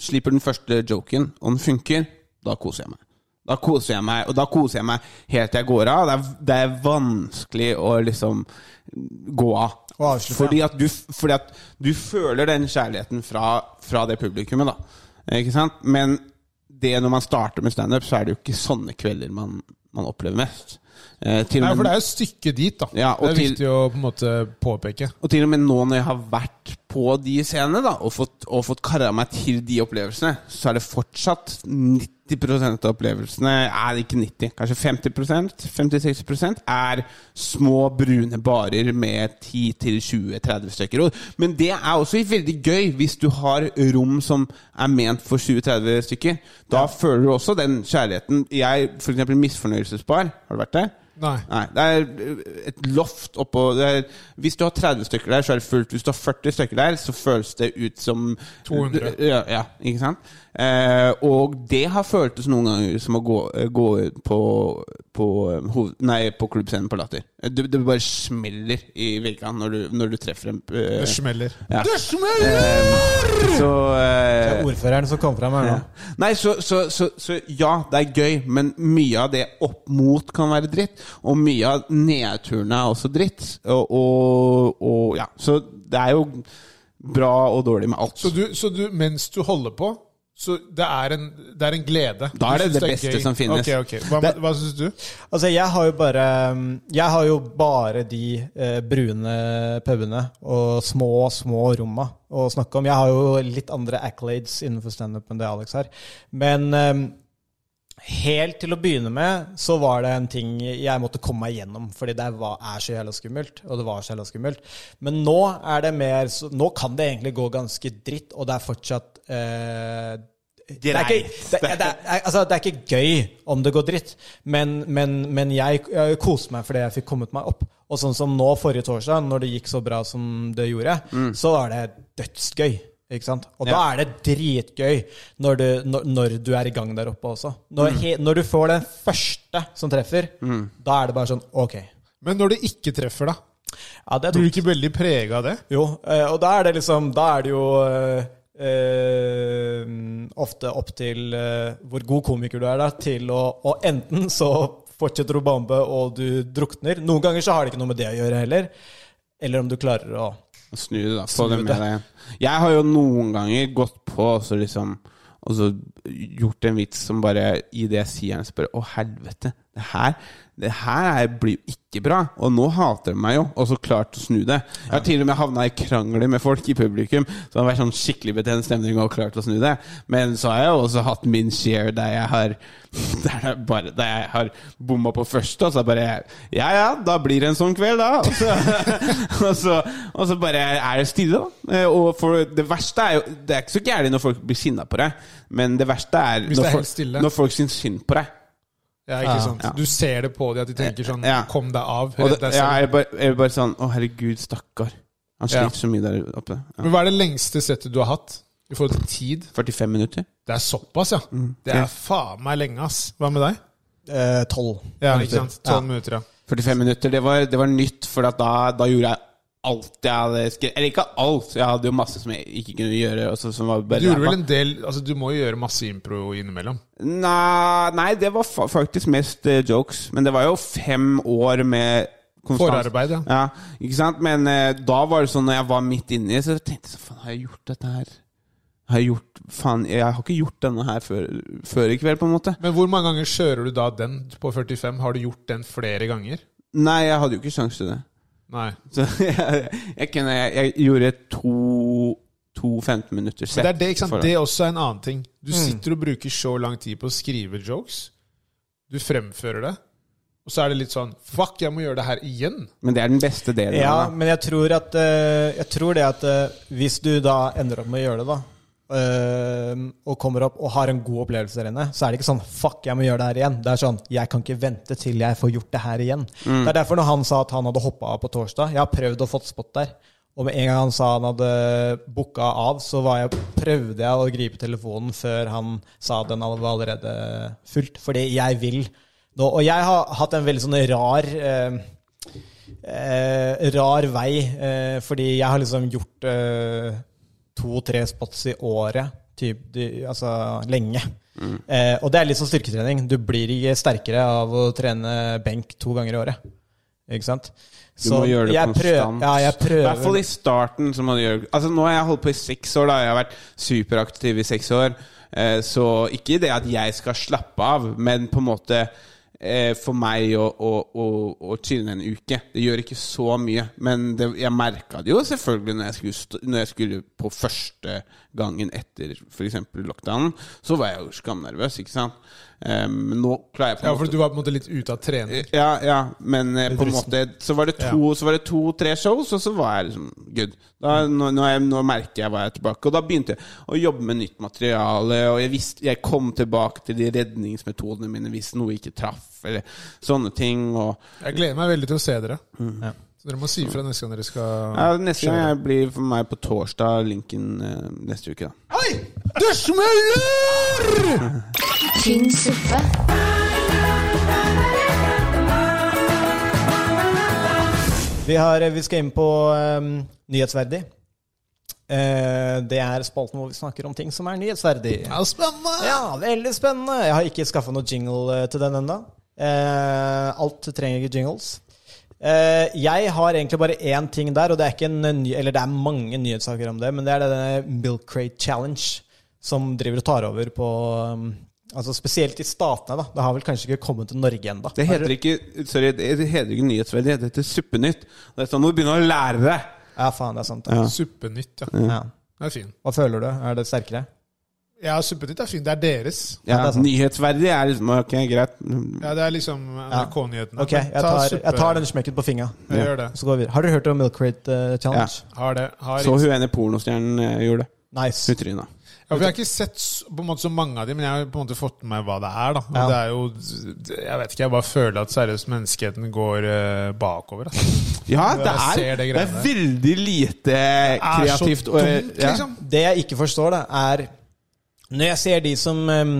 S2: slipper den første joken, og den funker, da koser jeg meg. Da koser jeg meg, og da koser jeg meg helt til jeg går av. Det er, det er vanskelig å liksom gå av.
S1: Å avslutte, ja.
S2: fordi, at du, fordi at du føler den kjærligheten fra, fra det publikummet, da. Ikke sant? Men det når man starter med standup, så er det jo ikke sånne kvelder man, man opplever mest. Eh, til
S3: Nei,
S2: og
S3: for
S2: med,
S3: det er jo stykket dit, da.
S2: Ja,
S3: det
S2: og
S3: er
S2: til-
S3: viktig å på en måte påpeke.
S2: og til og med nå når jeg har vært på de scenene da, og fått, og fått kara meg til de opplevelsene, så er det fortsatt 90 av opplevelsene er ikke 90, kanskje 50 50-60 er små, brune barer med 10-20-30 stykker. Og- Men det er også veldig gøy hvis du har rom som er ment for 20-30 stykker. Da føler du også den kjærligheten. Jeg, for eksempel Misfornøyelsesbar, har du vært der?
S3: Nei.
S2: Nei, det er eh, et loft oppå det er, Hvis du har 30 stykker der, så er det fullt. Hvis du har 40 stykker der, så føles det ut som eh,
S3: 200.
S2: Ja, ja ikke sant? Eh, og det har føltes noen ganger som å gå, eh, gå ut på, på, eh, hoved, nei, på klubbscenen på Latter. Det, det bare smeller i veggene når, du- når du treffer en eh,
S3: Det smeller.
S2: ja. Eh, så eh,
S1: Det er ordføreren som kom fram her nå.
S2: ja. Nei, så, så, så, så ja, det er gøy, men mye av det opp mot kan være dritt. Og mye av nedturene er også dritt. Og, og, og ja, så det er jo bra og dårlig med alt.
S3: Så, du, så du, mens du holder på, så det er en, det er en glede?
S2: Da er
S3: Du
S2: det
S3: synes
S2: det
S3: gøy.
S2: beste som finnes.
S3: Ok, ok. Hva,
S1: Det-
S3: hva syns du?
S1: Altså, jeg har jo bare Jeg har jo bare de eh, brune pubene og små, små romma å snakke om. Jeg har jo litt andre accolades innenfor standup enn det Alex har. Men eh, helt til å begynne med så var det en ting jeg måtte komme meg gjennom, fordi det var, er så jævla skummelt, og det var så jævla skummelt. Men nå er det mer så, Nå kan det egentlig gå ganske dritt, og det er fortsatt eh, det er, ikke, det, er- det, er, altså, det er ikke gøy om det går dritt, men, men, men jeg, jeg koste meg fordi jeg fikk kommet meg opp. Og sånn som nå forrige torsdag, når det gikk så bra som det gjorde, så var det dødsgøy. Ikke sant? Og da er det dritgøy når du, når, når du er i gang der oppe også. Når, he, når du får den første som treffer, da er det bare sånn OK.
S3: Men når det ikke treffer, da?
S1: Ja, det er
S3: Blir du
S1: dumt.
S3: ikke veldig prega av det?
S1: Jo, eh, og da er det liksom Da er det jo eh, eh, ofte opp til eh, hvor god komiker du er, da, til å Og enten så fortsetter du å bombe, og du drukner. Noen ganger så har det ikke noe med det å gjøre heller. Eller om du klarer å
S2: Snu det, da. Få det
S1: Snu
S2: med
S1: det.
S2: deg igjen. Jeg har jo noen ganger gått på og så liksom og så gjort en vits som bare i det jeg sier den, spør Å, helvete. Det her, det her er, blir jo ikke bra. Og nå hater de meg jo. Og så klart å snu det. Jeg har til og med havna i krangler med folk i publikum. Så det har vært sånn skikkelig betent stemning og klart å snu det. Men så har jeg også hatt min share der jeg har Der jeg, bare, der jeg har bomma på første, og så bare Ja ja, da blir det en sånn kveld, da. Og så, og så, og så bare er det stille, da. Eh, Og for det verste er jo Det er ikke så gærent når folk blir sinna på deg, men det verste er,
S3: Hvis det er
S2: når,
S3: helt
S2: folk,
S3: stille.
S2: når folk syns synd på deg.
S3: Ja, ikke
S1: Ja.
S3: sant?
S2: Ja. Eh,
S3: Du ser det på dem at de tenker sånn
S2: Ja.
S3: Kom deg av.
S2: Og
S3: Redd
S2: det,
S3: deg
S2: ja,
S3: selv.
S2: jeg, er bare, jeg er bare sånn Å, herregud, stakkar. Han
S3: Ja.
S2: sliter så mye der oppe. Ja.
S3: Men hva er det lengste settet du har hatt i forhold til tid?
S2: 45 minutter.
S3: Det er såpass, ja. Det
S2: Mm. Ja.
S3: er faen meg lenge, ass. Hva med deg?
S1: eh, Tolv.
S3: Ja,
S1: minutter.
S3: ikke sant? 12 minutter, ja.
S2: 45 minutter, Det var, det var nytt, for at da, da gjorde jeg alt jeg hadde skrevet. Eller ikke alt, jeg hadde jo masse som jeg ikke kunne gjøre. Og så, som var bare
S3: Du gjorde
S2: ræva.
S3: vel en del Altså, du må jo gjøre masse impro innimellom.
S2: Nei, nei, det var fa faktisk mest eh, jokes. Men det var jo fem år med konstant
S3: Forarbeid, ja.
S2: ja. Ikke sant? Men eh, da var det sånn når jeg var midt inni, så tenkte jeg sånn Faen, har jeg gjort dette her? Har jeg gjort Faen, jeg har ikke gjort denne her før, før i kveld, på en måte.
S3: Men hvor mange ganger kjører du da den på 45? Har du gjort den flere ganger?
S2: Nei, jeg hadde jo ikke sjanse til det.
S3: Nei.
S2: Så jeg, jeg, kunne, jeg gjorde to, to 15 minutter
S3: Men
S2: sett.
S3: det er det, ikke sant?
S2: for-
S3: Det er også en annen ting. Du
S1: Mm.
S3: sitter og bruker så lang tid på å skrive jokes. Du fremfører det. Og så er det litt sånn Fuck, jeg må gjøre det her igjen.
S2: Men det er den beste delen.
S1: Ja,
S2: av det.
S1: men jeg tror, at, eh, jeg tror det at eh, hvis du da ender opp med å gjøre det, da, eh, og kommer opp og har en god opplevelse der inne, så er det ikke sånn 'fuck, jeg må gjøre det her igjen'. Det er sånn 'jeg kan ikke vente til jeg får gjort det her igjen'. Det er derfor når han sa at han hadde hoppa av på torsdag Jeg har prøvd å fått spot der. Og med en gang han sa han hadde booka av, så var jeg, prøvde jeg å gripe telefonen før han sa den var allerede fullt. Fordi jeg vil nå. Og jeg har hatt en veldig sånn rar eh, eh, rar vei, eh, fordi jeg har liksom gjort eh, to-tre spots i året, typ, de, altså lenge.
S2: Mm.
S1: Eh, og det er litt sånn styrketrening. Du blir ikke sterkere av å trene benk to ganger i året. Ikke sant?
S2: Du må gjøre det
S1: jeg
S2: konstant.
S1: Prøver, ja, jeg prøver.
S2: I hvert fall i starten. Så må du gjøre Altså Nå har jeg holdt på i seks år. Da Jeg har vært superaktiv i seks år. Eh, Så ikke det at jeg skal slappe av, men på en måte eh, for meg å, å, å, å chille en uke. Det gjør ikke så mye. Men det, jeg merka det jo selvfølgelig når jeg skulle, st- når jeg skulle på første gangen etter f.eks. lockdownen, så var jeg jo skamnervøs, ikke sant. Eh, Men nå klarer jeg på
S3: Ja,
S2: en
S3: for
S2: måte
S3: du var på en måte litt ute av trening.
S2: ja, ja, men eh, på en
S3: rusten.
S2: måte Så var det to, så var det to-tre shows, og så var jeg liksom good. Da, nå, nå, er jeg, nå merker jeg hva jeg er tilbake. Og da begynte jeg å jobbe med nytt materiale, og jeg, visste, jeg kom tilbake til de redningsmetodene mine hvis noe ikke traff, eller sånne ting. Og
S3: Jeg gleder meg veldig til å se dere.
S1: Mm.
S3: Så dere må si ifra neste gang dere skal
S2: ja, neste gang jeg blir for meg på torsdag, Lincoln eh, neste uke, da.
S3: Oi! Det smeller!
S4: tynn suppe,
S1: Vi, har, vi skal inn på ehm, nyhetsverdig. Eh, det er spalten hvor vi snakker om ting som er nyhetsverdig.
S3: Ja, spennende!
S1: Ja, veldig spennende. Jeg har ikke skaffa noe jingle eh, til den ennå. Eh, alt trenger ikke jingles. Eh, jeg har egentlig bare én ting der, og det er, ikke en ny, eller det er mange nyhetssaker om det, men det er denne Milk Crate Challenge som driver og tar over på um, Altså spesielt i statene, da. Det har vel kanskje ikke kommet til Norge ennå.
S2: Det heter ikke Sorry, det heter ikke Nyhetsverdig, det heter Suppenytt. Det er sånn må du begynne å lære deg!
S1: Ja, faen, det er sant.
S2: Ja.
S1: det.
S3: Suppenytt, ja.
S1: Ja.
S3: Den er fin.
S1: Hva føler du? Er det sterkere?
S3: Ja, suppenytt er fin. Det er deres.
S2: Ja,
S1: det er sant.
S2: nyhetsverdig er liksom Ok, greit.
S3: Ja, det er liksom NRK-nyhetene.
S1: Ok, jeg tar, jeg tar den smekken på fingra.
S3: Jeg gjør det.
S1: Så går vi videre. Har dere hørt om Milk Crate eh, Challenge?
S3: Har det. Har
S2: Så
S3: ikke-
S2: hun ene pornostjernen eh, gjorde det.
S1: Nice.
S2: Hun tryna.
S3: Ja, for jeg har ikke sett s- på en måte så mange av dem, men jeg har på en måte fått med meg hva det er. da. Og
S1: Ja.
S3: Det er jo, Jeg vet ikke, jeg bare føler at seriøst menneskeheten går eh, bakover. Altså.
S2: Ja, det
S3: Jeg ser
S2: er,
S3: det
S2: det
S3: greiene
S2: er veldig lite
S3: Det er så
S2: kreativt. og- eh,
S3: dumt,
S2: ja.
S3: liksom.
S1: Det jeg ikke forstår, da, er Når jeg ser de som ehm,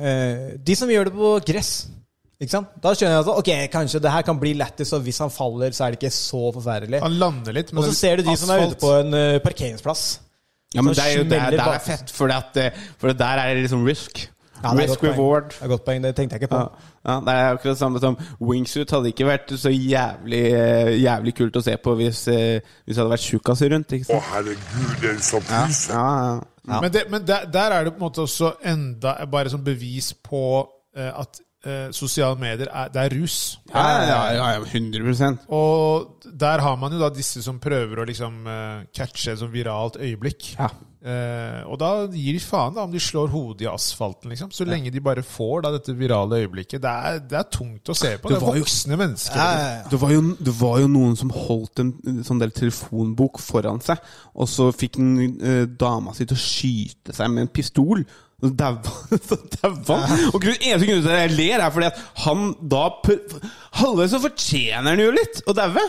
S1: eh, De som gjør det på gress ikke sant? Da skjønner jeg at ok, kanskje det her kan bli lættis, og hvis han faller, så er det ikke så forferdelig.
S3: Han lander litt, men
S1: Og så
S3: det-
S1: ser du de som er ute
S3: asfalt.
S1: på en eh, parkeringsplass.
S2: ja, men
S1: Så
S2: det er jo det er,
S1: smeller
S2: det er
S1: bak-
S2: fett, for, at, eh, for der er det liksom risk.
S1: Ja, det er et godt
S2: risk
S1: poeng.
S2: reward.
S1: Det er et godt poeng, det tenkte jeg ikke på.
S2: Ja, ja, det er akkurat det samme som wingsuit hadde ikke vært så jævlig, eh, jævlig kult å se på hvis, eh, hvis det hadde vært tjukkaser rundt.
S8: Å,
S2: Ikke sant?
S8: herregud, den som pyser.
S2: Ja, ja, ja.
S3: Men, det, men der, der er det på en måte også enda bare sånn bevis på eh, at eh, sosiale medier er, det er rus.
S2: Ja, ja, ja, ja, 100
S3: Og der har man jo da disse som prøver å liksom eh, catche et sånt viralt øyeblikk.
S2: Ja.
S3: Eh, og da gir de faen da om de slår hodet i asfalten, liksom. Så lenge de bare får da dette virale øyeblikket. Det er, det er tungt å se på.
S2: Det
S3: Det,
S2: var
S3: er
S2: jo-
S3: voksne mennesker.
S2: Det var, jo, det var jo noen som holdt en eh, sånn del telefonbok foran seg, og så fikk den eh, dama si til å skyte seg med en pistol. Så daua så daua han. Og grunnen- eneste grunnen til at jeg ler, er fordi at han da pr- Halvveis så fortjener han jo litt å daue!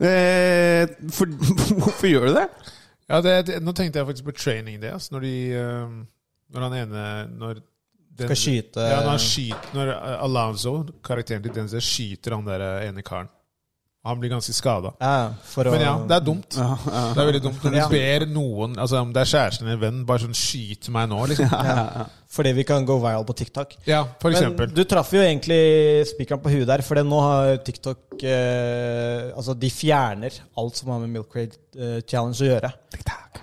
S2: Eh, for, hvorfor gjør du det?
S3: Ja, det, det, nå tenkte jeg faktisk på Training Day, altså, når de eh, Når han ene når den-
S1: Skal skyte-
S3: Ja, når han skyter Når eh, Alonso, karakteren til Denzel, skyter han der eh, ene karen. Han blir ganske skada.
S1: Ja, for å,
S3: Men ja, det er dumt.
S2: Ja, ja.
S3: Det er veldig dumt når du
S1: Ja.
S3: ber noen, altså om det er kjæresten eller en venn, bare sånn 'skyt meg nå', liksom.
S1: Fordi vi kan gå viral på TikTok.
S3: Ja, for
S1: Men
S3: eksempel.
S1: du traff jo egentlig spikeren på huet der, for det nå har TikTok eh, Altså, de fjerner alt som har med Milk Crate eh, Challenge å gjøre.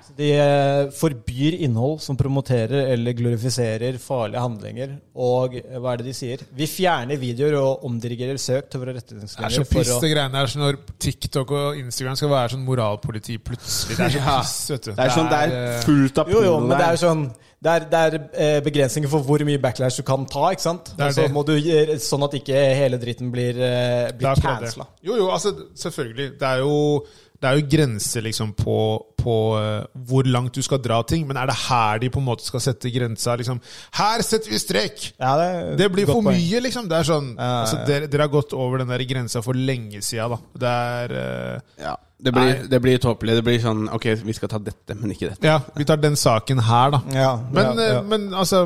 S1: Så De eh, forbyr innhold som promoterer eller glorifiserer farlige handlinger. Og eh, hva er det de sier? Vi fjerner videoer og omdirigerer søk til våre
S3: Det er så
S1: retningslinjer.
S3: piss,
S1: for å-
S3: det greiene her. Så når TikTok og Instagram skal være sånn moralpoliti plutselig. Det er så
S2: Ja.
S3: piss, vet du.
S2: Det er sånn, det er
S3: eh,
S2: fullt av
S1: Jo, jo,
S2: porno
S1: men det er
S2: der.
S1: jo sånn det er, det er eh, begrensninger for hvor mye backlash du kan ta. ikke sant?
S3: er
S1: Og så
S3: det.
S1: må du, gjøre- Sånn at ikke hele dritten blir, eh,
S3: det er
S1: blir
S3: akkurat det.
S1: cancela.
S3: Jo, jo, altså, selvfølgelig. Det er jo, det er jo grenser liksom på, på eh, hvor langt du skal dra ting, men er det her de på en måte skal sette grensa? Liksom, her setter vi strek!
S1: Ja, det,
S3: Det blir
S1: godt
S3: for
S1: poeng.
S3: mye, liksom. Det er sånn,
S1: ja,
S3: altså,
S1: ja.
S3: dere, dere har gått over den der grensa for lenge sida, da. Det er eh,
S2: Ja, det blir, det blir tåpelig. Det blir sånn Ok, vi skal ta dette, men ikke dette.
S3: Ja, vi tar den saken her, da.
S1: Ja,
S3: men,
S1: ja,
S3: eh,
S1: ja.
S3: men altså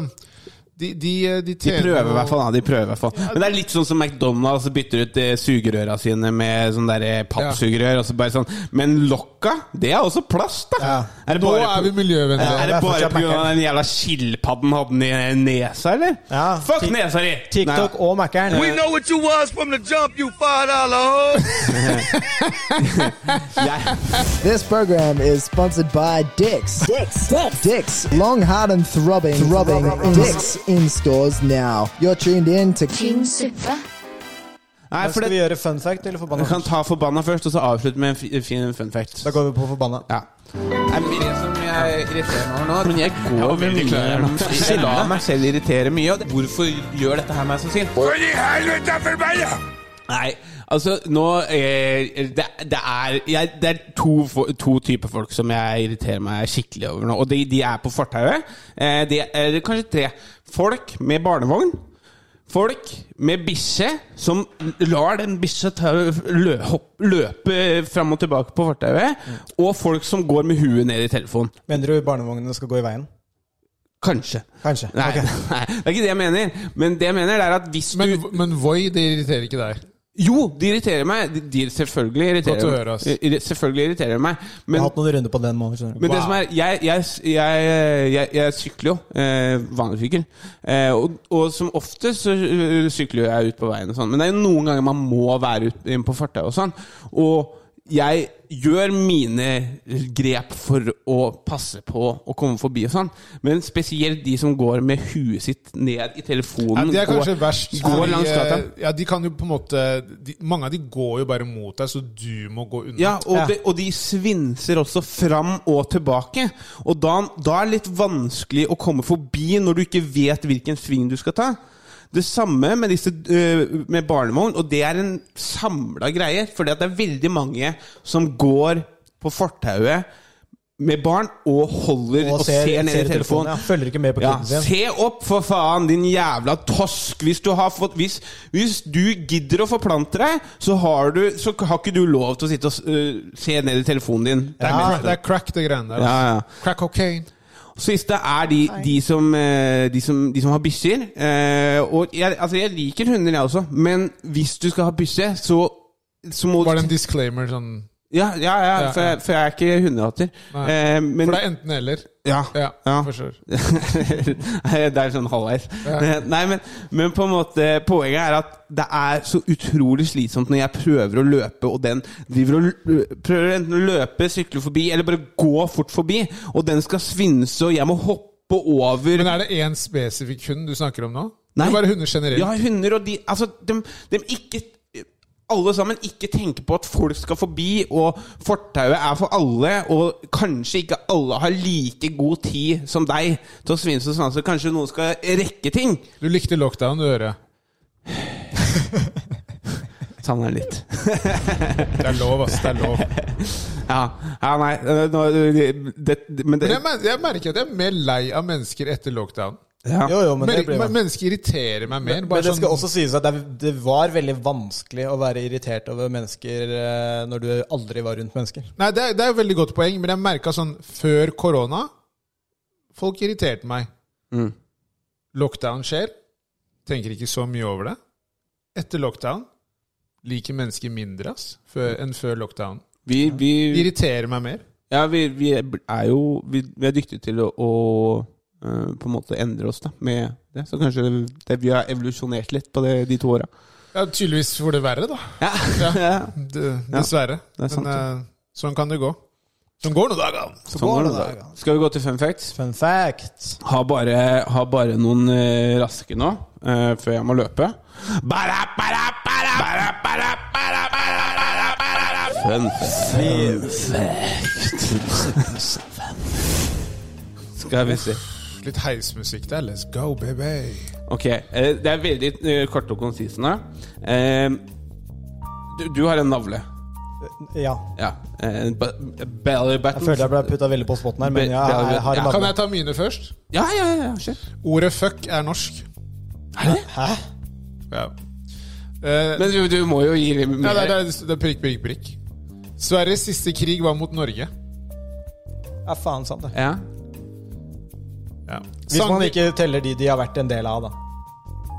S3: De, de, eh, de
S2: De
S3: tjener
S2: prøver i
S3: jo-
S2: hvert fall. Da, de prøver i hvert fall. Men det er litt sånn som McDonald's bytter ut eh, sugerøra sine med sånn der, eh, pappsugerør. Og så bare sånn. Men lokka, det er også plast, da!
S1: Ja.
S2: Er det
S3: Nå
S2: bare,
S3: er vi miljøvennlige.
S2: Ja, er
S1: Det
S2: det
S1: er
S2: bare
S1: fortsatt
S2: pga.
S1: Mac-en.
S2: den jævla skilpadden hadde den i nesa, eller?
S1: Ja.
S2: Fuck
S1: Tik-
S2: nesa di!
S1: TikTok og Mac-eren.
S5: We know what you was from the jump, you five dollar hoe.
S2: Nei, jeg,
S9: This program is sponsored by Dix. Dix. Dix. Dix. Long, hard, and throbbing. Throbbing. Dix in stores now. You're tuned in to
S4: tynn suppe,
S2: Nei,
S1: Men
S2: for
S1: skal
S2: det,
S1: vi gjøre fun fact eller
S2: vi
S1: forbanna?
S2: kan ta forbanna først, og så avslutte med en fi- fin fun fact.
S1: Da går vi på forbanna.
S2: Ja. Nei, men Det som jeg irriterer meg over nå Men jeg går med mye Jeg lar meg selv irritere mye. Og det, hvorfor gjør dette her meg så sint?
S7: Hvor i helvete er forbanna?
S2: Nei, altså nå eh, Det, det, er, jeg, det er to, fo- to typer folk som jeg irriterer meg skikkelig over nå. Og de, de er på fortauet. Eh, det er kanskje tre. Folk med barnevogn. Folk med bikkje som lar den bikkja ta- lø, hopp- løpe fram og tilbake på fortauet. Og folk som går med huet ned i telefonen.
S1: Mener du barnevognene skal gå i veien?
S2: Kanskje.
S1: Kanskje.
S2: Nei,
S1: Ok.
S2: nei, det er ikke det jeg mener. Men det jeg mener er at hvis du
S3: Men, men Voi, det irriterer ikke deg?
S2: Jo, de irriterer meg. De, de selvfølgelig irriterer
S3: Godt å høre, ass.
S2: Ir- Selvfølgelig irriterer de meg.
S1: Jeg
S2: Men,
S1: har hatt noen runder på den måten. skjønner du.
S2: men det som er Jeg, jeg, jeg, jeg, jeg sykler jo. Eh, vanlig sykkel. Eh, og, og som oftest så øh, sykler jo jeg ut på veien og sånn. Men det er jo noen ganger man må være ut- inne på fortauet og sånn. Og jeg gjør mine grep for å passe på å komme forbi og sånn, men spesielt de som går med huet sitt ned i
S3: Nei,
S2: telefonen
S3: de er kanskje
S2: går,
S3: verst.
S2: går
S3: fordi,
S2: langs gata.
S3: eh, Ja, de kan jo på en måte de, Mange av de går jo bare mot deg, så du må gå unna.
S2: Ja, og,
S1: Ja.
S2: De, og de svinser også fram og tilbake. Og da, da er det litt vanskelig å komme forbi når du ikke vet hvilken sving du skal ta. Det samme med, disse, øh, med barnevogn, og det er en samla greie. For det er veldig mange som går på fortauet med barn og holder og, ser, ned i telefonen.
S1: ja. Følger ikke med på
S2: Ja,
S1: kunden sin.
S2: se opp, for faen, din jævla tosk! Hvis du, har fått, hvis, hvis du gidder å forplante deg, så har, du, så har ikke du lov til å sitte og s- øh, se ned i telefonen din.
S3: Det, er,
S1: Ja.
S3: crack- det er crack, det greiene der.
S2: Ja,
S3: altså.
S2: ja.
S3: Crack cocaine.
S2: Siste er de, de, som, eh, de, som, de som har bikkjer. Eh, Og jeg, altså, jeg liker hunder, jeg også, men hvis du skal ha bikkje, så, så må
S3: Var det en
S2: du
S3: disclaimer sånn
S2: Ja, ja, ja,
S3: Ja,
S2: for,
S3: ja.
S2: jeg, for jeg er ikke hundehater.
S3: Nei.
S2: Eh, men,
S3: For det er enten-eller.
S2: ja,
S3: Ja,
S2: ja.
S3: for sure.
S2: det er sånn halvveis.
S3: Ja.
S2: Nei, men, men på en måte poenget er at det er så utrolig slitsomt når jeg prøver å løpe, og den driver og l- prøver enten å løpe, sykle forbi, eller bare gå fort forbi, og den skal svinse, og jeg må hoppe over
S3: Men er det én spesifikk hund du snakker om nå?
S2: Nei.
S3: Eller bare hunder generelt?
S2: Ja, hunder og de Altså, dem, dem ikke alle sammen ikke tenker på at folk skal forbi, og fortauet er for alle, og kanskje ikke alle har like god tid som deg til å svinse sånn, så kanskje noen skal rekke ting.
S3: Du likte lockdown, du hører.
S2: Savner den litt.
S3: Det er lov, ass. Det er lov.
S2: Ja, ja nei øh, nå, øh, det, det, Men det
S3: Men jeg, mer- jeg merker at jeg er mer lei av mennesker etter lockdown.
S2: ja.
S1: Jo, jo, men det
S3: Mer-
S1: blir
S3: men- mennesker irriterer meg mer.
S1: Men
S3: Bare
S1: det skal
S3: sånn,
S1: også sies at det, er- det var veldig vanskelig å være irritert over mennesker eh, når du aldri var rundt mennesker.
S3: Nei, det er, det er et veldig godt poeng, men jeg merka sånn før korona Folk irriterte meg.
S2: Mm.
S3: Lockdown skjer. Tenker ikke så mye over det. Etter lockdown liker mennesker mindre ass, før, enn før lockdown.
S2: Vi,
S3: De
S2: vi,
S3: irriterer meg mer.
S2: ja, vi, vi er jo Vi, vi er dyktige til å, å øh, på en måte endre oss da med det. Så kanskje det, vi har evolusjonert litt på det, de to åra.
S3: Ja, Tydeligvis for det verre, da.
S2: Ja.
S3: D dessverre.
S2: det er sant,
S3: men eh, sånn kan det gå. Sånn går nå dagene.
S2: Sånn går det da. Skal vi gå til fun facts?
S1: Fun fact.
S2: Har bare, har bare noen eh, raske nå, eh, før jeg må løpe. Bara, bara, bara, bara, bara, bara, bara, bara, bara. Fun fact. Skal vi se.
S3: Litt heismusikk der. Let's go, baby.
S2: Ok, eh, det er veldig eh, kort og konsisende. Eh, Du, du har en navle.
S1: Ja.
S2: Ja. eh, en ba- Belly
S1: Jeg
S2: button.
S1: føler jeg ble putta veldig på spotten her, men jeg, jeg, jeg har en
S3: Kan
S1: annen.
S3: jeg ta mine først?
S2: Ja, ja, ja. ja, Kjør.
S3: Ordet fuck er norsk.
S1: Hæ?
S3: Ja. Eh,
S2: Men du, du må jo gi litt
S3: Nei,
S2: mer.
S3: det, er- det, er- det er prikk, prikk, prikk. Sveriges siste krig var mot Norge.
S1: Ja, faen sant det.
S2: Ja.
S1: Hvis man
S3: Sandvik-
S1: ikke teller de de har vært en del av, da.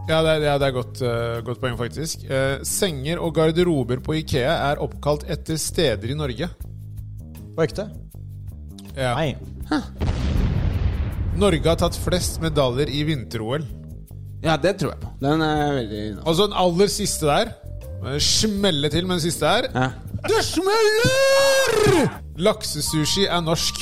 S3: Ja, det er, ja, det er godt, eh, godt poeng, faktisk. Eh, senger og garderober på Ikea er oppkalt etter steder i Norge.
S1: På ekte?
S3: Ja.
S1: Nei.
S3: Norge har tatt flest medaljer i vinter-OL.
S2: Ja, det tror jeg på. Den er veldig
S3: Og så den aller siste der. eh, Smelle til med den siste der.
S2: ja.
S3: Det smeller! Laksesushi er norsk.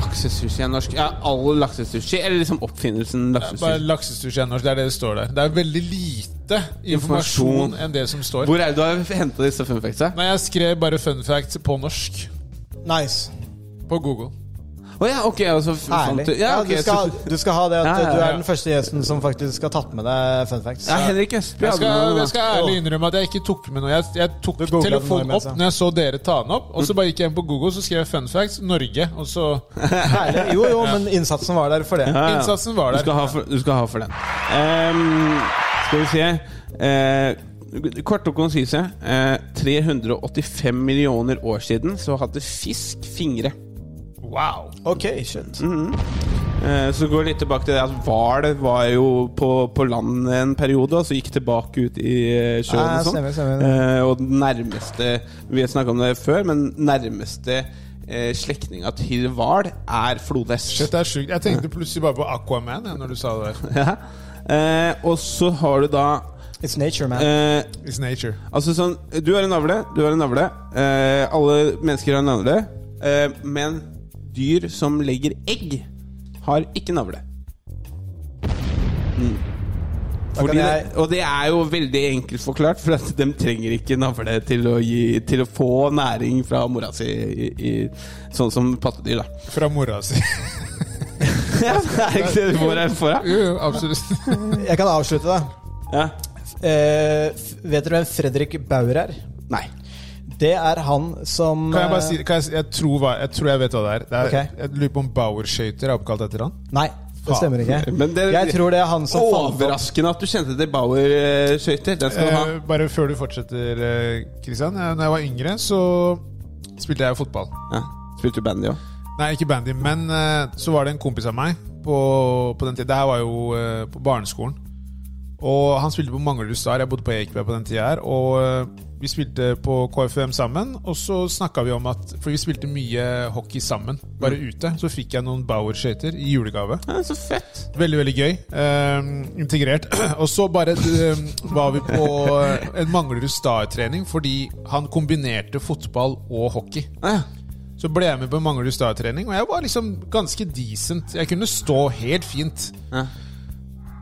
S2: Laksesushi er norsk. Ja, all laksesushi. Eller liksom oppfinnelsen
S3: Bare
S2: laksesushi.
S3: laksesushi er norsk, det er det det står der. Det er veldig lite hente informasjon enn det som står.
S2: Hvor er det du har henta disse fun factsa?
S3: Nei, jeg skrev bare fun facts på norsk.
S1: Nice.
S3: På Google.
S2: Å ja, ok. Altså, f-
S1: Herlig.
S2: fant du- Ja,
S1: Ja,
S2: ok,
S1: du, skal,
S2: så-
S1: du skal ha det at
S2: Ja, ja,
S1: du
S2: ja.
S1: er den første gjesten som faktisk har tatt med deg fun facts.
S2: Nei, Henrik Østby
S3: Jeg
S2: hadde
S3: skal,
S2: noe,
S3: jeg skal ærlig innrømme at jeg ikke tok med noe. Jeg, jeg tok
S1: googlet den
S3: telefonen
S1: mens,
S3: opp
S1: ja.
S3: når jeg så dere ta den opp, og så bare gikk jeg inn på Google så skrev jeg fun facts Norge. Og så
S1: Herlig. Jo, jo, men innsatsen var der for det.
S2: Ja, ja.
S3: Innsatsen var der.
S2: Du skal ha for, du skal ha for den. Ehm, skal vi se Kort Korte og konsise. Eh, 385 millioner år siden så hadde fisk fingre.
S3: Wow.
S1: Ok, shit.
S2: Mm. Eh, Så går det litt tilbake til det at hval var jo på, på land en periode, og så gikk tilbake ut i eh, sjøen.
S1: Ja, Ah,
S2: og sånn.
S1: stemmer, stemmer.
S2: Eh, Og den nærmeste Vi har snakka om det før, men nærmeste eh, slektninga til hval er flodhest.
S3: Shit, det er sjukt. Jeg tenkte plutselig bare på Aquaman jeg, når du sa det der.
S2: Ja. Eh, og så har du da
S1: It's nature, man.
S2: eh,
S3: It's nature.
S2: Altså sånn Du har en navle, du har en navle. Eh, alle mennesker har en navle. Eh, men dyr som legger egg, har ikke navle. Mm.
S1: Da kan
S2: Fordi
S1: jeg,
S2: det, og det er jo veldig enkelt forklart, for at de trenger ikke navle til å, gi, til å få næring fra mora si, i, i, sånn som pattedyr, da.
S3: Fra mora si.
S2: Ja, det er ikke det du får her for, da.
S3: Jo, jo, absolutt.
S1: jeg kan avslutte, da.
S2: Ja.
S1: Eh, f- vet dere hvem Fredrik Bauer er?
S2: Nei.
S1: Det er han som
S3: Kan jeg bare si
S1: eh,
S3: kan jeg, si- jeg, tror, hva- jeg tror jeg vet hva det er. Det er
S1: Ok.
S3: Jeg lurer på om Bauer-skøyter er oppkalt etter han.
S1: eh, Nei, det stemmer ikke.
S2: Men det,
S1: Jeg tror det er han som fant opp
S2: Overraskende at du kjente til Bauer-skøyter. Den skal du ha.
S3: Eh, bare før du fortsetter, eh, Christian. Eh, Når jeg var yngre, så spilte jeg fotball.
S2: Ja. Spilte du bandy òg?
S3: Nei, ikke bandy, men eh, så var det en kompis av meg på, på den tida. Det her var jo eh, på barneskolen. Og han spilte på Manglerud Star. Jeg bodde på Ekeberg på den tida her. Og eh, vi spilte på KFUM sammen, og så snakka vi om at For vi spilte mye hockey sammen, bare ute. Så fikk jeg noen Bauer-skøyter i julegave.
S2: Ja, så fett.
S3: Veldig, veldig gøy. Ehm, integrert. Og så bare ehm, var vi på eh, en Manglerud Star-trening fordi han kombinerte fotball og hockey.
S2: Ah, Ja.
S3: Så ble jeg med på Manglerud Star-trening, og jeg var liksom ganske decent. Jeg kunne stå helt fint.
S2: Ja.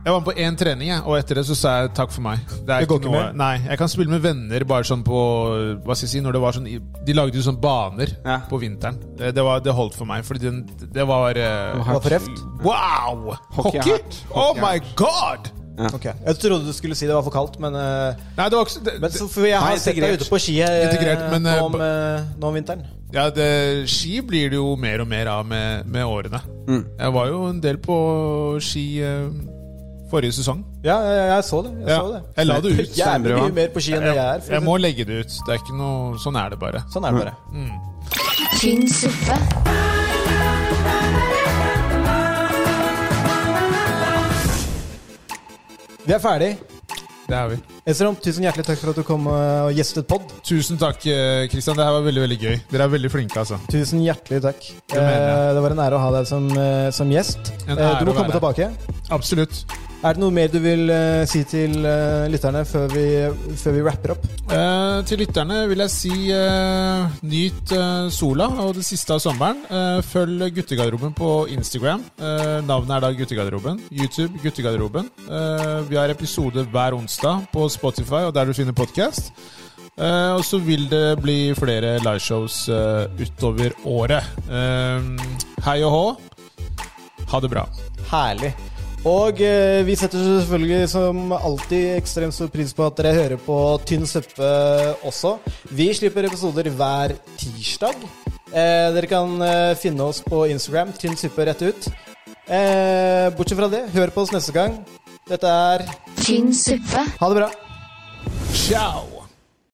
S3: Jeg var med på én trening, jeg, og etter det så sa jeg takk for meg. Det, er
S1: går
S3: ikke
S1: ikke
S3: noe,
S1: mer?
S3: Nei, Jeg kan spille med venner bare sånn på Hva skal jeg si når det var sånn, i- De lagde jo sånn baner
S2: Ja.
S3: på vinteren. Eh, Det, var, det holdt for meg, fordi den, det var eh,
S1: Var for reft?
S3: Wow!
S2: Hockey
S3: Hockey?
S2: er hardt.
S3: Oh my god!
S1: Ok. Jeg trodde du skulle si det var for kaldt, men eh,
S3: Nei, det var ikke det,
S1: Men så, for jeg har
S2: Nei,
S1: sett deg
S2: integrert.
S1: ute på ski eh,
S3: Integrert, men, eh,
S1: nå, om, eh, nå om vinteren.
S3: ja, det, Ski blir det jo mer og mer av med, med årene.
S1: Mm.
S3: Jeg var jo en del på ski eh, forrige sesong.
S1: Ja, jeg, jeg så det. Jeg,
S3: Ja,
S1: så det.
S3: jeg la det ut.
S1: Jeg er
S2: Steinbrua.
S1: mye mer på ski enn det jeg er. for å
S3: Jeg
S1: si-
S3: må legge det ut. Det er ikke noe, sånn er det bare.
S1: Sånn er det bare.
S4: tynn suppe,
S1: Vi er ferdig.
S3: Det er vi.
S1: Esrom, tusen hjertelig takk for at du kom eh, og gjestet pod.
S3: Tusen takk, eh, Christian. Det her var veldig veldig gøy. Dere er veldig flinke, altså.
S1: Tusen hjertelig takk. Det,
S3: mener
S1: det var en ære å ha deg som, eh, som gjest.
S3: En
S1: Eh,
S3: ære
S1: Du må
S3: å
S1: komme
S3: være
S1: tilbake.
S3: Absolutt.
S1: Er det noe mer du vil eh, si til eh, lytterne før vi, før vi rapper opp?
S3: Eh, til lytterne vil jeg si eh, nyt eh, sola og det siste av sommeren. Eh, følg Guttegarderoben på Instagram. Eh, navnet er da Guttegarderoben. YouTube Guttegarderoben. Eh, vi har episode hver onsdag på Spotify og der du finner podkast. Eh, og så vil det bli flere liveshows eh, utover året. Eh, hei og hå. Ha det bra.
S1: Herlig. Og eh, vi setter selvfølgelig som alltid ekstremt stor pris på at dere hører på Tynn suppe også. Vi slipper episoder hver tirsdag. Eh, dere kan eh, finne oss på Instagram, tynn suppe rett ut. Eh, bortsett fra det, hør på oss neste gang. Dette er
S4: tynn suppe.
S1: Ha det bra.
S3: Ciao!